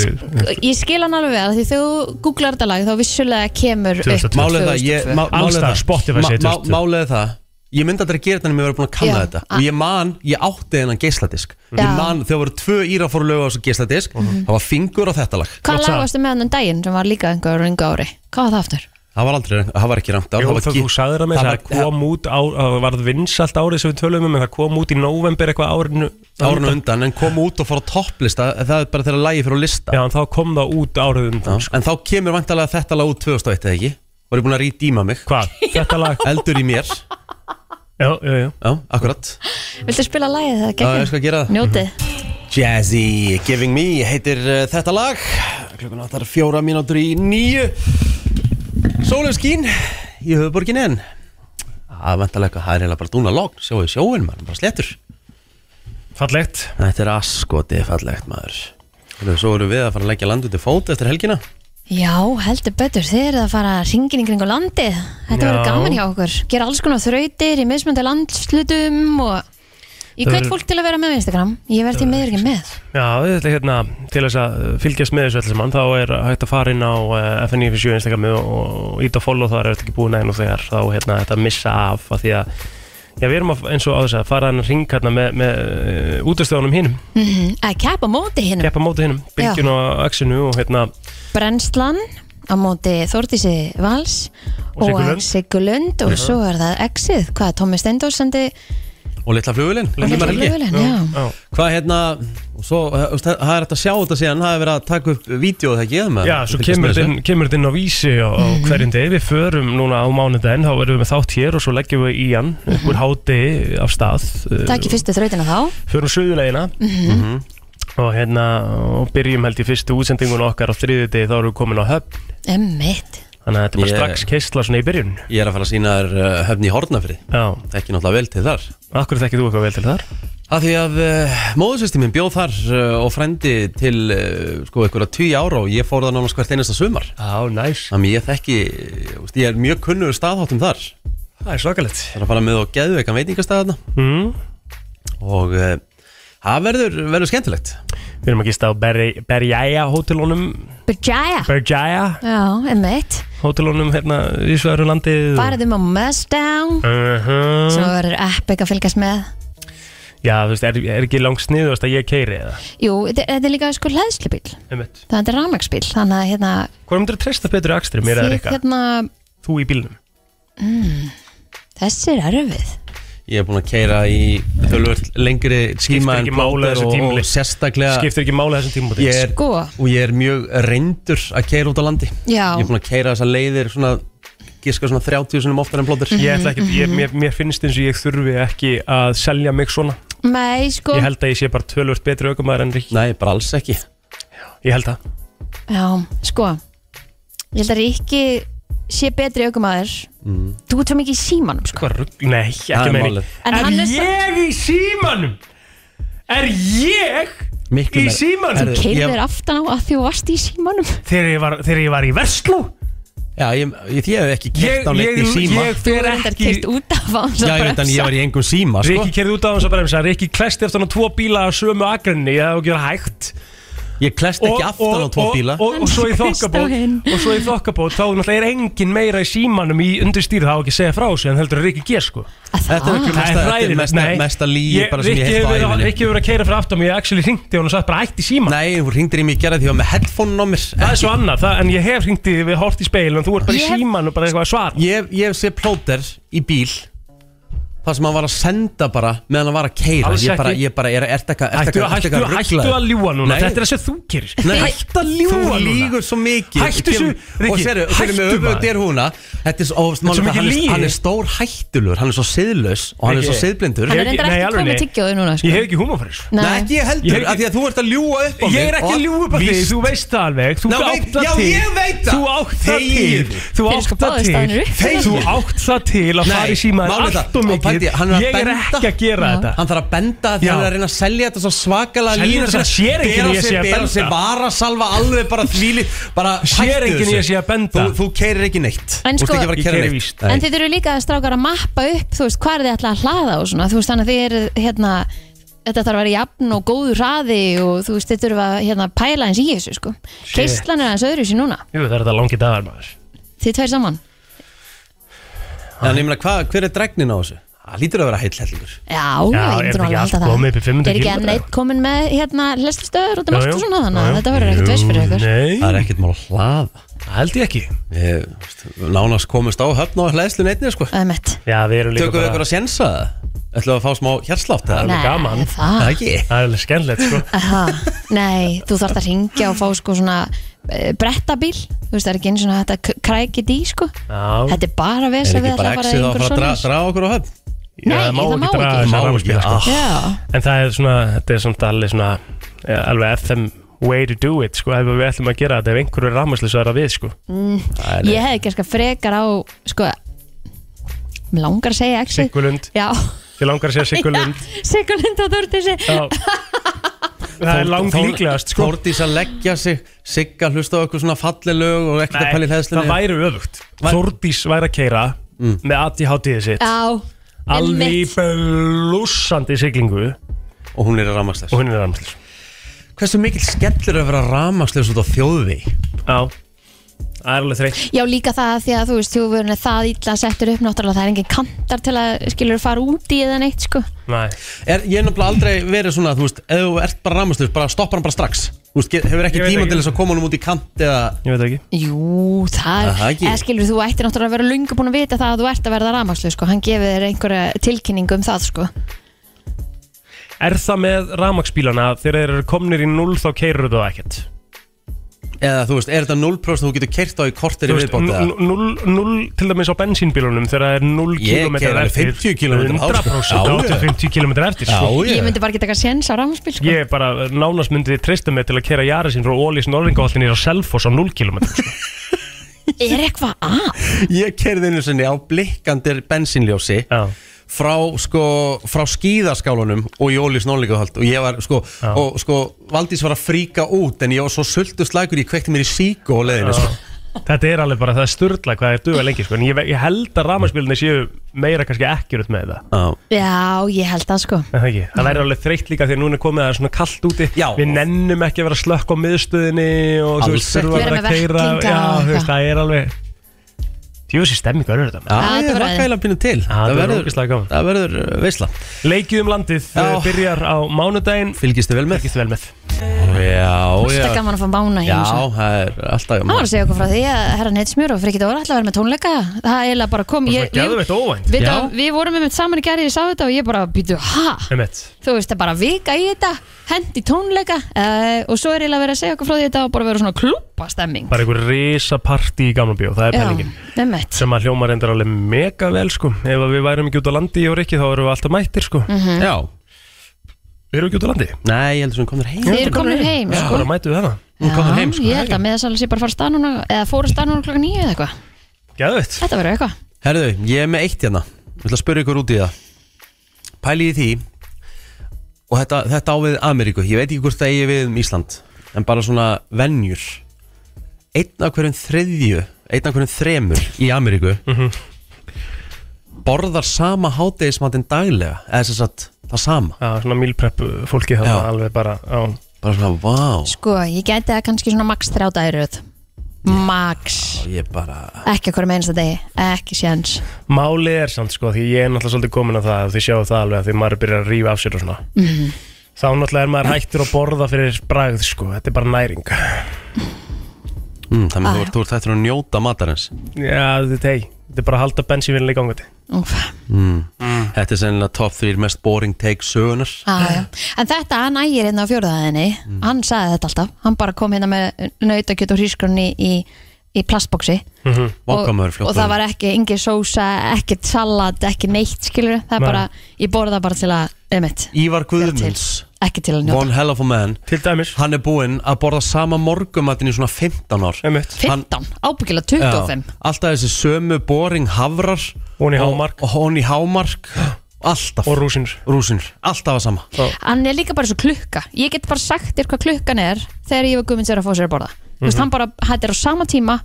[SPEAKER 3] Ég skil hann alveg vel því þú googlar þetta lag þá vissulega kemur upp
[SPEAKER 1] Málið er það, ég- má- málið er
[SPEAKER 2] Allstar,
[SPEAKER 1] það
[SPEAKER 2] Spotify segir
[SPEAKER 1] má- má-
[SPEAKER 2] 2002.
[SPEAKER 1] Málið er það Ég myndi aldrei að gera þetta en ég verið búin að kanna
[SPEAKER 3] Já,
[SPEAKER 1] þetta
[SPEAKER 3] a-
[SPEAKER 1] Og ég man, ég átti þennan geisladisk Ég
[SPEAKER 3] Já. Mhm.
[SPEAKER 1] man, þegar voru tvö íra fóru lög á þessu geisladisk Það var fingur á þetta lag
[SPEAKER 3] Hvað lag varstu með hann daginn sem var líka einhver röngu ári? Hvað var það aftur?
[SPEAKER 1] Það var aldrei, það var ekki rangt ár
[SPEAKER 2] Jú,
[SPEAKER 1] var
[SPEAKER 2] það
[SPEAKER 1] ekki-
[SPEAKER 2] þú sagðir að með það kom út á, það varð vinsalt árið sem við tölum um en það kom út í november eitthvað árinu
[SPEAKER 1] Árinu undan, en kom út og fór á topplista Það er bara þegar lagi fyrir á lista
[SPEAKER 2] Já, en þá kom það út árið undan
[SPEAKER 1] En þá kemur vantalega þetta lag út 2001 eða ekki Var ég búin að rýdíma mig
[SPEAKER 2] Hvað? Þetta lag?
[SPEAKER 1] Eldur í mér
[SPEAKER 2] Já, já, já
[SPEAKER 1] Já, akkurat
[SPEAKER 3] Viltu spila lagið það?
[SPEAKER 1] Já, ég skal gera það.
[SPEAKER 3] Njótið
[SPEAKER 1] Jazzy Giving Me heitir uh, þetta lag klukkan áttar fjóra mínútur í nýju Sólum skín í höfuborgin en að vantalega það er eiginlega bara dúna logn sjáu sjóin maður, bara slettur
[SPEAKER 2] Fallegt
[SPEAKER 1] Þetta er askotið fallegt maður Heyrðu, Svo erum við að fara að leggja land út í fót eftir helgina
[SPEAKER 3] Já, heldur betur, þið eruð að fara hringin í kringu landið Þetta
[SPEAKER 1] Já.
[SPEAKER 3] verður gaman hjá okkur Gera alls konar þrautir í mismöndi landslutum og ég
[SPEAKER 2] Það
[SPEAKER 3] hveit
[SPEAKER 2] verður-
[SPEAKER 3] fólk til að vera með á Instagram Ég verð því meður ekki með
[SPEAKER 2] Já, við ætlum hérna til þess að fylgjast með þessu öllu saman þá er hægt að fara inn á eh, FNF7 Instagrami og, og ít og follow þar er þetta ekki búin að enn og þegar þá hérna þetta missa af að því að já, við erum að, eins og á þess að fara hann hring hérna með, með uh, útastöðunum hinnum
[SPEAKER 3] mm Að keppa á móti hinn
[SPEAKER 2] keppa á móti hinnum, bylgjun og axinu og hérna
[SPEAKER 3] Brennslan á móti Þordísi Vals
[SPEAKER 2] Og Siggu
[SPEAKER 3] og
[SPEAKER 2] Lund.
[SPEAKER 3] Sigulund og
[SPEAKER 1] Já.
[SPEAKER 3] svo er það Exið, hvað er Tómi Steindór sendi
[SPEAKER 1] og litla flugulinn
[SPEAKER 3] Og litla flugvélin, já. Já.
[SPEAKER 1] Hvað hérna og svo, uh, veist, það það er hægt að sjá þetta síðan það er verið að taka upp vídeo það ekki eða maður?
[SPEAKER 2] Já, svo
[SPEAKER 1] Fylgjast
[SPEAKER 2] kemur
[SPEAKER 1] með
[SPEAKER 2] þetta
[SPEAKER 1] þessu.
[SPEAKER 2] inn, kemur þetta inn á vísi á, á hverjum degi, við förum núna á mánudaginn, þá verðum við þátt hér og svo leggjum við í hann, upp úr háti af stað. uh,
[SPEAKER 3] Takk í fyrstu þrautina þá
[SPEAKER 2] Förum söðulegina
[SPEAKER 3] Mhm.
[SPEAKER 2] og hérna, og byrjum held í fyrstu útsendingun okkar á þriði degi, þá erum við komin á höfn,
[SPEAKER 3] Emmitt
[SPEAKER 2] þannig að þetta er bara
[SPEAKER 1] Ég-
[SPEAKER 2] strax keistla svona í byrjun.
[SPEAKER 1] Ég er að fara að sína þér uh, höfni í Hortnafri
[SPEAKER 2] Já
[SPEAKER 1] Ekki náttúrulega vel til þar
[SPEAKER 2] Akkur þekkið þú eitthvað vel til þar?
[SPEAKER 1] Af því að uh, móðursystir minn bjóð þar uh, og frendi til uh, sko einhverja tíu ára og ég fór það nánast hvert einasta sumar
[SPEAKER 2] Já, næs nice.
[SPEAKER 1] Þannig ég þekki, uh, veist, ég er mjög kunnur staðháttum þar
[SPEAKER 2] Það er svakalegt
[SPEAKER 1] Það er að fara með á geðveikan veitingastæðarna
[SPEAKER 2] Mm.
[SPEAKER 1] Og uh, það verður, verður skemmtilegt
[SPEAKER 2] Við erum að gista á Berj- Berjæja hótelunum,
[SPEAKER 3] Berjaya
[SPEAKER 2] Berjæja
[SPEAKER 3] Já, emmitt
[SPEAKER 2] hótelunum hérna í sværu landið.
[SPEAKER 3] Farðum um á Mustang
[SPEAKER 2] Uh
[SPEAKER 3] Svo verður epic að fylgjast með
[SPEAKER 2] Já, þú veist, er, er ekki langt sniðu að ég keiri eða?
[SPEAKER 3] Jú, þetta þetta er líka sko hlæðslubíl
[SPEAKER 2] Einmitt.
[SPEAKER 3] Þetta er rafmagsbíl, þannig að hérna
[SPEAKER 2] Hvað myndir að treysta betur í akstri, mér eða
[SPEAKER 3] Þið
[SPEAKER 2] Rikka?
[SPEAKER 3] hérna
[SPEAKER 2] Þú í bílnum?
[SPEAKER 3] mm, Þessi er erfið
[SPEAKER 1] Ég er búin að keira í tölvöld lengri tíma
[SPEAKER 2] ekki
[SPEAKER 1] en
[SPEAKER 2] máli
[SPEAKER 1] plóter
[SPEAKER 2] þessu
[SPEAKER 1] og, og
[SPEAKER 2] tímli.
[SPEAKER 1] sérstaklega
[SPEAKER 2] Skiptir ekki máli þessum tímum
[SPEAKER 1] Ég er,
[SPEAKER 3] Sko.
[SPEAKER 1] og ég er mjög reyndur að keira út á landi
[SPEAKER 3] Já.
[SPEAKER 1] Ég er búin að keira þessar leiðir svona, giska svona 30 sinum oftar en blóttir
[SPEAKER 2] Ég
[SPEAKER 3] Mhm,
[SPEAKER 2] ætla ekki, ég, mér, mér finnst eins og ég þurfi ekki að selja mig svona
[SPEAKER 3] Nei, sko
[SPEAKER 2] Ég held að ég sé bara tölvöld betri aukumæður en Rikki
[SPEAKER 1] Nei, bara alls ekki
[SPEAKER 2] Ég held að
[SPEAKER 3] Já, sko Ég held að Ríkki sé betri aukumæður
[SPEAKER 2] Mm.
[SPEAKER 3] Þú ert svo mikið í símanum, sko
[SPEAKER 2] Hvað rugg? Nei,
[SPEAKER 1] Það er
[SPEAKER 2] ekki meiri
[SPEAKER 1] málið.
[SPEAKER 3] En
[SPEAKER 2] Er
[SPEAKER 3] hann er
[SPEAKER 2] ég í símanum? Er ég Miklu í
[SPEAKER 1] meira.
[SPEAKER 2] símanum
[SPEAKER 1] Herðu,
[SPEAKER 3] Þú keirðir aftan á að því þú varst í símanum
[SPEAKER 2] þegar ég var, þegar ég var í versló
[SPEAKER 1] Já, ég, ég, ég hef ekki
[SPEAKER 2] Ég-
[SPEAKER 1] kert á neitt í
[SPEAKER 2] ég-
[SPEAKER 1] síma
[SPEAKER 2] ég fer
[SPEAKER 3] Þú reyndar keirt út af á hans
[SPEAKER 1] Já, ég veit en ég var í engum síma sko.
[SPEAKER 2] Rikki kerði út á hans að bremsa Rikki klesti eftir hann á tvo bíla á sömu agrinni ég hef ekki verið hægt
[SPEAKER 1] Ég klesti ekki aftan á tvo bíla.
[SPEAKER 2] og, og, og, svo í
[SPEAKER 1] Hann klesti á
[SPEAKER 2] þokkabót
[SPEAKER 1] hinn.
[SPEAKER 2] og svo í þokkabót þá náttúrulega er engin meira í símanum í undirstýri þá á ekki að segja frá sig en heldur að Rikki ger sko
[SPEAKER 1] Þetta er miklu
[SPEAKER 2] Það
[SPEAKER 1] mesta- þetta er
[SPEAKER 2] hræðilegt,
[SPEAKER 1] mesta-
[SPEAKER 2] nei.
[SPEAKER 1] mesta lygi
[SPEAKER 2] Ég-
[SPEAKER 1] bara sem ég
[SPEAKER 2] Rikki
[SPEAKER 1] heyrt á
[SPEAKER 2] hefur verið-
[SPEAKER 1] ævinni.
[SPEAKER 2] Rikki hefur verið að keira fyrir aftan mig ég actually ringdi hún og sagði bara ætti síman
[SPEAKER 1] Nei, hún ringdi í mig í gerð því að með headphone á mér
[SPEAKER 2] Það er svo annað, það, en ég hef ringdi við hort í speil en þú ert bara í
[SPEAKER 1] Ég hef-
[SPEAKER 2] síman og bara eitthvað að svara
[SPEAKER 1] Ég, ég sé plóter í bíl Það sem hann var að senda bara meðan hann var að keira
[SPEAKER 2] Alls
[SPEAKER 1] Ég bara,
[SPEAKER 2] ekki.
[SPEAKER 1] ég bara, er þetta eitthvað
[SPEAKER 2] Hættu, hættu, hættu, að ljúa núna,
[SPEAKER 1] Nei.
[SPEAKER 2] þetta er það sem þú gerir
[SPEAKER 1] Nei, hættu að ljúga
[SPEAKER 2] Þú
[SPEAKER 1] núna.
[SPEAKER 2] lýgur
[SPEAKER 1] svo mikið
[SPEAKER 2] Hættu þessu,
[SPEAKER 1] Og
[SPEAKER 2] Rikki,
[SPEAKER 1] séru, séru með
[SPEAKER 2] hættu
[SPEAKER 1] öfugt er húna Þetta er svo, og,
[SPEAKER 2] Þetta er svo
[SPEAKER 1] málið hann,
[SPEAKER 2] mikið lygi.
[SPEAKER 1] er, hann er stór hættulur, hann er svo siðlaus og hann er
[SPEAKER 2] Rikki,
[SPEAKER 1] svo siðblindur
[SPEAKER 3] Hann er reyndar ekki komið með tyggjóðu núna sko.
[SPEAKER 2] Ég hef ekki húmafæri
[SPEAKER 3] Nei.
[SPEAKER 1] Nei, ekki ég
[SPEAKER 2] Ég
[SPEAKER 1] heldur,
[SPEAKER 2] hef ekki-
[SPEAKER 1] af því að þú ert að ljúa upp á mig
[SPEAKER 2] Ég er ekki
[SPEAKER 1] og-
[SPEAKER 2] að ljúa upp á því,
[SPEAKER 1] Víst.
[SPEAKER 2] þú veist það alveg Þú
[SPEAKER 1] Ná,
[SPEAKER 2] átt
[SPEAKER 1] veit-
[SPEAKER 2] það
[SPEAKER 1] já,
[SPEAKER 2] til
[SPEAKER 1] ég veit það.
[SPEAKER 2] Þú átt það
[SPEAKER 1] Þegiðu.
[SPEAKER 2] til Þú
[SPEAKER 1] Þeir
[SPEAKER 2] átt
[SPEAKER 1] sko
[SPEAKER 2] það
[SPEAKER 1] báðir staðnir upp.
[SPEAKER 2] til Þú
[SPEAKER 1] Þegiðu.
[SPEAKER 2] átt það til að fara í síma
[SPEAKER 1] málið er
[SPEAKER 2] Allt
[SPEAKER 1] það.
[SPEAKER 2] og
[SPEAKER 1] Og Patti,
[SPEAKER 2] mikið
[SPEAKER 1] hann er að
[SPEAKER 2] Ég er
[SPEAKER 1] benda.
[SPEAKER 2] ekki að gera
[SPEAKER 1] Já.
[SPEAKER 2] þetta
[SPEAKER 1] Hann þarf að benda því
[SPEAKER 2] Já.
[SPEAKER 1] hann er að reyna að selja þetta svo svakalega
[SPEAKER 2] Selja þetta sér enginn
[SPEAKER 1] Bera
[SPEAKER 2] ég sé
[SPEAKER 1] sig,
[SPEAKER 2] að
[SPEAKER 1] bera
[SPEAKER 2] benda.
[SPEAKER 1] sig, varasalva alveg bara þvíli Bara
[SPEAKER 2] Sér
[SPEAKER 1] hættu
[SPEAKER 2] enginn
[SPEAKER 1] þessu.
[SPEAKER 2] ég sé að benda
[SPEAKER 1] Þú, þú keirir ekki neitt
[SPEAKER 3] En
[SPEAKER 1] Þú ert
[SPEAKER 3] sko-
[SPEAKER 1] ekki að fara að
[SPEAKER 2] Ég
[SPEAKER 1] keira
[SPEAKER 2] keyri
[SPEAKER 1] neitt
[SPEAKER 2] víst.
[SPEAKER 1] Nei.
[SPEAKER 3] En þið eru líka að strákar að mappa upp þú veist, hvað er þið ætlað að hlaða og svona þú veist, þannig að þið eru hérna þetta þarf að vera jafn og góður hraði og þú veist, þið þurfa að hérna, pæla eins í þessu sko.
[SPEAKER 2] Shit.
[SPEAKER 3] Keislan er aðeins öðru sér núna
[SPEAKER 2] Jú, það er þetta langi dagar maður
[SPEAKER 3] þið tveir saman
[SPEAKER 1] En ég meina, hva, hver er dregnin á þessu? Það lítur að vera heill hellingur
[SPEAKER 3] Já,
[SPEAKER 1] Já, er þetta
[SPEAKER 3] ég myndi nú alveg
[SPEAKER 1] ekki
[SPEAKER 3] að
[SPEAKER 1] allt
[SPEAKER 3] halda það
[SPEAKER 1] komið upp í 500
[SPEAKER 3] Er ekki enn
[SPEAKER 1] kílómetra?
[SPEAKER 3] neitt komin með hérna leslistöður út um
[SPEAKER 1] Jú,
[SPEAKER 3] allt
[SPEAKER 1] jú.
[SPEAKER 3] og svona þannig
[SPEAKER 1] Jú,
[SPEAKER 3] að
[SPEAKER 1] jú.
[SPEAKER 3] þetta verður ekkert veist fyrir ykkur
[SPEAKER 2] Nei
[SPEAKER 1] Það er ekkert mál að hlaða
[SPEAKER 2] Það held ég ekki
[SPEAKER 1] Ég, veist, Nánast komist á höfn og hlæðslu neittni sko.
[SPEAKER 3] Ömmett
[SPEAKER 2] Já, við erum líka
[SPEAKER 1] Tökum við ykkur að sjensa það? Ætlum við að fá smá hjarslátt?
[SPEAKER 2] Það er alveg
[SPEAKER 3] Nei,
[SPEAKER 2] gaman
[SPEAKER 3] það-
[SPEAKER 1] Það ekki
[SPEAKER 2] Það er alveg skemmlegt sko
[SPEAKER 3] Aha, Nei, þú þarft að ringja og fá sko svona eh, brettabíl þú veist, það er ekki eins og þetta k- krækið í sko
[SPEAKER 2] Já
[SPEAKER 3] Þetta er bara
[SPEAKER 1] Er
[SPEAKER 3] vesen
[SPEAKER 1] ekki
[SPEAKER 3] við ætlum
[SPEAKER 1] bara
[SPEAKER 3] að fara
[SPEAKER 1] exið
[SPEAKER 3] í
[SPEAKER 1] á að fara
[SPEAKER 3] einhver
[SPEAKER 1] að dra-
[SPEAKER 3] svoleiðis.
[SPEAKER 1] draga okkur á höfn?
[SPEAKER 3] Nei, það má ekki.
[SPEAKER 2] draga
[SPEAKER 1] Má
[SPEAKER 2] þessa
[SPEAKER 1] ekki,
[SPEAKER 2] rafmagnsbíla
[SPEAKER 1] ah.
[SPEAKER 2] sko.
[SPEAKER 3] Já.
[SPEAKER 2] En það er svona, þetta er samt alveg svona eh, alveg FM way to do it sko, ef við ætlum að gera þetta, ef einhverju er rafmagnslis það er að við sko
[SPEAKER 3] Mm,
[SPEAKER 2] Það er
[SPEAKER 3] ég hefði kannski frekar á sko mér langar að segja exi
[SPEAKER 2] Sigurlund,
[SPEAKER 3] já
[SPEAKER 2] ég langar að segja Sigurlund
[SPEAKER 3] Sigurlund á Þórtísi
[SPEAKER 2] Já. Það er langt líklegast sko
[SPEAKER 1] Þórdís að leggja sig Sigga hlusta á okkur svona falli lög og ekkert að pæli hlæðslu
[SPEAKER 2] það væri öfugt Þórdís væri að keira
[SPEAKER 1] Mm.
[SPEAKER 2] með ADHD-ið sitt
[SPEAKER 3] já
[SPEAKER 2] alveg í blúsandi siglingu
[SPEAKER 1] Og hún er ramagslis
[SPEAKER 2] Og hún er ramagslis
[SPEAKER 1] Hversu mikill skellur er að vera ramagslis út á þjóðvi?
[SPEAKER 2] Já, það er alveg þreytt
[SPEAKER 3] já líka það að því að þú veist þú verður það illa settur upp náttúrulega það er engin kantar til að skilur fara út í eða neitt sko
[SPEAKER 2] Nei
[SPEAKER 1] er, Ég er náttúrulega aldrei verið svona, þú veist Ef þú ert bara ramagslis, bara stoppar hann bara strax Þú veist, get- hefur
[SPEAKER 2] Ég
[SPEAKER 1] ekki
[SPEAKER 2] veit
[SPEAKER 1] tíma
[SPEAKER 2] ekki.
[SPEAKER 1] til þess að koma honum út í kant eða
[SPEAKER 2] Ég veit ekki
[SPEAKER 3] jú það
[SPEAKER 1] Aha,
[SPEAKER 3] er
[SPEAKER 1] ekki.
[SPEAKER 3] eða skilur þú ættir náttúrulega að vera lungu búin að vita það að þú ert að verða ramagslu sko hann gefið þér einhverja tilkynningu um það sko
[SPEAKER 2] Er það með ramagsbílana þegar þeir eru komnir í 0 þá keirur þú ekkert
[SPEAKER 1] Eða þú veist, er þetta 0% þú getur kert á í kortir
[SPEAKER 2] Þú
[SPEAKER 1] í
[SPEAKER 2] veist,
[SPEAKER 1] viðbót eða?
[SPEAKER 2] 0 til dæmis á bensínbílunum þegar það er 0
[SPEAKER 1] Ég
[SPEAKER 2] km
[SPEAKER 1] keyri alveg 50 kílómetra á, sko.
[SPEAKER 2] 100%
[SPEAKER 1] Já,
[SPEAKER 2] áttu
[SPEAKER 1] ég.
[SPEAKER 2] 50 km eftir
[SPEAKER 1] Já,
[SPEAKER 2] sko.
[SPEAKER 3] ég myndi bara geta eitthvað séns á ramagsbíl sko
[SPEAKER 2] Ég er bara nánast myndið treysta mig til að kera jara sín frá Ólís Norðingaholtin í Selfoss á 0 km sko.
[SPEAKER 3] er eitthvað að
[SPEAKER 1] Ég kerði einu sinni á blikkandir bensínljósi frá, sko, frá skíðaskálunum og Jóli Snóllíkahöld og ég var sko, og sko, Valdís var að fríka út en ég var svo sultu slækur, ég kvekti mér í síku á leiðinu, sko
[SPEAKER 2] Þetta er alveg bara það styrla hvað það er duga lengi sko. En ég, ég held að ramagsbílunni séu meira kannski ekkjurut með það
[SPEAKER 1] Já
[SPEAKER 3] já ég held það sko
[SPEAKER 2] Það ekki, það væri alveg þreytt líka þegar núna er komið að það er svona kallt úti já. Við nennum ekki að vera slökk á miðstöðinni og þú
[SPEAKER 1] Alls
[SPEAKER 2] veist, þurfa
[SPEAKER 1] ekki.
[SPEAKER 2] að vera að
[SPEAKER 1] Vera með
[SPEAKER 2] keira
[SPEAKER 1] vettlinga
[SPEAKER 2] Já,
[SPEAKER 1] og
[SPEAKER 2] þú veist, það er alveg Djúsi stemmingu er þetta
[SPEAKER 1] Já, ég
[SPEAKER 2] maður.
[SPEAKER 1] rakka eiginlega pínu til
[SPEAKER 2] það verður
[SPEAKER 1] verður-
[SPEAKER 2] ógeðslega gaman.
[SPEAKER 1] Það verður uh, veisla
[SPEAKER 2] Leikið um landið já. byrjar á mánudaginn
[SPEAKER 1] Fylgistu vel með
[SPEAKER 2] Fylgistu vel með
[SPEAKER 1] Já,
[SPEAKER 3] Alltaf gaman að fá mána í
[SPEAKER 1] Já,
[SPEAKER 3] þessu.
[SPEAKER 1] það er alltaf
[SPEAKER 3] Hann var
[SPEAKER 1] gaman
[SPEAKER 3] að segja okkur frá því að herra neitt smjör og frikið óra ætla að vera með tónleika Það er eiginlega bara kom ég,
[SPEAKER 2] Geðveitt óvænt
[SPEAKER 3] við, við vorum með saman í gerði, ég sá þetta og ég bara býtu, ha?
[SPEAKER 2] Einmitt.
[SPEAKER 3] Þú veist, það er bara vika í þetta, hendi tónleika uh, og svo er eiginlega verið að segja okkur frá því þetta og bara vera svona klúpa stemming
[SPEAKER 2] Bara einhver risa partí í gamla bíó, það er pælingin
[SPEAKER 3] nemmett
[SPEAKER 2] Sem að hljóma reyndar alveg mega vel sko Ef að við værum ekki út á landi í orikki þá erum við alltaf mættir sko
[SPEAKER 3] Mhm.
[SPEAKER 1] Já
[SPEAKER 2] Við erum ekki út á landi
[SPEAKER 1] Nei, ég heldur sem komnir heim
[SPEAKER 3] Þið eru komnir heim,
[SPEAKER 2] Já,
[SPEAKER 3] sko.
[SPEAKER 2] bara mættu við hana
[SPEAKER 1] Hún komnir heim, sko
[SPEAKER 3] Ég held að meðasalans ég bara fara stað núna eða fóru stað núna klokka nýju eða eitthvað
[SPEAKER 2] Geðvett
[SPEAKER 3] Þetta verður eitthvað
[SPEAKER 1] Herðu, ég er með eitt hérna Ég ætla að spyrja ykkur út í það Pæli í því og þetta, þetta á við Ameríku ég veit ekki hvort það eigi við um Ísland en bara svona venjur einn af hverjum þriðju einn af hverjum þremur í Ameríku borðar sama hátegismatinn daglega eða þess að það sama
[SPEAKER 2] Já, svona mílprepp fólki það
[SPEAKER 1] Já.
[SPEAKER 2] alveg bara á.
[SPEAKER 1] Bara svona, vá
[SPEAKER 3] Sko, ég gæti það kannski svona max þrjá dagiröð Max
[SPEAKER 1] Ég bara
[SPEAKER 3] Ekki okkur með einsta degi, ekki séns
[SPEAKER 2] Málið er samt sko, því ég er náttúrulega svolítið komin á það og þið sjáu það alveg að því maður byrjar að rífa af sér og svona
[SPEAKER 3] mm.
[SPEAKER 2] Þá náttúrulega er maður hættur að borða fyrir bragð sko, þetta er bara næring
[SPEAKER 1] mm, Þannig
[SPEAKER 2] Ah,
[SPEAKER 1] að þú ert- þú ert hættur að njóta matarins
[SPEAKER 2] Já, þetta, hey, þetta er bara að halda bensínvinni í gangandi
[SPEAKER 3] Úf.
[SPEAKER 1] mm. Þetta er sennilega top 3 mest boring take sögunar
[SPEAKER 3] ah, já. En þetta, hann ægir hérna á fjórðaðinni
[SPEAKER 2] Mm.
[SPEAKER 3] Hann sagði þetta alltaf, hann bara kom hérna með nautakjöt og hrísgrunni í, í plastbóksi
[SPEAKER 1] mm -hmm.
[SPEAKER 3] og, og það var ekki engin sósa, ekkert salat, ekki neitt skilur það er
[SPEAKER 1] Nei.
[SPEAKER 3] bara, ég borða bara til að einmitt,
[SPEAKER 1] Ívar Guðmunds
[SPEAKER 3] ekki til að
[SPEAKER 1] One
[SPEAKER 3] njóta
[SPEAKER 1] hell of a man
[SPEAKER 2] Til dæmis
[SPEAKER 1] Hann er búinn að borða sama morgumatinn í svona 15 ár
[SPEAKER 2] Einmitt.
[SPEAKER 3] 15, ábyggilega 25
[SPEAKER 1] Já, Alltaf þessi sömu boring hafrar
[SPEAKER 2] Hún í hámark
[SPEAKER 1] Og hún í hámark Alltaf
[SPEAKER 2] Og rúsinur
[SPEAKER 1] Rúsinur, alltaf að sama
[SPEAKER 2] Já,
[SPEAKER 3] hann er líka bara svo klukka ég get bara sagt þér hvað klukkan er þegar Ívar Guðmunds er að fá sér að borða þú veist,
[SPEAKER 1] Mhm.
[SPEAKER 3] hann bara, þetta er á sama tíma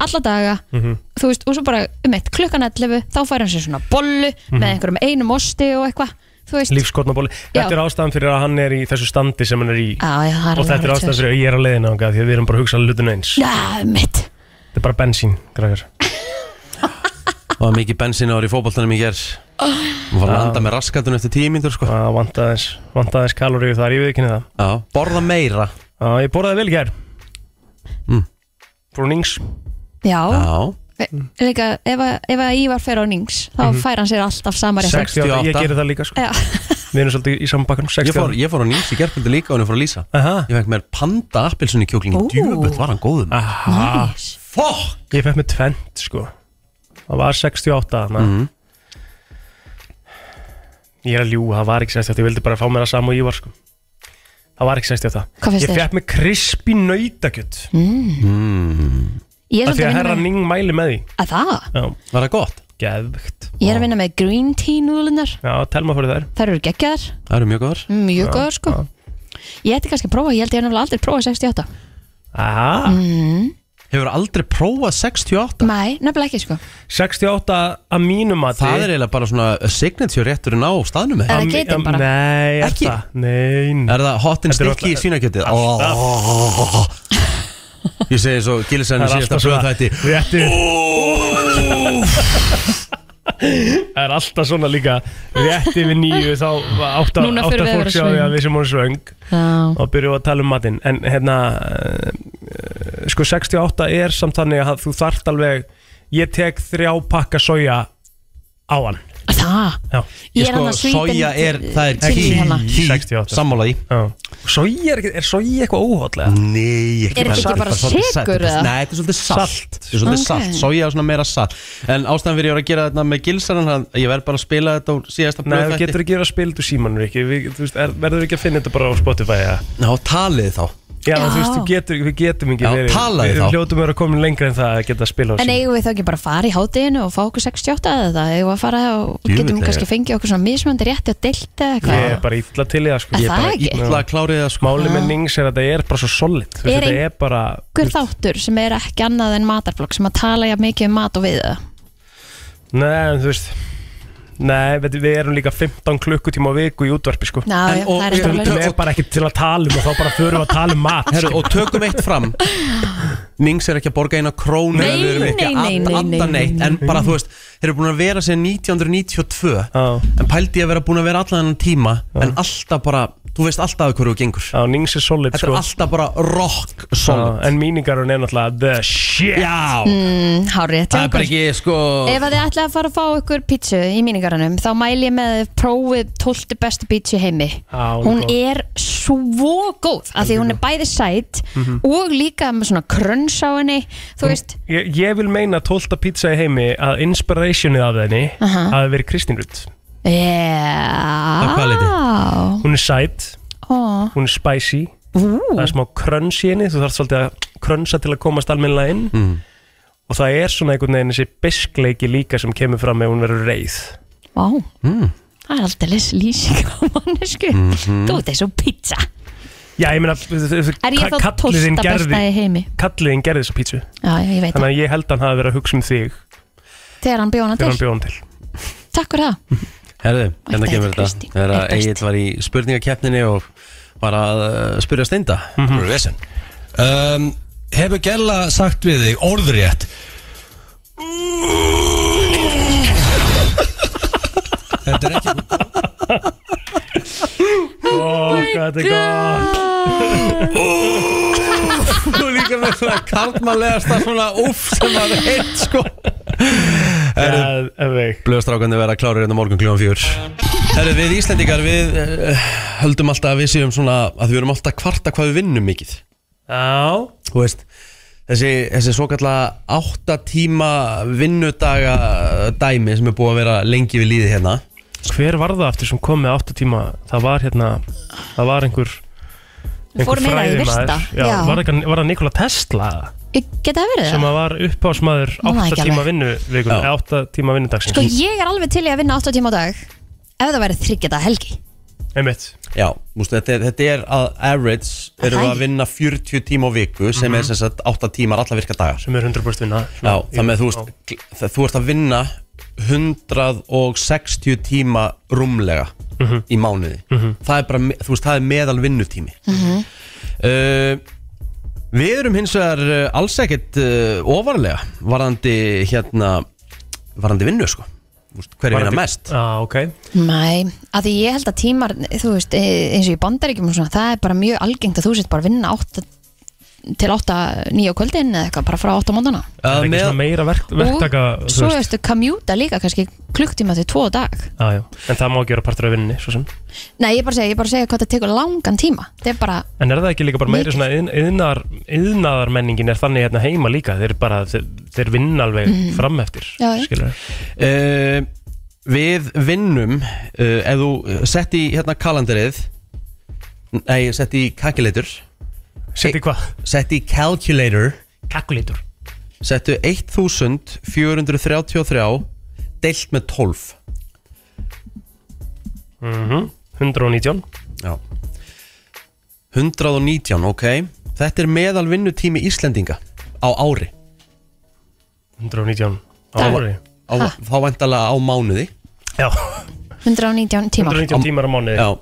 [SPEAKER 3] alla daga,
[SPEAKER 2] Mhm.
[SPEAKER 3] þú veist, og svo bara um eitt klukkan 11, þá fær hann sér svona bollu með
[SPEAKER 2] Mhm.
[SPEAKER 3] einhverjum einum osti og eitthvað þú veist,
[SPEAKER 2] Lífskotnabóli
[SPEAKER 3] Já.
[SPEAKER 2] Þetta er ástæðan fyrir að hann er í þessu standi sem hann er í
[SPEAKER 3] Já, já, það er
[SPEAKER 2] Og
[SPEAKER 3] alveg
[SPEAKER 2] þetta er
[SPEAKER 3] hárrétt
[SPEAKER 2] ástæðan
[SPEAKER 3] hjá
[SPEAKER 2] fyrir að ég er á leiðina þangað, Því að við erum bara að hugsa hlutun eins
[SPEAKER 3] Já, mitt
[SPEAKER 2] Þetta er bara bensín, græður
[SPEAKER 1] Það var mikið bensín ári í fótboltanum í gerð Hún var að landa með raskatunum eftir tíu mínútur sko
[SPEAKER 2] Já, vantaðis, vantaðis kaloríu þar, ég veit ekki það
[SPEAKER 1] Já, borða meira
[SPEAKER 2] Já, ég borðaði vel hér
[SPEAKER 1] Mm.
[SPEAKER 2] Brúnings
[SPEAKER 3] já,
[SPEAKER 1] Já
[SPEAKER 3] E- líka, ef, að- ef að Ívar fer á Nings þá
[SPEAKER 2] Mhm.
[SPEAKER 3] fær hann sér alltaf sama rétt
[SPEAKER 2] 68, ég geri það líka sko
[SPEAKER 3] Já.
[SPEAKER 2] Við erum svolítið í saman bakkanum
[SPEAKER 1] Ég fór,
[SPEAKER 2] 68
[SPEAKER 1] ég fór á nýms í gerðkvöldi líka og henni fór að lýsa
[SPEAKER 2] Aha.
[SPEAKER 1] Ég fekk mér panda appilsunni kjóklingi
[SPEAKER 2] Ú.
[SPEAKER 1] Djöfull var hann góðum
[SPEAKER 2] Aha.
[SPEAKER 1] Fuck
[SPEAKER 2] Ég fekk með tvent sko Það var 68 mm
[SPEAKER 1] Mhm.
[SPEAKER 2] Ég er að ljúga, það var ekki 68 Ég vildi bara fá mér að sama og ég var sko Það var ekki 68
[SPEAKER 3] Hvað finnst
[SPEAKER 2] Ég
[SPEAKER 3] þér?
[SPEAKER 2] fekk með krispi nautakjöt
[SPEAKER 3] mm.
[SPEAKER 1] mm.
[SPEAKER 3] ég er
[SPEAKER 2] Af því að
[SPEAKER 3] svolítið að
[SPEAKER 2] herra
[SPEAKER 3] vinna með
[SPEAKER 2] Ning mæli með því
[SPEAKER 3] að það,
[SPEAKER 2] Já.
[SPEAKER 1] Var það gott?
[SPEAKER 2] Geðvögt
[SPEAKER 3] ég er að vinna með green tea núðlunar,
[SPEAKER 2] Já, telma fyrir þær
[SPEAKER 3] þær eru geggjaðar
[SPEAKER 1] Það eru mjög góðar
[SPEAKER 3] mjög góður sko ég ætti kannski að prófa, ég held ég hef nefnilega aldrei prófað 68
[SPEAKER 2] Aha.
[SPEAKER 3] mm.
[SPEAKER 1] Hefur aldrei prófað 68
[SPEAKER 3] nei, nefnilega ekki sko
[SPEAKER 2] 68 að mínum að
[SPEAKER 1] Það er eiginlega bara svona signature rétturinn á staðnum
[SPEAKER 3] Eða Am- geitin am- bara.
[SPEAKER 2] Nei, er
[SPEAKER 1] Ekki?
[SPEAKER 2] það? Nei
[SPEAKER 1] Er það hot and
[SPEAKER 2] Þetta er
[SPEAKER 1] sticky í
[SPEAKER 2] alltaf-
[SPEAKER 1] svínakjötið?
[SPEAKER 2] Alltaf.
[SPEAKER 1] Oh. Ég segi svo Gillisæni
[SPEAKER 2] Það er
[SPEAKER 1] síðasta
[SPEAKER 2] alltaf svona-
[SPEAKER 1] blöðþætti
[SPEAKER 2] Réttur Það er alltaf svona líka Rétt yfir nýju þá átt að
[SPEAKER 3] Núna förum við að
[SPEAKER 2] fólk sjá
[SPEAKER 3] vera
[SPEAKER 2] því
[SPEAKER 3] svöng.
[SPEAKER 2] að við sem vorum svöng
[SPEAKER 3] já,
[SPEAKER 2] og byrjuðu að tala um matinn en hérna eh, sko 68 er samt þannig að þú þart alveg ég tek þrjá pakka soja á hann
[SPEAKER 3] það
[SPEAKER 2] Já.
[SPEAKER 3] Ég er Ég sko, annars svítin-
[SPEAKER 1] soja er- það er
[SPEAKER 2] Ekki
[SPEAKER 1] key-
[SPEAKER 3] hérna.
[SPEAKER 2] hana.
[SPEAKER 1] key,
[SPEAKER 2] 68.
[SPEAKER 1] sammála því.
[SPEAKER 2] Já. soja er, ekki- er soja eitthvað
[SPEAKER 1] Mm.
[SPEAKER 2] óhóðlega
[SPEAKER 1] Nei,
[SPEAKER 3] Er þetta ekki bara
[SPEAKER 1] svolítið sætt,
[SPEAKER 3] sykur
[SPEAKER 1] þetta er-
[SPEAKER 3] eða?
[SPEAKER 1] Nei, þetta er svolítið salt Þetta er svolítið
[SPEAKER 3] Ok.
[SPEAKER 1] salt, soja er svona meira salt En ástæðan fyrir ég var að gera þetta með gilsaran Ég verð bara að spila þetta úr síðasta
[SPEAKER 2] Nei, þú
[SPEAKER 1] blöðþætti
[SPEAKER 2] getur ekki verið að spila þú símanur ekki við, þú veist, er, verður ekki að finna þetta bara á Spotify ja?
[SPEAKER 1] Ná, talið þá
[SPEAKER 2] Já,
[SPEAKER 3] Já.
[SPEAKER 2] þú veist, þú getur, við getum ekki
[SPEAKER 1] Já,
[SPEAKER 2] verið
[SPEAKER 1] talaðu
[SPEAKER 2] Við
[SPEAKER 1] þá.
[SPEAKER 2] við hljótum að vera komin lengra en það að geta að spila á
[SPEAKER 3] en
[SPEAKER 2] símanum
[SPEAKER 3] eigum við þá ekki bara að fara í hátinu og fá okkur 68 eða það, eigum við að fara og
[SPEAKER 2] Djöfull
[SPEAKER 3] getum
[SPEAKER 2] er-
[SPEAKER 3] kannski fengið okkur svona mismöndi rétti og delta eða
[SPEAKER 2] Ég
[SPEAKER 3] eitthvað
[SPEAKER 2] er bara illa til í það sko
[SPEAKER 3] Er Ég er það bara ekki? illa
[SPEAKER 1] að klári það
[SPEAKER 2] sko Máli með Nings er að þetta er bara svo solid Þú veist,
[SPEAKER 3] Er
[SPEAKER 2] Þetta
[SPEAKER 3] ein-
[SPEAKER 2] er bara
[SPEAKER 3] okkur þáttur sem er ekki annað en matarblokk sem að tala jafn mikið um mat og við það
[SPEAKER 2] Nei, en þú veist Nei, við, við erum líka 15 klukkutíma á viku í útvarpi sko
[SPEAKER 3] Já, En- já, og- það er
[SPEAKER 2] Stundum
[SPEAKER 3] alveg-
[SPEAKER 2] er bara ekki til að tala um og þá bara förum við að tala um mat
[SPEAKER 1] Herru, og tökum eitt fram Nings er ekki að borga eina krónu
[SPEAKER 3] Nei,
[SPEAKER 1] við erum ekki
[SPEAKER 3] nei,
[SPEAKER 1] að
[SPEAKER 3] nei,
[SPEAKER 1] adda-
[SPEAKER 3] nei,
[SPEAKER 1] adda
[SPEAKER 3] nei, nei,
[SPEAKER 1] neitt, En bara, þú veist, þeir eru búin að vera sér 1992 En pældi ég að vera búin að vera allan þennan tíma En alltaf bara, þú veist alltaf að hverju þú gengur
[SPEAKER 2] Já, Nings er solid
[SPEAKER 1] Þetta
[SPEAKER 2] sko.
[SPEAKER 1] er alltaf bara rock solid
[SPEAKER 2] En míningarun er náttúrulega the shit
[SPEAKER 1] Já
[SPEAKER 3] mm, hárið,
[SPEAKER 1] Það er bara ekki, sko
[SPEAKER 3] Ef að þið ætlaði að fara að fá ykkur pítsu í míningarunum þá mæl ég með prófið 12 bestu pítsu í heimi
[SPEAKER 2] Já,
[SPEAKER 3] Hún
[SPEAKER 2] góð.
[SPEAKER 3] er svo góð af því hún er bæði sæt
[SPEAKER 2] Mhm.
[SPEAKER 3] og líka með svona kröns á henni þú veist,
[SPEAKER 2] Ég, ég vil meina 12. pizza í heimi að inspirationið af henni
[SPEAKER 3] Aha.
[SPEAKER 2] hafi verið Kristín Rutt
[SPEAKER 3] yeah
[SPEAKER 2] hvaða leyti? Hún er sæt,
[SPEAKER 3] Ó.
[SPEAKER 2] hún er spicy
[SPEAKER 3] Ú.
[SPEAKER 2] Það er smá kröns í henni, þú þarf svolítið að krönsa til að komast almennilega inn
[SPEAKER 1] mm.
[SPEAKER 2] Og það er svona einhvern veginn þessi biskleiki líka sem kemur fram ef hún verður reið
[SPEAKER 3] Vá.
[SPEAKER 1] Mm.
[SPEAKER 3] Það er aldrei lýsing á mannesku
[SPEAKER 2] Mhm.
[SPEAKER 3] Þú ert eins og pizza
[SPEAKER 2] Já, ég meina Er
[SPEAKER 3] Er ég þá tólsta besta í heimi?
[SPEAKER 2] Kalliðin gerði þessa pítsu
[SPEAKER 3] Já, já, ég veit
[SPEAKER 2] Þannig að ég held að hann hafi verið að hugsa um þig
[SPEAKER 3] Þegar hann bjóna
[SPEAKER 2] Þegar
[SPEAKER 3] til
[SPEAKER 2] hann Mm. bjóðan til
[SPEAKER 3] Takk fyrir það
[SPEAKER 1] Herðu, hérna
[SPEAKER 3] Ætti
[SPEAKER 1] kemur
[SPEAKER 3] þetta
[SPEAKER 1] þetta Þegar að Egil var í spurningakeppninni og var að uh, spyrja steinda
[SPEAKER 3] Mhm.
[SPEAKER 1] mm
[SPEAKER 13] -hmm. vesen um, Hefur Gella sagt við þig orðrétt Þetta er ekki
[SPEAKER 2] Ó,
[SPEAKER 3] Oh
[SPEAKER 2] hvað Oh, þetta er
[SPEAKER 1] gott Þú líka með svona karlmanlegasta svona uff sem var heitt sko Blöðstrákandi verða klárir hérna morgun kljóðan fjör Herru, við Íslendingar við uh, höldum alltaf að við séum svona að við erum alltaf að kvarta hvað við vinnum mikið
[SPEAKER 2] Já
[SPEAKER 1] Þú veist Þessi, þessi svo kallega áttatíma vinnudaga eh, dæmi sem er búið að vera lengi við líði hérna
[SPEAKER 2] Hver var það aftur sem kom með 8 tíma Það var hérna Það var einhver
[SPEAKER 3] Við fórum meira í
[SPEAKER 2] fræðimaður.
[SPEAKER 3] virta,
[SPEAKER 2] Já,
[SPEAKER 3] já.
[SPEAKER 2] Var það- var það Nikola Tesla
[SPEAKER 3] Ég- Geta það verið
[SPEAKER 2] sem
[SPEAKER 3] það?
[SPEAKER 2] að var uppásmaður
[SPEAKER 3] Nú
[SPEAKER 2] 8
[SPEAKER 3] það ekki
[SPEAKER 2] tíma
[SPEAKER 3] alveg.
[SPEAKER 2] vinnu vikun, 8 tíma vinnudagsins
[SPEAKER 3] Sko ég er alveg til í að vinna 8 tíma á dag Ef það væri þryggjata helgi
[SPEAKER 2] Einmitt
[SPEAKER 1] Já, mústu, þetta, er, þetta er að average erum við að vinna 40 tíma á viku sem er sem sagt 8 tímar alla virka dagar
[SPEAKER 2] sem er 100% vinna
[SPEAKER 1] Já, þannig að þú veist, gl- það- þú ert að vinna 160 tíma rúmlega
[SPEAKER 2] Mhm.
[SPEAKER 1] í mánuði
[SPEAKER 2] Mhm.
[SPEAKER 1] það er bara, me- þú veist, það er meðal vinnutími
[SPEAKER 3] Mhm.
[SPEAKER 1] uh, Við erum hins vegar uh, alls ekkert uh, ofarlega varðandi hérna varðandi vinnu, sko Þú veist, Hverju vinna
[SPEAKER 2] Varðandi-
[SPEAKER 1] mest?
[SPEAKER 2] Já, ah, ok
[SPEAKER 3] Mæ, að því ég held að tímar þú veist, eh, eins og í bandaríkjum og svona, það er bara mjög algengt að þú sett bara að vinna 8 til 8, 9 á kvöldin eða eitthvað, bara frá 8 á móndana
[SPEAKER 2] Það er ekki svona meira verk, verktaka
[SPEAKER 3] og
[SPEAKER 2] þú
[SPEAKER 3] svo
[SPEAKER 2] veist.
[SPEAKER 3] veistu kamjúta líka kannski klukktíma til 2 á dag
[SPEAKER 2] Já, já. En það má ekki vera partur af vinninni svo sem
[SPEAKER 3] Nei, ég bara segja, ég bara segja hvað það tekur langan tíma það er bara,
[SPEAKER 2] En er það ekki líka bara meiri svona yðn- iðnaðar, iðnaðarmenningin er þannig hérna heima líka þeir, bara, þeir, þeir vinna alveg
[SPEAKER 3] Mhm.
[SPEAKER 2] fram eftir
[SPEAKER 3] Já, já.
[SPEAKER 2] skilurðu?
[SPEAKER 1] uh, Við vinnum uh, Ef þú sett í hérna kalendarið Nei, sett í calculator
[SPEAKER 2] Sett í hvað?
[SPEAKER 1] Sett í calculator
[SPEAKER 2] Calculator
[SPEAKER 1] Settu 1433 Deilt með 12
[SPEAKER 2] mm 119
[SPEAKER 1] Já 119, ok Þetta er meðal vinnutími Íslendinga Á ári
[SPEAKER 2] 119 á
[SPEAKER 1] Dag.
[SPEAKER 2] ári
[SPEAKER 1] á, Þá væntalega á mánuði
[SPEAKER 2] Já
[SPEAKER 3] 119 tímar
[SPEAKER 2] tímar á mánuði
[SPEAKER 1] Já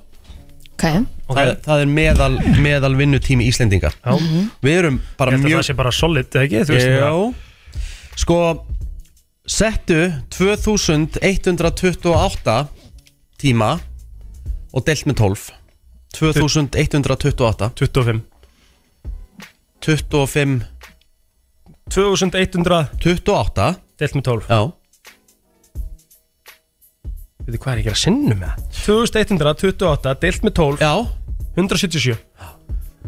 [SPEAKER 3] okay.
[SPEAKER 1] Það, er- það er meðal, meðal vinnutími Íslendinga
[SPEAKER 2] Já. Mhm.
[SPEAKER 1] Við erum bara
[SPEAKER 2] Ég held að
[SPEAKER 1] mjög
[SPEAKER 2] það sé bara solid, eða ekki? Þú veist,
[SPEAKER 1] Já Sko Settu 2128 tíma Og delt með 12 2128
[SPEAKER 2] 25
[SPEAKER 1] 25
[SPEAKER 2] 2128 Delt með 12
[SPEAKER 1] Já
[SPEAKER 2] Veitu hvað er ég að gera sinnum með það? 2128 deilt með 12
[SPEAKER 1] Já
[SPEAKER 2] 177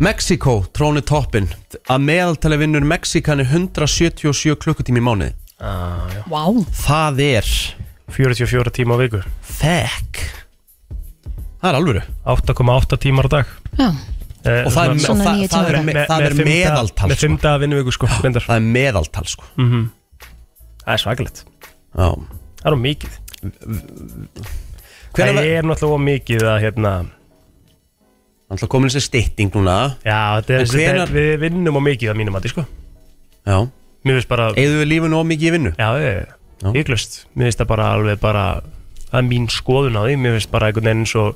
[SPEAKER 1] Mexiko tróni toppin Að meðaltali vinnur Mexikani 177 klukkutími í mánuði
[SPEAKER 2] ah, já.
[SPEAKER 3] Wow.
[SPEAKER 1] Það er
[SPEAKER 2] 44 tíma á viku
[SPEAKER 1] Fuck Það er alvöru
[SPEAKER 2] 8,8 tímar á dag
[SPEAKER 3] Já.
[SPEAKER 2] eh,
[SPEAKER 1] Og það er- Svona og það- níu það tímar er á dag. me- það er
[SPEAKER 2] fimm daga-
[SPEAKER 1] meðaltal,
[SPEAKER 2] Með 5 daga vinnuviku sko já, Það
[SPEAKER 1] er meðaltal sko
[SPEAKER 2] mm -hmm. Það er svakalegt
[SPEAKER 1] Já
[SPEAKER 2] Það er of mikið
[SPEAKER 1] Hvenær
[SPEAKER 2] Það
[SPEAKER 1] var-
[SPEAKER 2] er náttúrulega of mikið að hérna
[SPEAKER 1] Þannig að komin þessi stytting núna
[SPEAKER 2] Já, þetta er,
[SPEAKER 1] En hvenær-
[SPEAKER 2] hvenar... við vinnum of mikið að mínum að sko
[SPEAKER 1] Já
[SPEAKER 2] Mér finnst bara
[SPEAKER 1] Eða við lífinu of mikið í vinnu
[SPEAKER 2] Já, ég, ég glust Mér finnst það bara alveg bara Það er mín skoðun á því Mér finnst bara einhvern veginn eins og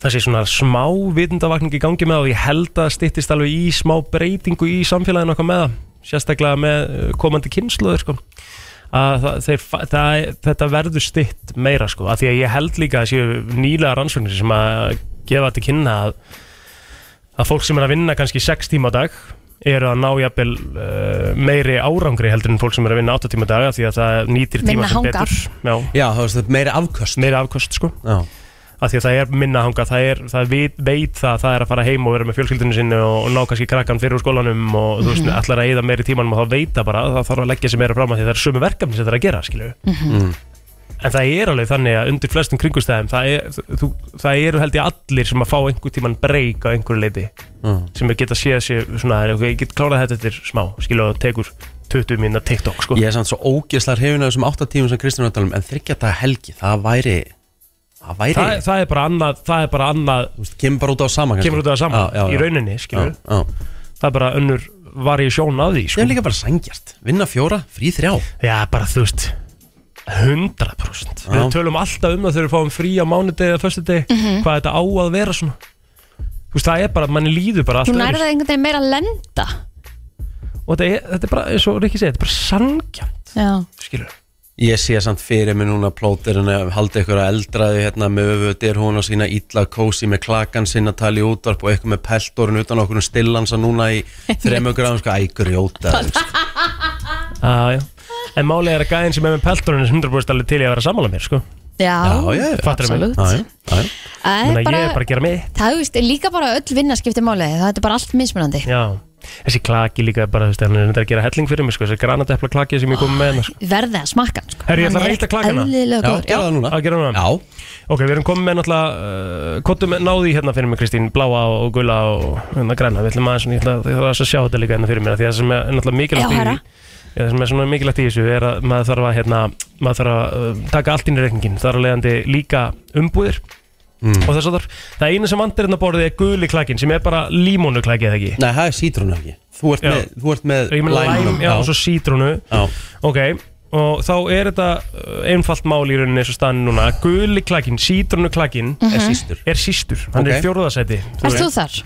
[SPEAKER 2] Það sé svona smá vitundavakning í gangi með það Og ég held að styttist alveg í smá breytingu í samfélaginu okkar með það Sérstaklega með uh, komandi kynsluður sko að það, þeir, fa- það, þetta verður stytt meira sko, af því að ég held líka að séu nýlega rannsóknir sem að gefa til kynna að, að fólk sem er að vinna kannski 6 tíma á dag eru að ná jafnvel uh, meiri árangri heldur en fólk sem er að vinna 8 tíma á dag af því að það nýtir
[SPEAKER 3] Minna
[SPEAKER 2] tíma sem
[SPEAKER 3] hangar.
[SPEAKER 2] betur Já,
[SPEAKER 1] Já það veist, meiri afköst
[SPEAKER 2] Meiri afköst sko
[SPEAKER 1] Já
[SPEAKER 2] af því að það er minna hanga, það, er, það veit, veit það að það er að fara heim og vera með fjölskyldinu sinni og, og ná kannski krakkan fyrir úr skólanum og þú veist,
[SPEAKER 1] Mhm.
[SPEAKER 2] allar að eyða meiri tímanum og þá veit það bara, að það þarf að leggja sér meira fram af því að það er sömu verkefni sem það er að gera, skilju
[SPEAKER 1] mm.
[SPEAKER 2] en það er alveg þannig að undir flestum kringustæðum það, er, þú, það eru held ég allir sem að fá einhver tíman breyk á einhverju leiti
[SPEAKER 1] Mm.
[SPEAKER 2] sem er geta að sé svona, ok, ég get klárað þetta eftir smá skilja og tekur 20 minna TikTok sko.
[SPEAKER 1] Ég er samt svo ógeðslar hefina þessum áttatífum sem Kristján var að tala um En þryggja dag helgi, það væri Það það væri
[SPEAKER 2] það, það er bara annað það er bara annað
[SPEAKER 1] veist, kemur bara út á sama
[SPEAKER 2] kemur út á sama í rauninni skilur
[SPEAKER 1] já,
[SPEAKER 2] það er bara önnur var ég sjón að því sko.
[SPEAKER 1] það er líka bara sangjart vinna fjóra frí þrjá
[SPEAKER 2] já bara þú veist 100%
[SPEAKER 1] Já.
[SPEAKER 2] við tölum alltaf um það þegar við fáum frí á mánudegi eða föstudegi
[SPEAKER 3] Mhm.
[SPEAKER 2] hvað þetta á að vera svona þú veist það er bara manni líður bara
[SPEAKER 3] Þú
[SPEAKER 2] alltaf
[SPEAKER 3] nærði það einhvern veginn meira að lenda
[SPEAKER 2] og þetta er, þetta er bara eins og Rikki segir þetta er bara sangja
[SPEAKER 3] Já,
[SPEAKER 2] skilur
[SPEAKER 1] ég sé samt fyrir mig núna plóterinn að halda ykkur að eldraði hérna með öfutir hún og sína illa kósi með klakan sinna tali útvarp og eitthvað með peltorinn utan okkur um stillansa núna í þremmu gráðum sko ægur jóta
[SPEAKER 2] ah, já. en málið er að gæðin sem er með peltorinn er 100% alveg til í að vera sammála mér sko
[SPEAKER 3] já,
[SPEAKER 2] Fattar mig?
[SPEAKER 3] absolutt. Það
[SPEAKER 2] Ég
[SPEAKER 3] er
[SPEAKER 2] meina,
[SPEAKER 3] bara,
[SPEAKER 2] ég er bara að gera mig
[SPEAKER 3] það þú veist, líka bara öll vinna skiptir máli Það er bara allt mismunandi
[SPEAKER 2] já. þessi klaki líka bara þú veist, hann er reyndar að gera helling fyrir mig sko, þessi granatepla klaki sem ég kom
[SPEAKER 1] Ah,
[SPEAKER 2] með hérna, sko.
[SPEAKER 3] Verðið að smakka hann, sko.
[SPEAKER 2] Herri, ég
[SPEAKER 3] Hann
[SPEAKER 2] ætla að
[SPEAKER 3] er
[SPEAKER 2] reyta klakana
[SPEAKER 3] eðlilega góður. Já.
[SPEAKER 2] núna Að gera núna
[SPEAKER 1] Já
[SPEAKER 2] Ok, við erum komið með náttúrulega uh, Kottum náði hérna fyrir mig Kristín Bláa og gula og hérna græna Við ætlum aðeins svona, ég ætla ég þarf aðeins að sjá þetta líka hérna fyrir mér af Því að það sem er náttúrulega mikilvægt
[SPEAKER 3] Já,
[SPEAKER 2] í
[SPEAKER 3] herra.
[SPEAKER 2] Já, það sem er svona mikilvægt í þessu er að maður þarf að, hérna, maður þarf að uh, taka allt inn í reikningin Það er að leiðandi líka umbúðir
[SPEAKER 1] Mm.
[SPEAKER 2] og þess að það eina sem vandir hérna borðið er guli klakin sem er bara límónu klakið ekki
[SPEAKER 1] Nei, það er sítrún ekki Þú ert
[SPEAKER 2] Já.
[SPEAKER 1] með, þú ert með
[SPEAKER 2] Ég meina
[SPEAKER 1] lime-
[SPEAKER 2] læm, já, og svo sítrúnu Ok, og þá er þetta uh, einfalt mál í rauninni eins og staðan er núna Guli klakinn, sítrúnu klakinn
[SPEAKER 3] Mhm. Er sístur.
[SPEAKER 2] Er sístur,
[SPEAKER 1] Ok.
[SPEAKER 2] hann er fjórðasæti
[SPEAKER 3] Ert þú þar?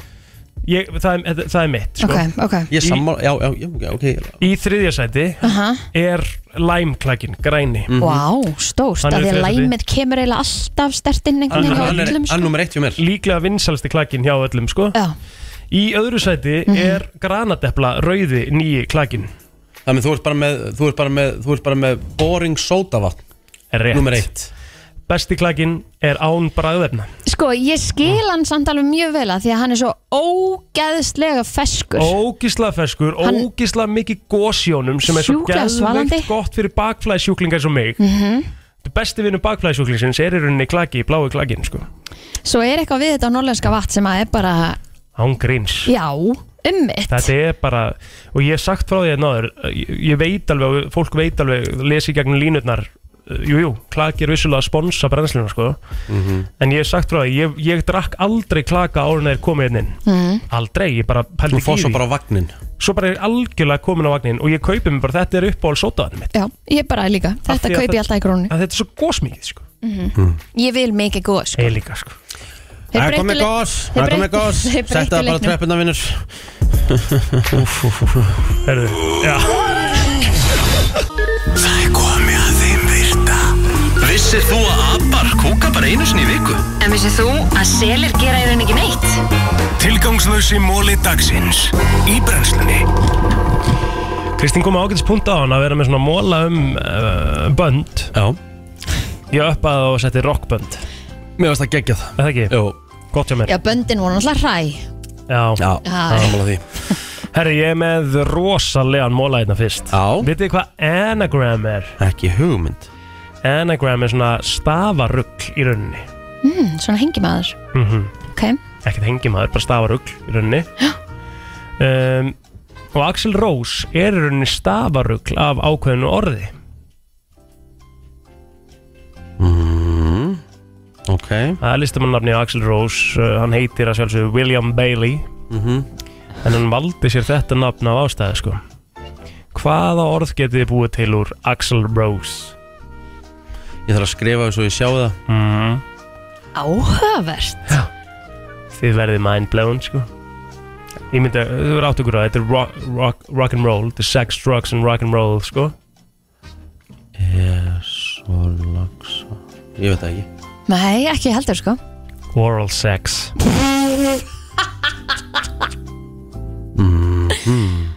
[SPEAKER 2] Ég, það, er, þetta- það er mitt, sko
[SPEAKER 3] Ok, ok.
[SPEAKER 1] Ég sammál, já, já, já, ok, ok
[SPEAKER 2] Í þriðjasæti
[SPEAKER 3] Aha.
[SPEAKER 2] er læm klakinn, græni
[SPEAKER 1] Mm.
[SPEAKER 3] Vá, stórt,
[SPEAKER 2] Mhm. Hann
[SPEAKER 3] að
[SPEAKER 2] er
[SPEAKER 3] því að
[SPEAKER 2] í þriðja sæti.
[SPEAKER 3] læmið kemur eiginlega alltaf stertinn einhvern veginn hjá öllum sko.
[SPEAKER 1] nummer eitt hjá mér
[SPEAKER 2] Líklega vinsalsti klakinn hjá öllum, sko
[SPEAKER 3] Já.
[SPEAKER 2] Í öðru sæti
[SPEAKER 3] Mhm.
[SPEAKER 2] er granatepla rauði nýji klakinn
[SPEAKER 1] Þannig þú ert bara með, þú ert bara með, þú ert bara með boring sódavatn
[SPEAKER 2] Rétt.
[SPEAKER 1] Númer eitt
[SPEAKER 2] Besti klakinn er án bragðefna
[SPEAKER 3] Sko, ég skil hann samt alveg mjög vel að því að hann er svo ógeðslega feskur
[SPEAKER 2] Ógísla feskur,
[SPEAKER 3] Hann-
[SPEAKER 2] ógísla mikið gósjónum sem er svo
[SPEAKER 3] Sjúklega svalandi. Mhm.
[SPEAKER 2] geðveikt gott fyrir bakflæðsjúklingar eins og mig mm Besti vinnu bakflæðsjúklingsins er í rauninni klaki, blái klakin sko
[SPEAKER 3] Svo er eitthvað við þetta á norlenska vatn sem að er bara,
[SPEAKER 2] Án gríns
[SPEAKER 3] já, um ummitt
[SPEAKER 2] Þetta er bara, og ég hef sagt frá því að náður ég, ég veit alveg, og fólk veit alveg lesi í gegnum línutnar uh, Jú, jú, klaki er vissulega að sponsa brennsluna sko
[SPEAKER 1] Mhm.
[SPEAKER 2] En ég hef sagt frá því, ég, ég drakk aldrei klaka árun að þeir komið hérna inn
[SPEAKER 1] Mhm.
[SPEAKER 2] Aldrei, ég bara pældi
[SPEAKER 1] Þú
[SPEAKER 2] ekki
[SPEAKER 1] fór
[SPEAKER 2] í
[SPEAKER 1] svo
[SPEAKER 2] því.
[SPEAKER 1] bara á vagnin
[SPEAKER 2] svo bara er algjörlega komin á vagnin og ég kaupi mér bara þetta er uppáhald sótaðanum mitt
[SPEAKER 3] Já, ég bara líka,
[SPEAKER 2] Af
[SPEAKER 3] þetta
[SPEAKER 2] því að
[SPEAKER 3] kaupi ég alltaf í grónu
[SPEAKER 2] að þetta er svo gósmikið sko
[SPEAKER 3] Ég vil mikið gós
[SPEAKER 2] ég líka sko
[SPEAKER 3] Þeir
[SPEAKER 1] Það er
[SPEAKER 3] breyttu
[SPEAKER 1] komið
[SPEAKER 3] leik-
[SPEAKER 1] gós, það
[SPEAKER 3] þeir
[SPEAKER 1] er komið
[SPEAKER 3] breyttu-
[SPEAKER 1] gós
[SPEAKER 3] þeir breyttu
[SPEAKER 1] Setta það bara
[SPEAKER 3] leiknum.
[SPEAKER 1] tröppuna vinnur
[SPEAKER 2] Herðu, já
[SPEAKER 13] Það er komið að þeim virta Vissir þú að abar kúka bara einu sinni í viku?
[SPEAKER 15] En vissið þú að selir gera í rauninni ekki neitt?
[SPEAKER 13] Tilgangslösi móli dagsins Í brennslunni
[SPEAKER 2] Kristín kom á ágætis punkt á hann að vera með svona móla um uh, bönd
[SPEAKER 1] já
[SPEAKER 2] ég uppaði og setti rockbönd
[SPEAKER 1] mér varst það geggjað
[SPEAKER 2] er það ekki?
[SPEAKER 1] Jú.
[SPEAKER 2] gott hjá mér
[SPEAKER 3] Já, böndin voru náttúrulega hræ
[SPEAKER 2] Já, já,
[SPEAKER 3] Já. sammála
[SPEAKER 1] því
[SPEAKER 2] Herri, ég er með rosalegan móla hérna fyrst
[SPEAKER 1] Já
[SPEAKER 2] Vitið þið hvað anagram er?
[SPEAKER 1] Ekki hugmynd
[SPEAKER 2] Anagram er svona stafarugl í rauninni
[SPEAKER 3] mm, Svona hengi maður
[SPEAKER 2] mm
[SPEAKER 1] Mhm.
[SPEAKER 3] Ok,
[SPEAKER 2] ekkert hengimaður, bara stafarugl í rauninni um, og Axel Rose er í rauninni stafarugl af ákveðinu orði
[SPEAKER 1] mm, Ok
[SPEAKER 2] það er listamannafni á Axel Rose uh, hann heitir að sjálfsögðu William Bailey
[SPEAKER 1] Mhm.
[SPEAKER 2] en hann valdi sér þetta nafn af ástæði sko hvaða orð getið þið búið til úr Axel Rose
[SPEAKER 1] Ég þarf að skrifa þess að ég sjá það
[SPEAKER 2] mm.
[SPEAKER 3] áhugavert
[SPEAKER 2] þið verðið mind blown sko ég myndi að þið verður átt okkur á þetta er rock, rock, rock and roll, the sex, drugs and rock and roll sko
[SPEAKER 1] Esolaksa Ég veit það ekki
[SPEAKER 3] Nei, ekki heldur sko
[SPEAKER 2] oral sex
[SPEAKER 1] Mhm.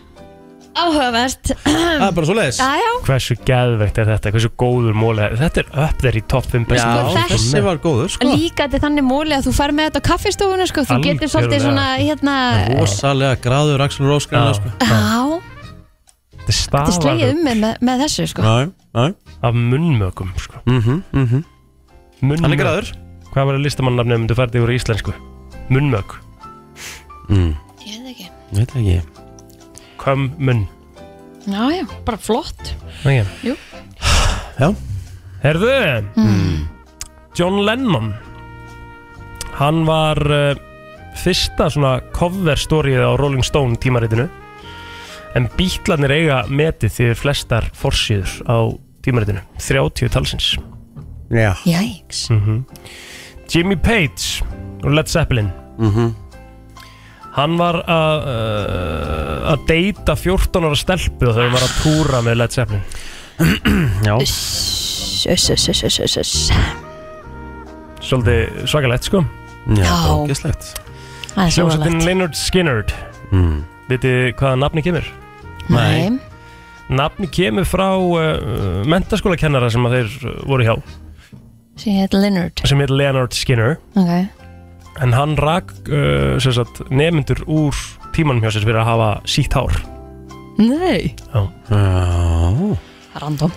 [SPEAKER 3] Áhugavert
[SPEAKER 1] Það er bara svo leiðis
[SPEAKER 3] Já, já
[SPEAKER 2] hversu geðveikt er þetta, hversu góður móli þetta er upp þeir í topp 5
[SPEAKER 1] Já, þessi var góður
[SPEAKER 3] Líka þetta er þannig móli að þú fer með þetta á kaffistofuna sko. Þú getur
[SPEAKER 1] Algjörlega.
[SPEAKER 3] svolítið svona hérna
[SPEAKER 1] Rosalega gráður Axel Rose greinilega, sko.
[SPEAKER 3] Já,
[SPEAKER 2] þetta
[SPEAKER 3] þetta er slegið um með, með, með þessu sko.
[SPEAKER 1] Nei, nei
[SPEAKER 2] af munnmökum sko.
[SPEAKER 1] mm -hmm, mm -hmm.
[SPEAKER 2] munnmök.
[SPEAKER 1] Hann er gráður.
[SPEAKER 2] hvað var listamannafnið um þú færði yfir í íslensku munnmök,
[SPEAKER 1] mm.
[SPEAKER 3] Ég veit ekki
[SPEAKER 1] Ég veit það ekki
[SPEAKER 2] kom munn
[SPEAKER 3] Já, já, bara flott
[SPEAKER 2] okay.
[SPEAKER 3] Jú.
[SPEAKER 1] já
[SPEAKER 2] herðu John Lennon Hann var uh, fyrsta svona cover stórið á Rolling Stone tímaritinu en bítlarnir eiga metið því flestar forsýður á tímaritinu 30 talsins
[SPEAKER 1] Já.
[SPEAKER 3] Jæks
[SPEAKER 2] Jimmy Page og Led Zeppelin Hann var að uh, að deyta 14 ára stelpu og þau var að túra með Led Zeppelin Já Svolítið svakalegt sko
[SPEAKER 1] Já, Já. ógeðslegt.
[SPEAKER 3] Það er svakalegt.
[SPEAKER 2] Hljómsveitin Leonard Skinnerd
[SPEAKER 1] Mm.
[SPEAKER 2] Vitið hvaða nafni kemur?
[SPEAKER 3] Nei. Nei.
[SPEAKER 2] Nafni kemur frá uh, mentaskóla kennara sem að þeir uh, voru hjá
[SPEAKER 3] sem heit Leonard
[SPEAKER 2] sem heit Leonard Skinner
[SPEAKER 3] Ok,
[SPEAKER 2] en hann rak uh, sem sagt, nemyndur úr tímanum hjá sér fyrir að hafa sítt hár
[SPEAKER 3] nei
[SPEAKER 2] Já.
[SPEAKER 3] Random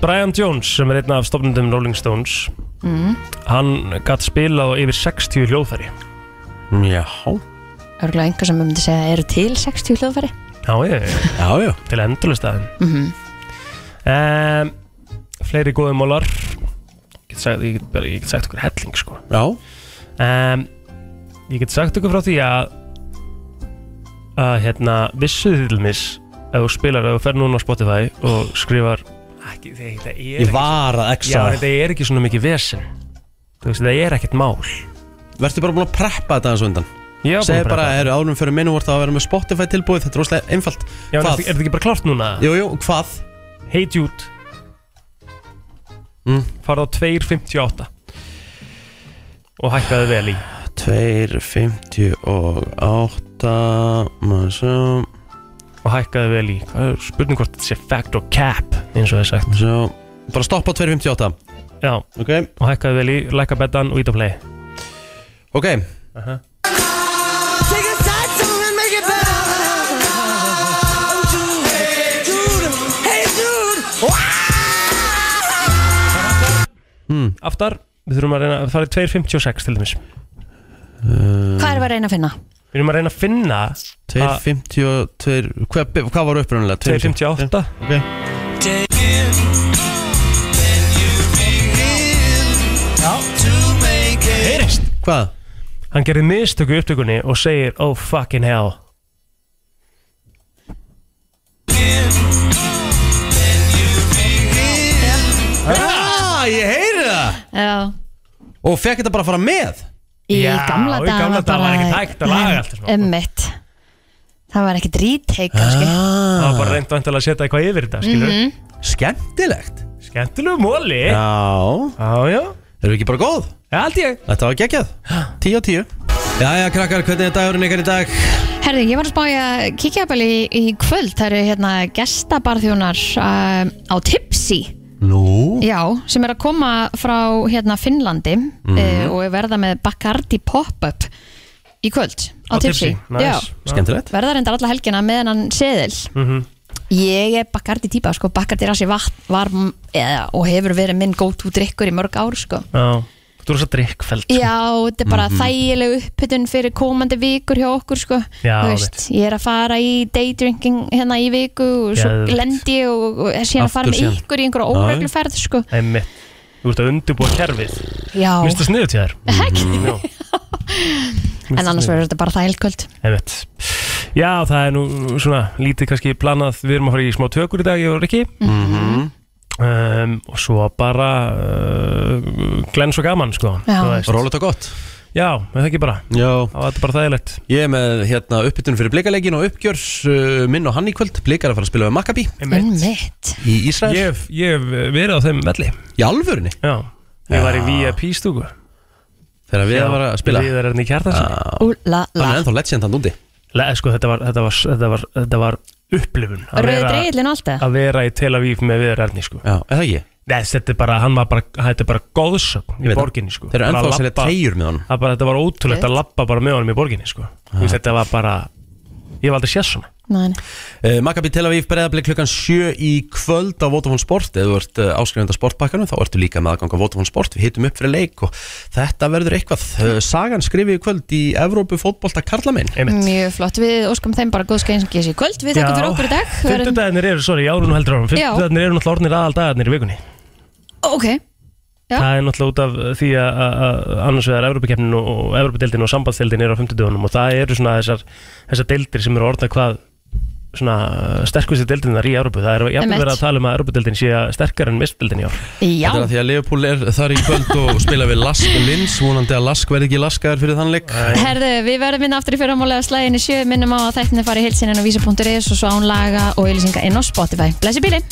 [SPEAKER 2] Brian Jones sem er einn af stofnundum Rolling Stones
[SPEAKER 3] mm.
[SPEAKER 2] hann gatt spilað á yfir 60 hljóðfæri Ah, mm,
[SPEAKER 1] Já
[SPEAKER 3] Örgulega einhver sem myndi segja eru til 60 hljóðfæri
[SPEAKER 2] Já, ég,
[SPEAKER 1] já, já.
[SPEAKER 2] til endurlega staðin
[SPEAKER 3] mm
[SPEAKER 2] um, fleiri góði mólar ég get sagt, ég get, bara, ég get sagt okkur helling sko.
[SPEAKER 1] já
[SPEAKER 2] um, ég get sagt okkur frá því að að hérna vissuð til dæmis ef þú spilar, ef þú fer núna á Spotify og skrifar ekki, þeir, það er
[SPEAKER 1] Ég var að exa
[SPEAKER 2] já,
[SPEAKER 1] það.
[SPEAKER 2] þetta er ekki svona mikið vesen þú veist, það er ekkert mál
[SPEAKER 1] Vertu bara búin að preppa þetta aðeins á undan
[SPEAKER 2] Já, búin að
[SPEAKER 1] Segðu
[SPEAKER 2] preppa
[SPEAKER 1] bara,
[SPEAKER 2] þetta.
[SPEAKER 1] eru árum fyrir minnum vort að vera með Spotify tilbúið Þetta er rosalega einfalt
[SPEAKER 2] Já, en er þetta- er þetta ekki bara klárt núna?
[SPEAKER 1] Jú, jú, hvað?
[SPEAKER 2] Hey Jude
[SPEAKER 1] mm.
[SPEAKER 2] farð á 2.58 og hækkaði vel í
[SPEAKER 1] 2.58 Svo
[SPEAKER 2] og hækkaði vel í Hvað er spurning hvort þetta sé fact or cap eins og það er sagt
[SPEAKER 1] Svo Bara stoppa á 2.58
[SPEAKER 2] Já
[SPEAKER 1] okay.
[SPEAKER 2] Og hækkaði vel í, lækka betan og ít á play
[SPEAKER 1] Ok
[SPEAKER 2] hmm. Aftar, við þurfum að reyna Það er 2.56 til dæmis
[SPEAKER 3] Hvað erum við að reyna að finna?
[SPEAKER 2] Við erum að reyna að finna
[SPEAKER 1] 2.52 Hvað, hvað var upprunalega?
[SPEAKER 2] 2.58
[SPEAKER 1] Ok
[SPEAKER 2] Heyrist
[SPEAKER 1] Hvað?
[SPEAKER 2] Hann gerir mistöku í upptökunni og segir Oh fucking hell
[SPEAKER 1] Ah, ég heyri það
[SPEAKER 3] Já,
[SPEAKER 1] Og fekk þetta bara að fara með?
[SPEAKER 3] í gamla daga sko. Ummitt Það var ekkert retake kannski
[SPEAKER 1] Ah.
[SPEAKER 2] Það var bara reynd vantilega að setja eitthvað yfir þetta skilur
[SPEAKER 3] Mhm.
[SPEAKER 1] Skemmtilegt
[SPEAKER 2] Skemmtilegu móli
[SPEAKER 1] Já
[SPEAKER 2] Já, já
[SPEAKER 1] Erum við ekki bara góð?
[SPEAKER 2] Já, held ég
[SPEAKER 1] Þetta var geggjað 10 á 10 Jæja, krakkar, hvernig er dagurinn ykkar í dag?
[SPEAKER 3] Herði, ég var að spá í að kíkja upp í, í kvöld Það eru hérna gestabarþjónar uh, á Tipsy
[SPEAKER 1] Nú?
[SPEAKER 3] Já, sem er að koma frá hérna Finnlandi
[SPEAKER 2] Mhm.
[SPEAKER 3] mm. og verða með Bacardi Pop-Up í kvöld
[SPEAKER 1] Á
[SPEAKER 3] á,
[SPEAKER 1] Tipsy,
[SPEAKER 3] Tipsy,
[SPEAKER 1] nice.
[SPEAKER 3] Já.
[SPEAKER 1] Skemmtilegt.
[SPEAKER 3] Verða reyndar alla helgina með hennan seðil
[SPEAKER 2] mm -hmm.
[SPEAKER 3] Ég er Bacardi típa, sko, Bacardi rassi vatn var, eða, og hefur verið minn go-to drikkur í mörg ár, sko
[SPEAKER 2] Já, þú er svo drikkfælt
[SPEAKER 3] Já, þetta er bara
[SPEAKER 2] Mhm.
[SPEAKER 3] þægileg upphitun fyrir komandi vikur hjá okkur sko.
[SPEAKER 2] Já,
[SPEAKER 3] Þú veist, ég er að fara í daydrinking hérna í viku og svo
[SPEAKER 2] Geðveikt.
[SPEAKER 3] lendi ég og, og er síðan að fara
[SPEAKER 2] Aftur
[SPEAKER 3] með
[SPEAKER 2] síðan.
[SPEAKER 3] ykkur í einhverja
[SPEAKER 2] Já.
[SPEAKER 3] óregluferð sko.
[SPEAKER 2] Einmitt Þú ert að undirbúa kerfið
[SPEAKER 3] Já,
[SPEAKER 2] Mér finnst það sniðugt hjá þér
[SPEAKER 3] Ekki?
[SPEAKER 2] Mhm, já. Mér
[SPEAKER 3] en
[SPEAKER 2] finnst
[SPEAKER 3] annars
[SPEAKER 2] það
[SPEAKER 3] verður þetta bara þægilkvöld
[SPEAKER 2] Einmitt Já, það er nú svona lítið kannski planað Við erum að fara í smá tökur í dag, ég og Rikki
[SPEAKER 1] Mhm.
[SPEAKER 2] um, Og svo bara uh, glens og gaman, sko
[SPEAKER 1] Já.
[SPEAKER 2] þú veist.
[SPEAKER 1] Rólegt og gott
[SPEAKER 2] Já, er það ekki bara
[SPEAKER 1] Já
[SPEAKER 2] Það var bara þægilegt
[SPEAKER 1] Ég er með hérna uppbytun fyrir blikaleikin og uppgjörs uh, minn og hann í kvöld Blikar að fara að spila við Maccabi
[SPEAKER 3] Einmitt
[SPEAKER 1] Í Ísrael
[SPEAKER 2] Ég hef, ég hef verið á þeim velli
[SPEAKER 1] Í alvörinni?
[SPEAKER 2] Já Ég var í VIP stúku
[SPEAKER 1] Þegar við var að spila
[SPEAKER 2] Við erum í kjartansi
[SPEAKER 3] Ú, la,
[SPEAKER 1] Hann er ennþá legend hann úti
[SPEAKER 2] Le, sko, þetta var, þetta var, þetta var, þetta var upplifun að
[SPEAKER 3] Rauði
[SPEAKER 2] vera-
[SPEAKER 3] dreigillinn og allt það?
[SPEAKER 2] Að vera í Tel Aviv með Viður Erni sko.
[SPEAKER 1] Já, er það ekki?
[SPEAKER 2] Nei, þetta er bara, hann var bara, þetta er bara góðsögn
[SPEAKER 1] Ég
[SPEAKER 2] í
[SPEAKER 1] veit það.
[SPEAKER 2] borginni sko.
[SPEAKER 1] Þeir eru
[SPEAKER 2] Bara
[SPEAKER 1] ennþá að selja
[SPEAKER 2] labba-
[SPEAKER 1] treyjur með honum.
[SPEAKER 2] Það bara, þetta var ótrúlegt að lappa bara með honum í borginni sko. Þú veist, Þetta var bara, ég var aldrei séð svona
[SPEAKER 3] Næ,
[SPEAKER 1] Uh, Maccabi Tel Aviv breyðablik klukkan 7 í kvöld á Vodafone Sport eða þú ert uh, áskrifenda sportbakkanum þá ertu líka með aðgang á Vodafone Sport við hittum upp fyrir leik og þetta verður eitthvað uh, Sagan skrifið í kvöld í Evrópu fótbolta Karlaminn
[SPEAKER 3] mjög flott Við óskum þeim bara góðskeinsingis í kvöld Við þakkum fyrir okkur í dag Við erum-
[SPEAKER 2] Fymtudagarnir eru, sorry, ég árum og heldur árum
[SPEAKER 3] Já.
[SPEAKER 2] Fymtudagarnir eru náttúrulega orðnir aðaldagarnir í vikunni
[SPEAKER 3] Ok, Já.
[SPEAKER 2] Það er náttúrulega út af því að að- að annars vegar Evrópakeppnin og, og Evrópadeildin og sambandsdeildin eru á 50 dögunum og það eru svona þessar, þessar deildir sem eru orðna hvað svona sterkustu deildinar í Evrópu. Það er jafnvel verið
[SPEAKER 3] Einmitt.
[SPEAKER 2] að tala um að Evrópadeildin sé sterkar en mistdeildin í ár.
[SPEAKER 3] Já,
[SPEAKER 1] Þetta er að því að Leopold er þar í kvöld og spila við Lask Lins, vonandi að Lask verði ekki laskaður fyrir þann leik
[SPEAKER 3] herðu, við verðum inn aftur í fyrramálega slæðinu sjö, minnum á að þættinni fari hilsininn á vísa.is og svo án laga og ylýsinga inn á Spotify. Blessi bílinn!